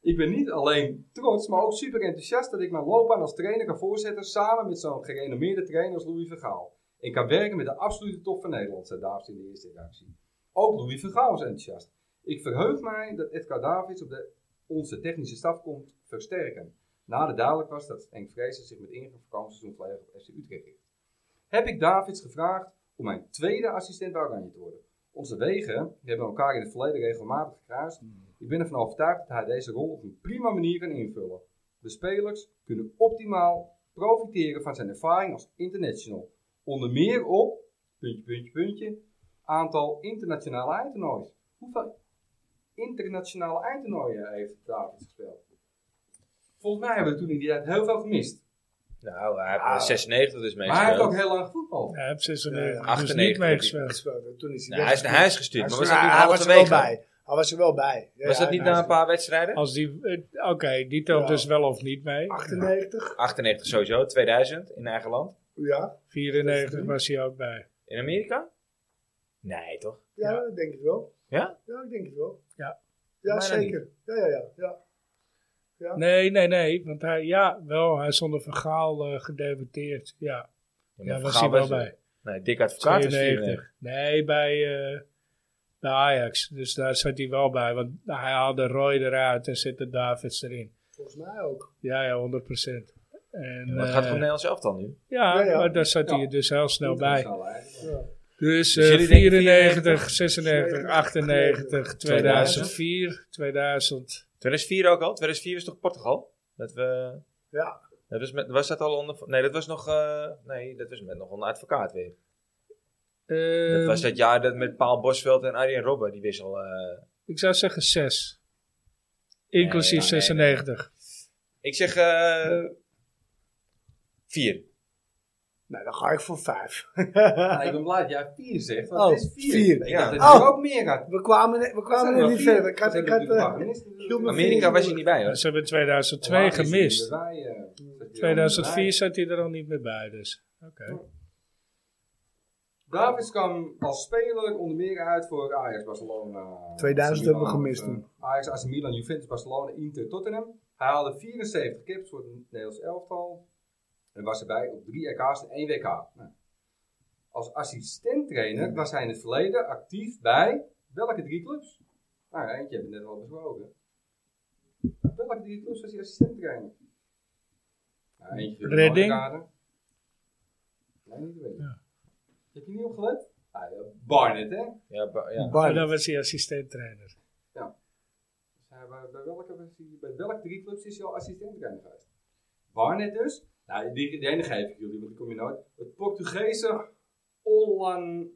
D: ik ben niet alleen trots, maar ook super enthousiast dat ik mijn loopbaan als trainer kan voorzetten samen met zo'n gerenommeerde trainer als Louis Vergaal. En kan werken met de absolute top van Nederland, zei Daafs in de eerste reactie. Ook Louis Vergaal was enthousiast. Ik verheug mij dat Edgar Davids op de onze technische staf komt versterken. Nadat duidelijk was dat Henk Vrezen zich met ingang vakantieseizoen volledig op FC Utrecht richt. Heb ik Davids gevraagd om mijn tweede assistent bij Oranje te worden. Onze wegen hebben elkaar in het verleden regelmatig gekruist. Ik ben ervan overtuigd dat hij deze rol op een prima manier kan invullen. De spelers kunnen optimaal profiteren van zijn ervaring als international. Onder meer op puntje, puntje, puntje. Aantal internationale eindtoernooien. Hoeveel internationale eindtoernooien heeft Davids gespeeld? Volgens mij hebben we toen in die tijd heel veel gemist.
A: Nou, hij heeft eh, 96 dus
D: Maar hij heeft ook
A: meegespeeld.
D: heel lang gevoetbald.
B: Hij heeft 96 dus
A: 98
B: niet
A: heb
B: meegespeeld.
C: Toen is hij
A: Nou, hij is naar huis gestuurd, maar was dat niet
C: hij was er wel
A: halverwege?
C: bij. Hij was er wel bij. Ja,
A: Was
C: ja,
A: dat niet
C: hij
A: na een
C: was
A: paar wedstrijden?
B: Als die, eh, Oké, die telt
C: Ja.
B: dus wel of niet mee.
C: er 98?
A: 98 sowieso, 2000 in eigen land.
C: Ja,
B: 94 was hij ook bij.
A: In Amerika? Nee, toch?
C: ja,
B: Ja.
C: dat denk ik wel.
A: Ja?
C: Ja, ik denk het wel.
B: Ja.
C: Ja,
A: Maar dan
C: zeker. Ja, ja, ja. ja.
B: Nee, nee, nee. Want hij, ja, wel, hij is onder vergaal eh, gedebuteerd. Ja,
A: Ja,
B: daar
A: maar
B: was
A: Gaal
B: hij wel
A: was er.
B: bij.
A: Nee, dik advocaat is 94.
B: 92. Nee, bij eh, de Ajax. Dus daar zat hij wel bij. Want hij haalde Roy eruit en zette Davids erin.
C: Volgens mij ook.
B: Ja, ja, 100 procent. En,
A: Wat
B: eh,
A: gaat het voor Nederlands elftal nu?
B: ja,
C: Ja, ja.
B: maar daar zat hij
D: Ja.
B: er dus heel snel bij.
D: Internationale eindtoernooien.
C: Ja.
B: Dus
A: Dus
B: eh,
A: jullie denken
B: 94, 96, 98, 2004, 2000.
A: 2004 ook al? 2004 was toch Portugal? Dat we...
C: Ja.
A: Dat was, met, was dat al onder... Nee, dat was nog... eh, nee, dat was met nog onder advocaat weer. dat
B: Ehm,
A: was dat jaar dat met Paul Bosveld en Arjen Robben, die wissel... eh
B: Ik zou zeggen 6. Inclusief
A: Nee, nee, nee.
B: 96.
A: ik zeg... eh vier.
C: Nou, dan ga ik voor 5.
D: Nou, ik ben blij dat jij 4 zegt, want
C: Oh,
D: het is 4.
C: vier.
D: Ik
A: Ja.
D: dacht dat
C: Oh.
D: je ook meer
C: [LAUGHS]
D: gaat.
C: We kwamen, net- we kwamen er niet verder. Ik had, ik had, eh,
D: Amerika
C: Hilmer-
A: Amerika was je niet bij, hoor.
B: Ze hebben 2002 gemist. 2004 zat hij er al niet meer bij, dus. Oké.
D: Davids kwam als speler onder meer uit voor Ajax, Barcelona.
C: 2000
D: AC
C: hebben we
D: Milan,
C: gemist
D: eh,
C: toen.
D: Ajax, AC Milan, Juventus, Barcelona, Inter, Tottenham. Hij haalde 74 kips voor het Nederlands elftal. En was erbij op 3 EK's en 1 WK. Nou. Als assistenttrainer was hij in het verleden actief bij welke drie clubs? Nou, eentje hebben we net al besproken. Welke drie clubs was hij assistenttrainer? Nou, eentje voor de
B: Redding.
D: Markerade. Nee, niet weten. Heb je niet opgelet? Ah, ja, Barnet, hè?
A: Ja, ba- ja.
B: En
C: Barnet.
B: dan was hij assistenttrainer.
D: Dus hij- bij, bij, welke, was hij- bij welk drie clubs is hij al assistent trainer geweest? Barnet dus. Nou, die, die ene geef ik jullie, want die kom je nooit. Het Portugese Olan...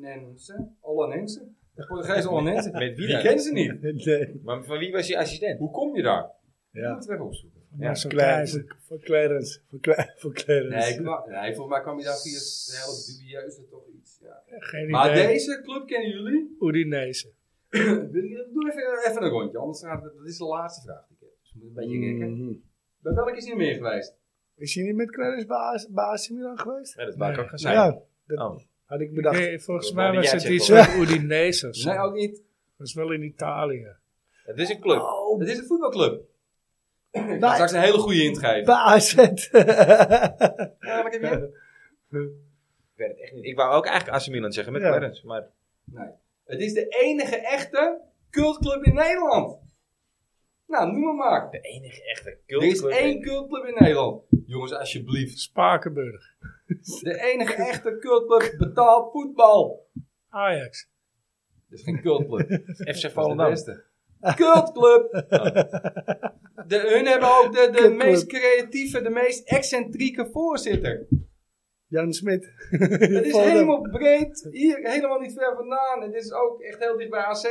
D: Olanense?
A: [LAUGHS]
D: Olanense? Het Portugese Olanense.
A: Met wie
D: Die
A: dan?
D: kennen ze niet.
C: [LAUGHS] Nee.
A: Maar van wie was je assistent?
D: Hoe kom je daar? Ja.
C: Ja.
D: Dat moeten we even opzoeken.
A: Ja,
B: zo'n
C: Clarence. Voor Clarence. Voor, Cla- voor Clarence.
D: Nee, ik wou- nee, volgens mij kwam je daar via een heel dubieuze toch iets. Ja.
B: klein- Geen
D: Maar
B: idee.
D: deze club kennen jullie? [CLEARS THROAT]
B: Udinese.
D: Doe even, even een rondje, anders gaat het, dat is de laatste vraag die ik heb. Dus we moeten een beetje rekken.
C: Mhm.
D: Bij welk is hij meer geweest?
C: Is hij niet met Clarence bij AC bij AC Milan geweest?
A: Ja, dat wou ik ook gaan zeggen.
C: Ja, dat
A: Oh.
C: had ik bedacht.
B: Nee, volgens
A: Ik
B: mij
A: wou
B: was
A: niet
B: het
A: jij
B: iets
A: zeggen,
B: met Udinese. of zo.
D: Nee, ook niet.
B: Dat is wel in Italië.
A: Het is een club.
C: Oh,
D: Het is een voetbalclub. Ik ga
C: bij,
D: straks een hele goede hint geven.
C: bij AZ.
D: Ja, wat heb je?
A: Ik weet het echt niet. Ik wou ook eigenlijk AC Milan zeggen met
C: Ja.
A: Clarence, maar
D: Nee. Het is de enige echte cultclub in Nederland. Nou, noem maar maar.
A: de enige echte
D: Er
A: cultclub.
D: is één cultclub in Nederland. Jongens, alsjeblieft.
B: Spakenburg.
D: De enige echte cultclub betaalt voetbal.
B: Ajax.
D: Dat is geen
C: [LAUGHS]
D: cultclub. Dat
A: FC
D: is de
A: Volendam.
D: beste. Cultclub.
C: Oh.
D: De, hun hebben ook de, de
C: Club.
D: meest creatieve, de meest excentrieke
C: [LAUGHS]
D: voorzitter.
C: Jan Smit.
D: Het is helemaal breed, hier helemaal niet ver vandaan. En dit is ook echt heel dicht bij AZ.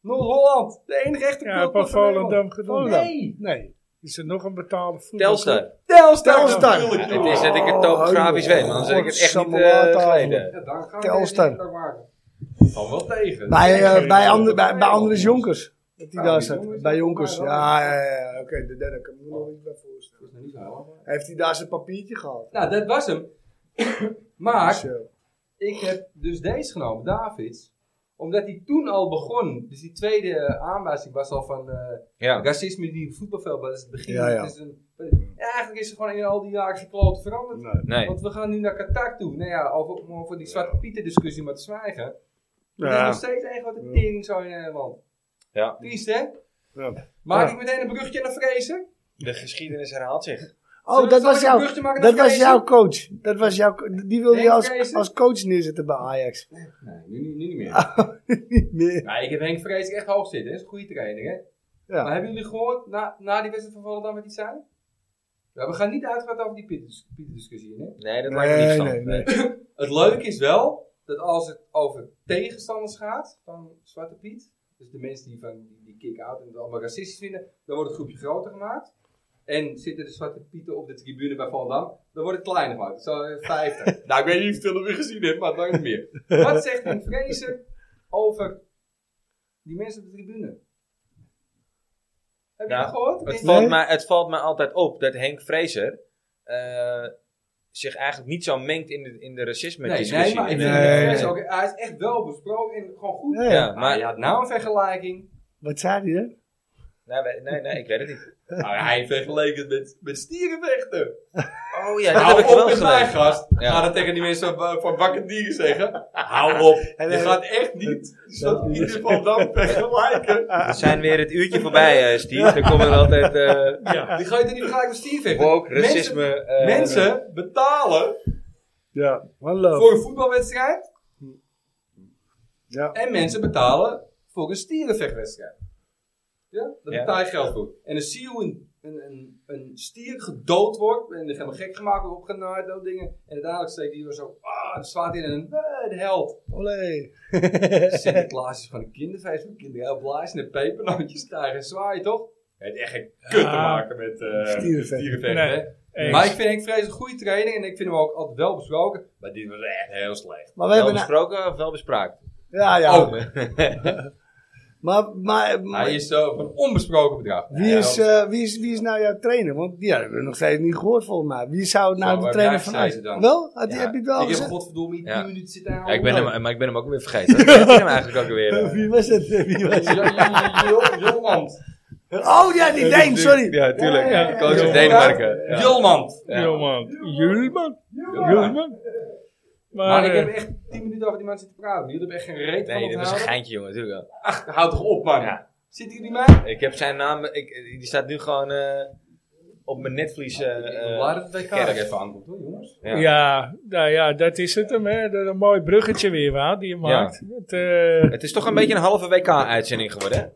D: Noord-Holland, de enige echte
B: Ja,
D: club
B: heb al
D: van Nederland.
B: Volendam gedaan.
D: Nee,
C: Nee.
B: Is er nog een betaalde voetbal?
A: Telstar.
D: Telstar.
C: Telstar. Oh,
D: natuurlijk.
A: Ja, het is dat ik het topografisch weet, maar anders had ik het echt niet eh
C: Godsamalata.
A: geleden.
D: Ja, daar gaan we
C: Telstar.
D: deze niet maken. Valt wel tegen.
C: Bij, eh,
D: Geen
C: bij,
D: idee.
C: Ander, bij, bij Andres Jonkers. Ah, Dat hij
D: Ja,
C: daar
D: die
C: zat.
D: Jonkers.
C: Bij Jonkers.
D: Ja,
C: Ja, ja, ja. ja. Oké, de derde. Ik kan me nog niet bij voorstellen.
D: Dat is nog niet zo helemaal.
C: Heeft hij daar zijn papiertje gehad?
D: Nou, dat was hem. [CLEARS THROAT] maar
C: Dus, eh,
D: ik heb dus deze genomen, Davids. Omdat hij toen al begon. Dus die tweede eh, aanwijzing was al van... eh,
A: Ja.
D: Racisme die op voetbalveld, maar dat is het begin.
C: Ja, ja.
D: Het is een, ja, eigenlijk is er gewoon in al die jaren gekloot veranderd.
A: Nee.
D: Want we gaan nu naar Qatar toe. Nou ja, over, om over die Zwarte Pieten discussie maar te zwijgen. Er is
C: Ja.
D: nog steeds een grote tering zo in Nederland.
A: Ja.
D: Triest, hè?
C: Ja.
D: Maak
C: Ja.
D: ik meteen een bruggetje naar vrezen?
A: De geschiedenis herhaalt zich.
C: Oh, dat was, jouw,
D: bruggetje maken naar
C: dat was
D: vrezen?
C: jouw coach. Dat was jouw, co- die wilde je
D: Henk
C: als,
D: Vrezen?
C: als coach neerzetten bij Ajax.
D: Nee, nu, nu, nu niet meer.
C: [LAUGHS] Niet meer.
D: nou, ik heb Henk Vrees echt hoog zitten. Dat is een goede trainer, hè?
C: Ja.
D: Maar hebben jullie gehoord, na, na die wedstrijd van Volendam wat hij zei? Ja, we gaan niet uitgaan over die Pieter- Pieter-discussie. Hè?
A: Nee, dat lijkt me niet
C: Nee,
A: verstandig.
C: nee, nee.
D: Het leuke is wel dat als het over tegenstanders gaat van Zwarte Piet, dus de mensen die, van, die, die kick-out en het allemaal racistisch vinden, dan wordt het groepje groter gemaakt. En zitten de Zwarte Pieten op de tribune bij Volendam, dan wordt het kleiner gemaakt. Zo eh, 50. nou, ik weet niet of je het film weer gezien hebt, maar het lang niet
C: [LAUGHS]
D: meer. Wat zegt een vrezen over die mensen op de tribune? Heb je
A: Nou,
D: dat gehoord?
A: Het
D: Nee.
A: valt, mij, het valt mij altijd op dat Henk Vrezer eh, zich eigenlijk niet zo mengt in de, in de
D: Nee,
A: racisme-discussie.
D: nee, maar ik
A: En,
D: vind
A: eh,
C: Nee.
D: het Vrezen ook- hij is echt wel besproken en gewoon goed.
C: Ja,
A: Ja,
D: Maar
A: maar,
D: je had nou een vergelijking.
C: Wat zei hij, hè?
A: nee, Nou, we- nee, nee, ik weet het niet.
D: Nou, hij vergeleken het met, met stierenvechten.
A: Oh ja, dat
D: Hou
A: heb ik
D: op
A: wel
D: met mijn
A: gelezen.
D: gast.
A: Ja.
D: Ga dat tegen die mensen van, van wakker dieren zeggen. Hou op.
C: En,
D: Je
C: eh,
D: gaat echt niet zo'n ieder geval dan vergelijken.
A: We zijn weer het uurtje voorbij, eh Steve. Dan komen er altijd... eh
D: [LAUGHS] Die ga je toch niet vergelijken met stierenvechten?
A: woke,
D: Mensen-
A: racisme... eh,
D: Mensen betalen
C: Ja, one love.
D: voor een voetbalwedstrijd.
C: Ja.
D: En mensen betalen voor een stierenvechtwedstrijd. Ja? Daar
A: Ja.
D: betaal je geld voor. En dan zie je hoe een, een, een, een stier gedood wordt. En dan helemaal gek gemaakt wordt, opgenaaid, dat dingen. En uiteindelijk steekt hij weer zo, ah, dan slaat hij in een eh, de
A: [LAUGHS]
D: held.
C: Olé.
D: Sinterklaas is van een kinderfeest van kinderen. Heel blaas en de pepernootjes krijgen en zwaaien, toch? Het heeft echt geen kut te
B: Ah.
D: maken met eh
C: Stierenvechten.
D: stierenvechten,
B: Nee.
D: hè?
B: Eens.
D: Maar ik vind Henk Vrees een goede trainer en ik vind hem ook altijd wel besproken. Maar dit was echt heel slecht.
C: Maar we
A: wel
C: hebben... Nou, na-
A: besproken of wel bespraakt?
C: Ja, ja.
D: Oh,
C: Maar, maar, maar
D: hij is zo van onbesproken bedrag.
C: wie,
D: Ja,
C: is,
D: dat-
C: eh, wie, is, wie is nou jouw trainer? Want die hebben we nog steeds niet gehoord, volgens mij. Wie zou nou
D: Zo,
C: de
D: waar
C: trainer
D: blijft
C: van
D: zij
C: uit?
D: dan?
C: Wel? Had,
A: Ja,
C: Heb je het wel
D: ik heb
C: gezegd?
D: godverdomme niet
A: Ja.
D: tien minuten zitten aan.
A: Ja, ik ben hem, maar ik ben hem ook weer vergeten. Ik ken hem eigenlijk ook weer.
C: [LAUGHS]
A: eh.
C: Wie was
D: [LAUGHS]
C: het? Wie was het?
D: Jolmand.
C: Oh ja, die Deen, sorry.
A: Ja, tuurlijk.
C: Ja, ja, ja.
A: Ik koos
B: Ja.
A: op Denemarken. Ja.
D: Jolmand.
A: Ja.
B: Jolman. Jolman.
D: Maar,
B: Maar,
D: ik
B: eh,
D: heb echt tien minuten over die man zitten praten. Jullie hebben echt geen reet
A: Nee, dit
D: van
A: was een
D: onthouden.
A: geintje, jongen. Natuurlijk wel.
D: Ach, houd toch op, man.
A: Ja.
D: Zit hier die mij?
A: Ik heb zijn naam, ik, die staat nu gewoon eh, op mijn netvlies. eh, eh,
D: Laat het WK er
A: kerk.
D: even aankomt, hoor, jongens.
A: ja.
B: Ja, nou ja, dat is het hem. Hè. Dat is een mooi bruggetje weer, Wout, die je maakt. Het, eh,
A: Het is toch een beetje een halve WK-uitzending geworden, hè?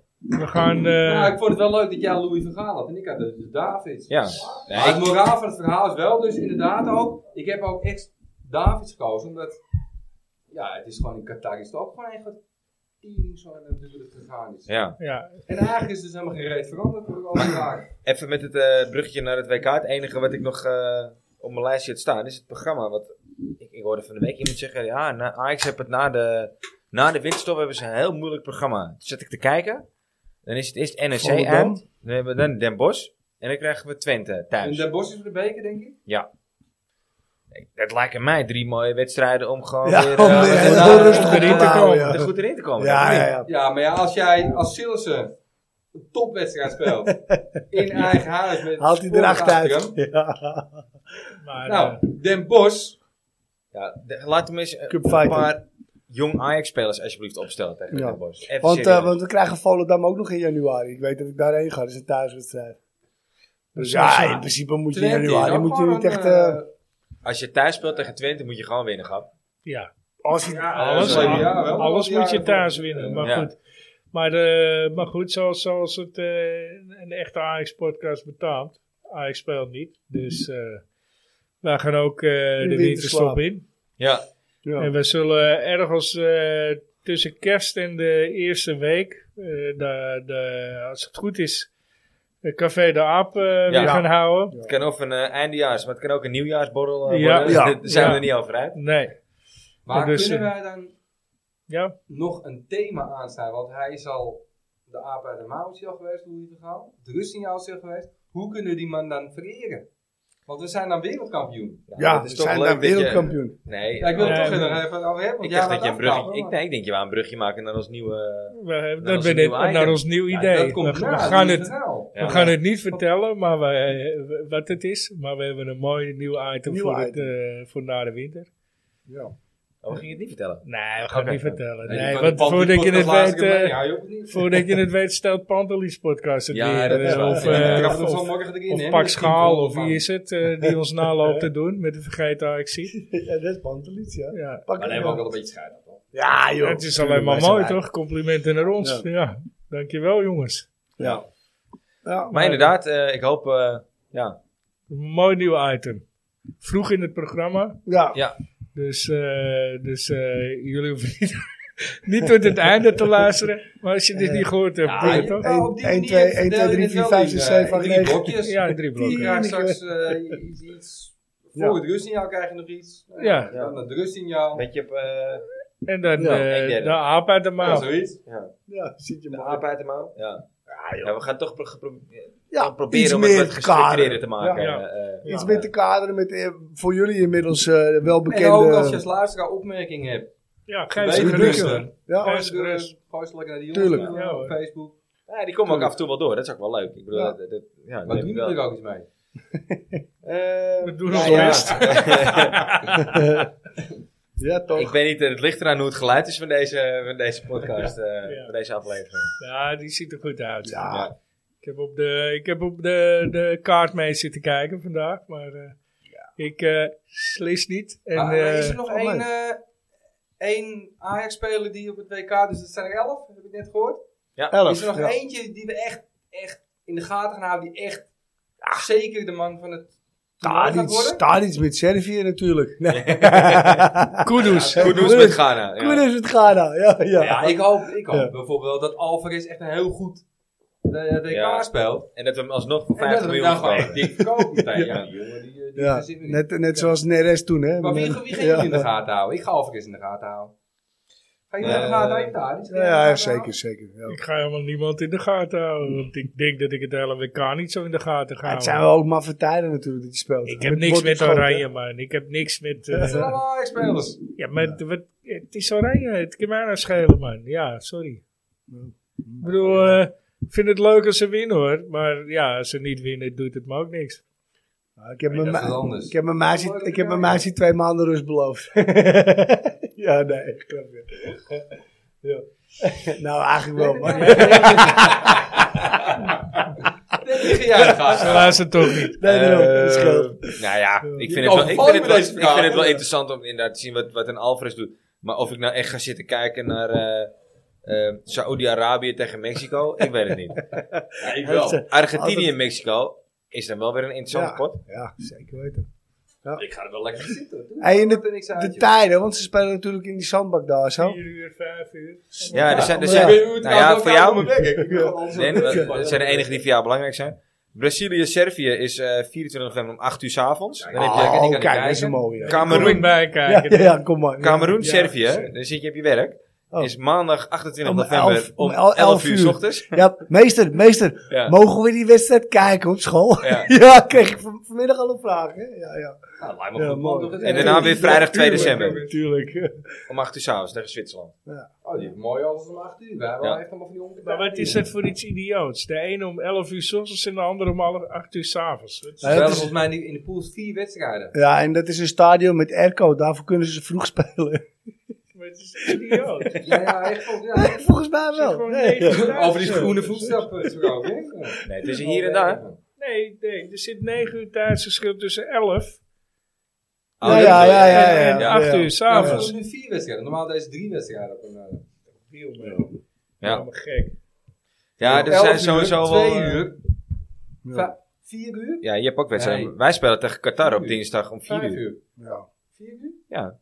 B: we gaan... eh,
D: Nou, ik vond het wel leuk dat jij Louis Vergaal had en ik had dus de, de Davids.
A: Ja.
D: Maar
A: Nee,
D: het
A: ik-
D: moraal van het verhaal is wel dus inderdaad ook, ik heb ook echt Davids gekozen, omdat, ja, het is gewoon in Qatar is het ook gewoon echt wat tering zo natuurlijk gegaan is.
A: ja.
B: ja,
D: En eigenlijk is dus helemaal geen reet veranderd door al die jaren.
A: Even met het eh, bruggetje naar het WK. Het enige wat ik nog eh, op mijn lijstje had staan is het programma. Wat ik, ik hoorde van de week iemand zeggen: Ja, na, Ajax heeft het na de, na de winterstop hebben ze een heel moeilijk programma. Toen zat ik te kijken. Dan is het eerst NEC
C: Volendam.
A: uit. Dan hebben we dan Den Bosch. En dan krijgen we Twente
D: En
A: thuis.
D: Den Bosch is voor de beker, denk ik.
A: Dat lijken mij drie mooie wedstrijden om gewoon
C: Ja,
A: weer,
C: om
A: eh,
C: weer
A: wat-
C: heel
A: eh,
C: rustig
A: erin
B: erin
A: te
B: te
A: komen.
C: komen.
A: Er goed erin te komen.
C: Ja,
A: dat
C: ja,
A: niet.
C: ja.
D: Ja, maar ja, als jij als Sillissen een topwedstrijd
A: [LAUGHS]
D: speelt in eigen huis met
C: Haalt hij
D: sporen
C: eracht
D: achter
C: uit.
D: hem.
C: Ja.
B: maar, eh,
D: Nou, Den Bosch,
A: Ja, de- laten we eens eh,
C: Cup
A: een
C: fighter.
A: paar jong Ajax-spelers alsjeblieft opstellen tegen
C: Ja.
A: Den Bosch. Even
C: Want,
A: serieus.
C: eh, want we krijgen Volendam ook nog in januari. Ik weet dat ik daarheen ga. Dat is een thuiswedstrijd. Dus
B: Ja,
C: ja, in principe moet je in
D: Twente is
C: januari
D: ook
C: moet je
D: gewoon
C: niet
D: een,
C: echt...
D: eh,
C: eh,
A: Als je thuis speelt tegen Twente moet je gewoon winnen, grap.
B: ja,
C: als je-
D: Ja,
B: alles,
D: dat is
B: al-
D: leuk. Ja, wel.
B: alles
D: Ja,
B: moet je
D: dat-
B: thuis winnen. Maar
A: Ja.
B: goed, maar, eh, maar goed zoals, zoals het eh, een echte Ajax-podcast betaamt. Ajax speelt niet, dus eh wij gaan ook eh, de
C: winterslaap.
B: winterstop in.
A: Ja,
C: ja.
B: En we zullen ergens eh, tussen kerst en de eerste week, eh, de, de, als het goed is, de Café de Aap eh, weer gaan houden.
A: het kan of een eh, eindejaars, maar het kan ook een nieuwjaarsborrel eh,
B: Ja.
A: worden. [LAUGHS]
C: Ja.
A: Daar zijn we
B: Ja.
A: er niet over uit.
B: Nee.
D: maar
B: Dus,
D: kunnen
B: eh,
D: wij dan
B: Ja.
D: nog een thema aanstaan? Want hij is al de aap uit de mouw is hij al geweest, hoe je verhaal. De Rustingjaal is hij al geweest. Hoe kunnen we die man dan vereren? Want we zijn dan wereldkampioen.
C: Ja,
A: dat
C: we
A: is toch
C: zijn
A: leuk
C: daar
A: dat je-
C: wereldkampioen. [LAUGHS]
A: Nee,
D: Ja, ik wil het
B: Nee,
D: toch
B: maar-
D: er even over hebben. Want
A: ik
D: jij
A: dacht
D: wou
A: dat je een
D: het afkappen,
A: brugje, ik,
D: maar-
A: nee, ik denk je wou een brugje maken naar ons nieuwe... eh,
B: We,
A: Naar
B: dat
A: ons
B: ben
A: nieuw
B: ik naar
A: item.
B: ons nieuw
A: Ja,
B: idee.
D: dat komt
B: we,
D: na,
B: we gaan
D: die
B: het,
D: verhaal.
A: Ja.
B: we gaan het niet vertellen maar wij, eh, wat het is, maar we hebben een mooi nieuw item,
C: Nieuw
B: voor,
C: item.
B: Het, eh, voor na de winter.
A: Oh, we gingen het niet vertellen.
B: Nee, we gaan
A: Oké.
B: het niet vertellen.
D: Nee,
B: Nee,
D: die van de
B: want
D: Pantheon
B: voordat je het
D: podcast laatste
B: weet,
D: keer mee.
B: eh,
D: Ja, je hoeft het niet.
B: voordat je het weet, stelt Pantelis podcast het
A: Ja,
B: weer.
A: dat is
B: eh,
A: wel-
B: of,
A: ja,
D: Ja,
B: eh,
D: ik
B: of-
D: trap er zo morgen erin,
B: Of
D: hè,
B: Pak
D: met tien
B: Schaal,
D: volgende
B: of
D: man.
B: wie is het eh, die ons naloopt te doen met de vergeten actie.
C: Ja, dat is Panteliet, ja.
B: Ja.
C: Pak
D: Maar dan
C: hem,
D: hebben we ook
C: ja.
D: wel een beetje schijn. toch?
C: Ja, joh.
B: Het is alleen maar
C: Wij zijn
B: mooi,
C: wij.
B: toch? Complimenten naar ons. Ja. dankjewel, jongens.
C: Ja. Ja,
A: Maar inderdaad, eh, ik hoop... eh, ja,
B: Een mooi nieuw item. Vroeg in het programma.
C: Ja.
A: Ja.
B: Dus, eh, dus eh, jullie hoeven niet, [LAUGHS] niet tot het einde te luisteren. Maar als je dit
C: Eh,
B: niet gehoord hebt,
D: Ja,
B: kun je
D: je-
B: toch?
D: nou, op die
C: 1,
D: manier
C: 2, 1, 2,
D: verdeel je
C: 3,
D: het
C: 4,
D: wel
C: 5,
D: in,
C: 6,
D: eh,
C: 7, 8,
D: drie
C: 9.
D: blokjes.
B: Ja, drie
D: Die
B: blokken.
D: krijgt straks eh, iets- iets. Voor
C: Ja.
D: het rustsignaal krijg je nog iets. Eh,
B: Ja.
D: Dan het rustsignaal.
A: Weet je, op, eh,
B: En dan
A: Ja,
B: eh,
A: een derde.
B: de aap uit de
D: Ja,
B: maal.
D: zoiets.
C: Ja, zit je
A: de
C: maar.
A: aap uit de mouw? Ja. Ja, we gaan toch pro- gepro-
C: Ja, iets
A: proberen om het
C: meer
A: wat gestructureerder te maken.
B: Ja.
A: eh, eh.
C: Iets
A: Ja.
C: met de kaderen, met, eh, voor jullie inmiddels eh, wel bekende...
D: En ook als je als luisteraar opmerkingen hebt.
B: Ja, geef
D: Wees
B: ze
D: gerust.
B: gerust.
D: Gooi
C: ja,
D: ze gerust. Gooi ze lekker naar die
C: Tuurlijk.
D: jongens toe,
B: Ja,
D: op eh,
B: hoor.
D: Facebook.
A: Ja, die komen ook af en toe wel door. Dat is ook wel leuk. Ik bedoel,
C: Ja.
A: dat, dat, ja, dat
D: Maar
A: heb
D: doen
A: ik
D: jullie
A: wel.
D: er ook iets mee?
A: Eh,
B: We doen
A: ja,
B: ons
A: ja.
B: best.
C: ja, toch.
A: Ik weet niet, eh, het ligt eraan hoe het geluid is van deze, van deze podcast, eh,
B: Ja.
A: van deze aflevering.
B: Ja, die ziet er goed uit.
C: Ja.
A: Ja.
B: Ik heb op de, ik heb op de, de kaart mee zitten kijken vandaag, maar eh, ik eh slis niet. En,
D: Ah, er is
B: eh,
D: er nog
C: oh,
D: één,
C: leuk.
D: eh, één Ajax-speler die op het WK, dus dat zijn er elf, heb ik net gehoord. Is er nog
C: ja.
D: eentje die we echt, echt in de gaten gaan houden, die echt zeker de man van het toernooi gaat
C: Tadic,
D: worden?
C: Tadic met Servië natuurlijk. Nee.
B: Kudus.
A: Goed doen ze met Ghana. ja.
C: [LAUGHS] Koen is het Ghana. Ja, ja.
D: Ja, ik hoop, ik hoop
C: Ja.
D: bijvoorbeeld dat Alvarez echt een heel goed eh, WK
A: Ja.
D: speelt.
A: En dat we hem alsnog voor
D: En dat
A: 50
D: we hem
A: miljoen
D: dan gewoon
A: verkopen.
D: echt dik
A: [LAUGHS]
D: verkopen. meteen.
A: Ja.
D: Ja, die jongen die, eh, die
C: Ja,
D: verzin me niet.
C: net, net zoals Neres toen, hè?
D: Maar wie,
C: Met-
D: wie gaan
C: ja.
D: jullie in de gaten houden? Ik ga Alvarez in de gaten houden. Ga je in de
A: Eh,
D: gaten houden? Tadic? Ga je in de
C: Ja, ja,
D: gaten
C: zeker,
D: houden?
C: zeker. Ja.
B: Ik ga helemaal niemand in de gaten houden, want ik denk dat ik het hele WK niet zo in de gaten ga
C: Ja, Ah,
B: houden.
C: het zijn wel ook maffe tijden natuurlijk die je speelt.
B: Ik heb
C: Het
B: niks
C: wordt
B: met
C: groot, hè?
B: oranje, man. Ik heb niks met... eh,
D: Dat zijn allemaal Ajax-spelers.
B: ja, maar het- wat- het is oranje. Het kan mij nou schelen, man. Ja, sorry. Ik bedoel, eh, ik vind het leuk als ze winnen, hoor. Maar ja, als ze niet winnen, doet het me ook niks.
C: Ja, Nou, Ik heb
D: Nee,
C: mijn
D: dat is wat
C: ma-
D: anders.
C: ik heb mijn meisje- ik heb mijn meisje twee maanden rust beloofd. [LAUGHS] ja, nee, grapje. ja. [LAUGHS] nou, eigenlijk wel. Maar.
D: Dat lig jij in de
B: Ze
D: gaten.
B: luisteren toch niet.
C: [LAUGHS] Nee, daarom, dat
A: Eh,
C: scheelt.
A: Nou ja, ik vind, het
D: overvalt
A: wel, ik, vind het
D: me
A: wel, ik
D: deze
A: vind het wel
D: vraag.
A: interessant om inderdaad te zien wat, wat een Alvarez doet. Maar of ik nou echt ga zitten kijken naar eh eh Saoedi-Arabië tegen Mexico, ik weet het niet.
D: Ja, ik wel.
A: Argentinië
C: Altijd-
A: en Mexico is dan wel weer een interessante
C: Ja.
A: pot.
C: Ja, zeker weten.
D: Ik ga er wel lekker zitten. Doe
C: Hey, in
D: maar, er niks aan,
C: De
D: joh.
C: tijden, want ze spelen natuurlijk in die zandbak daar zo.
B: 4 uur, 5 uur.
A: Ja, er zijn, er
D: Ik
A: zijn,
D: weet hoe het
A: nou
D: gaat,
A: ja,
D: dan
A: voor
D: ga ik
A: jou-
D: op mijn bek. Ik wil alles
A: nee,
D: op
A: dat
D: mijn bek.
A: dat zijn de enigen die voor jou belangrijk zijn. Brazilië-Servië is eh 24 november om 8 uur 's avonds. Dan heb je lekker dingen
C: Oh,
A: te
C: kijk, dat is een
A: kijken.
C: mooie.
B: Kom ik
A: Cameroen,
B: bij
C: Ja,
B: kijken.
C: ja, ja, kom maar.
A: Cameroen,
B: Ja,
A: Servië,
B: precies.
A: dan zit je op je werk.
C: Oh.
A: Is maandag 28
C: Om
A: november
C: elf-
A: om
C: om el-
A: 11
C: elf
A: uur 's
C: uur.
A: ochtends.
C: Ja, meester, meester,
A: Ja.
C: mogen we die wedstrijd kijken op school?
A: Ja.
C: [LAUGHS] Ja, kreeg ik van, vanmiddag al een vraag, hè? Ja, ja.
D: Nou, lijkt me
C: Ja,
D: goed, man.
C: mooi.
D: Doe het
A: En
D: even.
A: daarna weer vrijdag 2 december.
C: Natuurlijk.
A: Om 8 uur 's avonds tegen Zwitserland.
D: Oh, die heeft mooi alles om 8 uur. Wij hebben
A: Ja.
D: wel echt allemaal van die onkel.
B: Maar wat is dat voor iets idioots? De ene om 11 uur 's ochtends en de andere om alle 8 uur 's avonds. Dat is-
D: Ze
C: Ja, dat
D: spelen
C: is-
D: volgens mij nu in de pools vier wedstrijden.
C: Ja, en dat is een stadion met airco, daarvoor kunnen ze vroeg spelen.
B: Dat is toch idioot.
D: Ja, ja, echt volgens
C: [LAUGHS] Ja,
D: mij.
C: volgens mij
B: Zit
C: wel.
B: gewoon
C: Nee.
B: negen uur thuis.
D: [LAUGHS] Over die groene voetstappen gesproken. hè?
A: Nee, het is hier en daar.
B: Nee, nee, er zit 9 uur tijdsverschil tussen 11
A: Oh,
C: Ja, ja, ja, ja, ja,
B: en 8
C: ja.
B: uur
D: Ja, we
B: s'avonds.
D: hebben nu vier wedstrijden. Normaal deze drie wedstrijden. op een, eh,
B: Deal, man.
A: Ja,
B: Helemaal gek.
A: ja er
D: elf
A: zijn
D: uur,
A: sowieso
D: twee
A: wel... eh,
D: uur. va- Vier uur?
A: Ja, je hebt ook wedstrijden.
D: Nee.
A: Wij spelen tegen Qatar op
D: Uur.
A: dinsdag om 4
D: Vijf
A: uur.
D: uur.
C: Ja.
D: Vier uur?
A: Ja.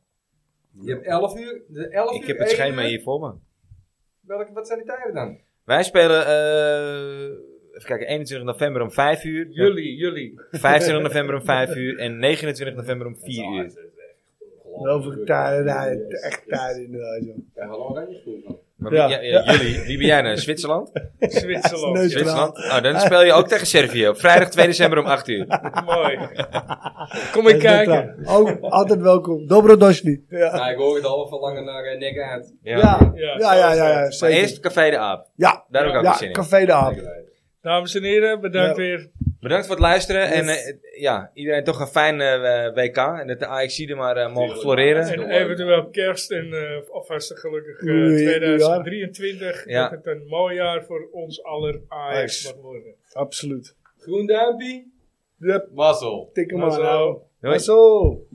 D: Je hebt elf uur. De elf
A: Ik
D: uur,
A: heb het
D: één
A: schema
D: uur.
A: hier voor me.
D: Welke, wat zijn die tijden dan?
A: Wij spelen, eh even kijken, 21 november om 5 uur.
B: Jullie, jullie.
A: 25 november om 5 uur en 29 november om 4 uur.
C: Over tijden, nee, echt tijden inderdaad. joh.
D: Ja, hallo oranje groen man.
A: Maar
C: Ja.
A: wie- ja, ja, jullie, wie ben jij nou? Zwitserland?
B: Zwitserland.
C: Neus.
A: Zwitserland? Oh, dan speel je ook tegen Servië op vrijdag 2 december om 8 uur.
B: Ja, Mooi. Kom ik
C: Dat is
B: kijken.
C: wel. Ook altijd welkom. Dobrodošli. Ja.
D: Nou, ik hoor het al verlangen naar eh, nek uit.
C: Ja.
B: Ja,
C: Ja, ja, ja, ja,
A: Maar
C: zeker.
A: eerst Café de Aap.
C: ja,
A: Daar heb ik ook
C: ja,
A: wel zin in.
C: Café de Aap.
B: Dames en heren, bedankt
C: Ja.
B: weer.
A: Bedankt voor het luisteren. En
C: Yes.
A: eh, ja, iedereen toch een fijn eh, WK. En dat de AXC er maar eh, mogen floreren.
B: En eventueel kerst en eh alvast een gelukkig eh,
C: Oei,
B: 2023.
A: ja.
B: Dat het een mooi jaar voor ons aller Ajax
C: Ajax.
B: mag worden.
C: Absoluut.
D: Groen duimpje.
C: Yep.
D: Mazzel.
C: Tik hem
B: Maar
C: maar
B: zo.
C: aan.
A: Doei.
C: Zo.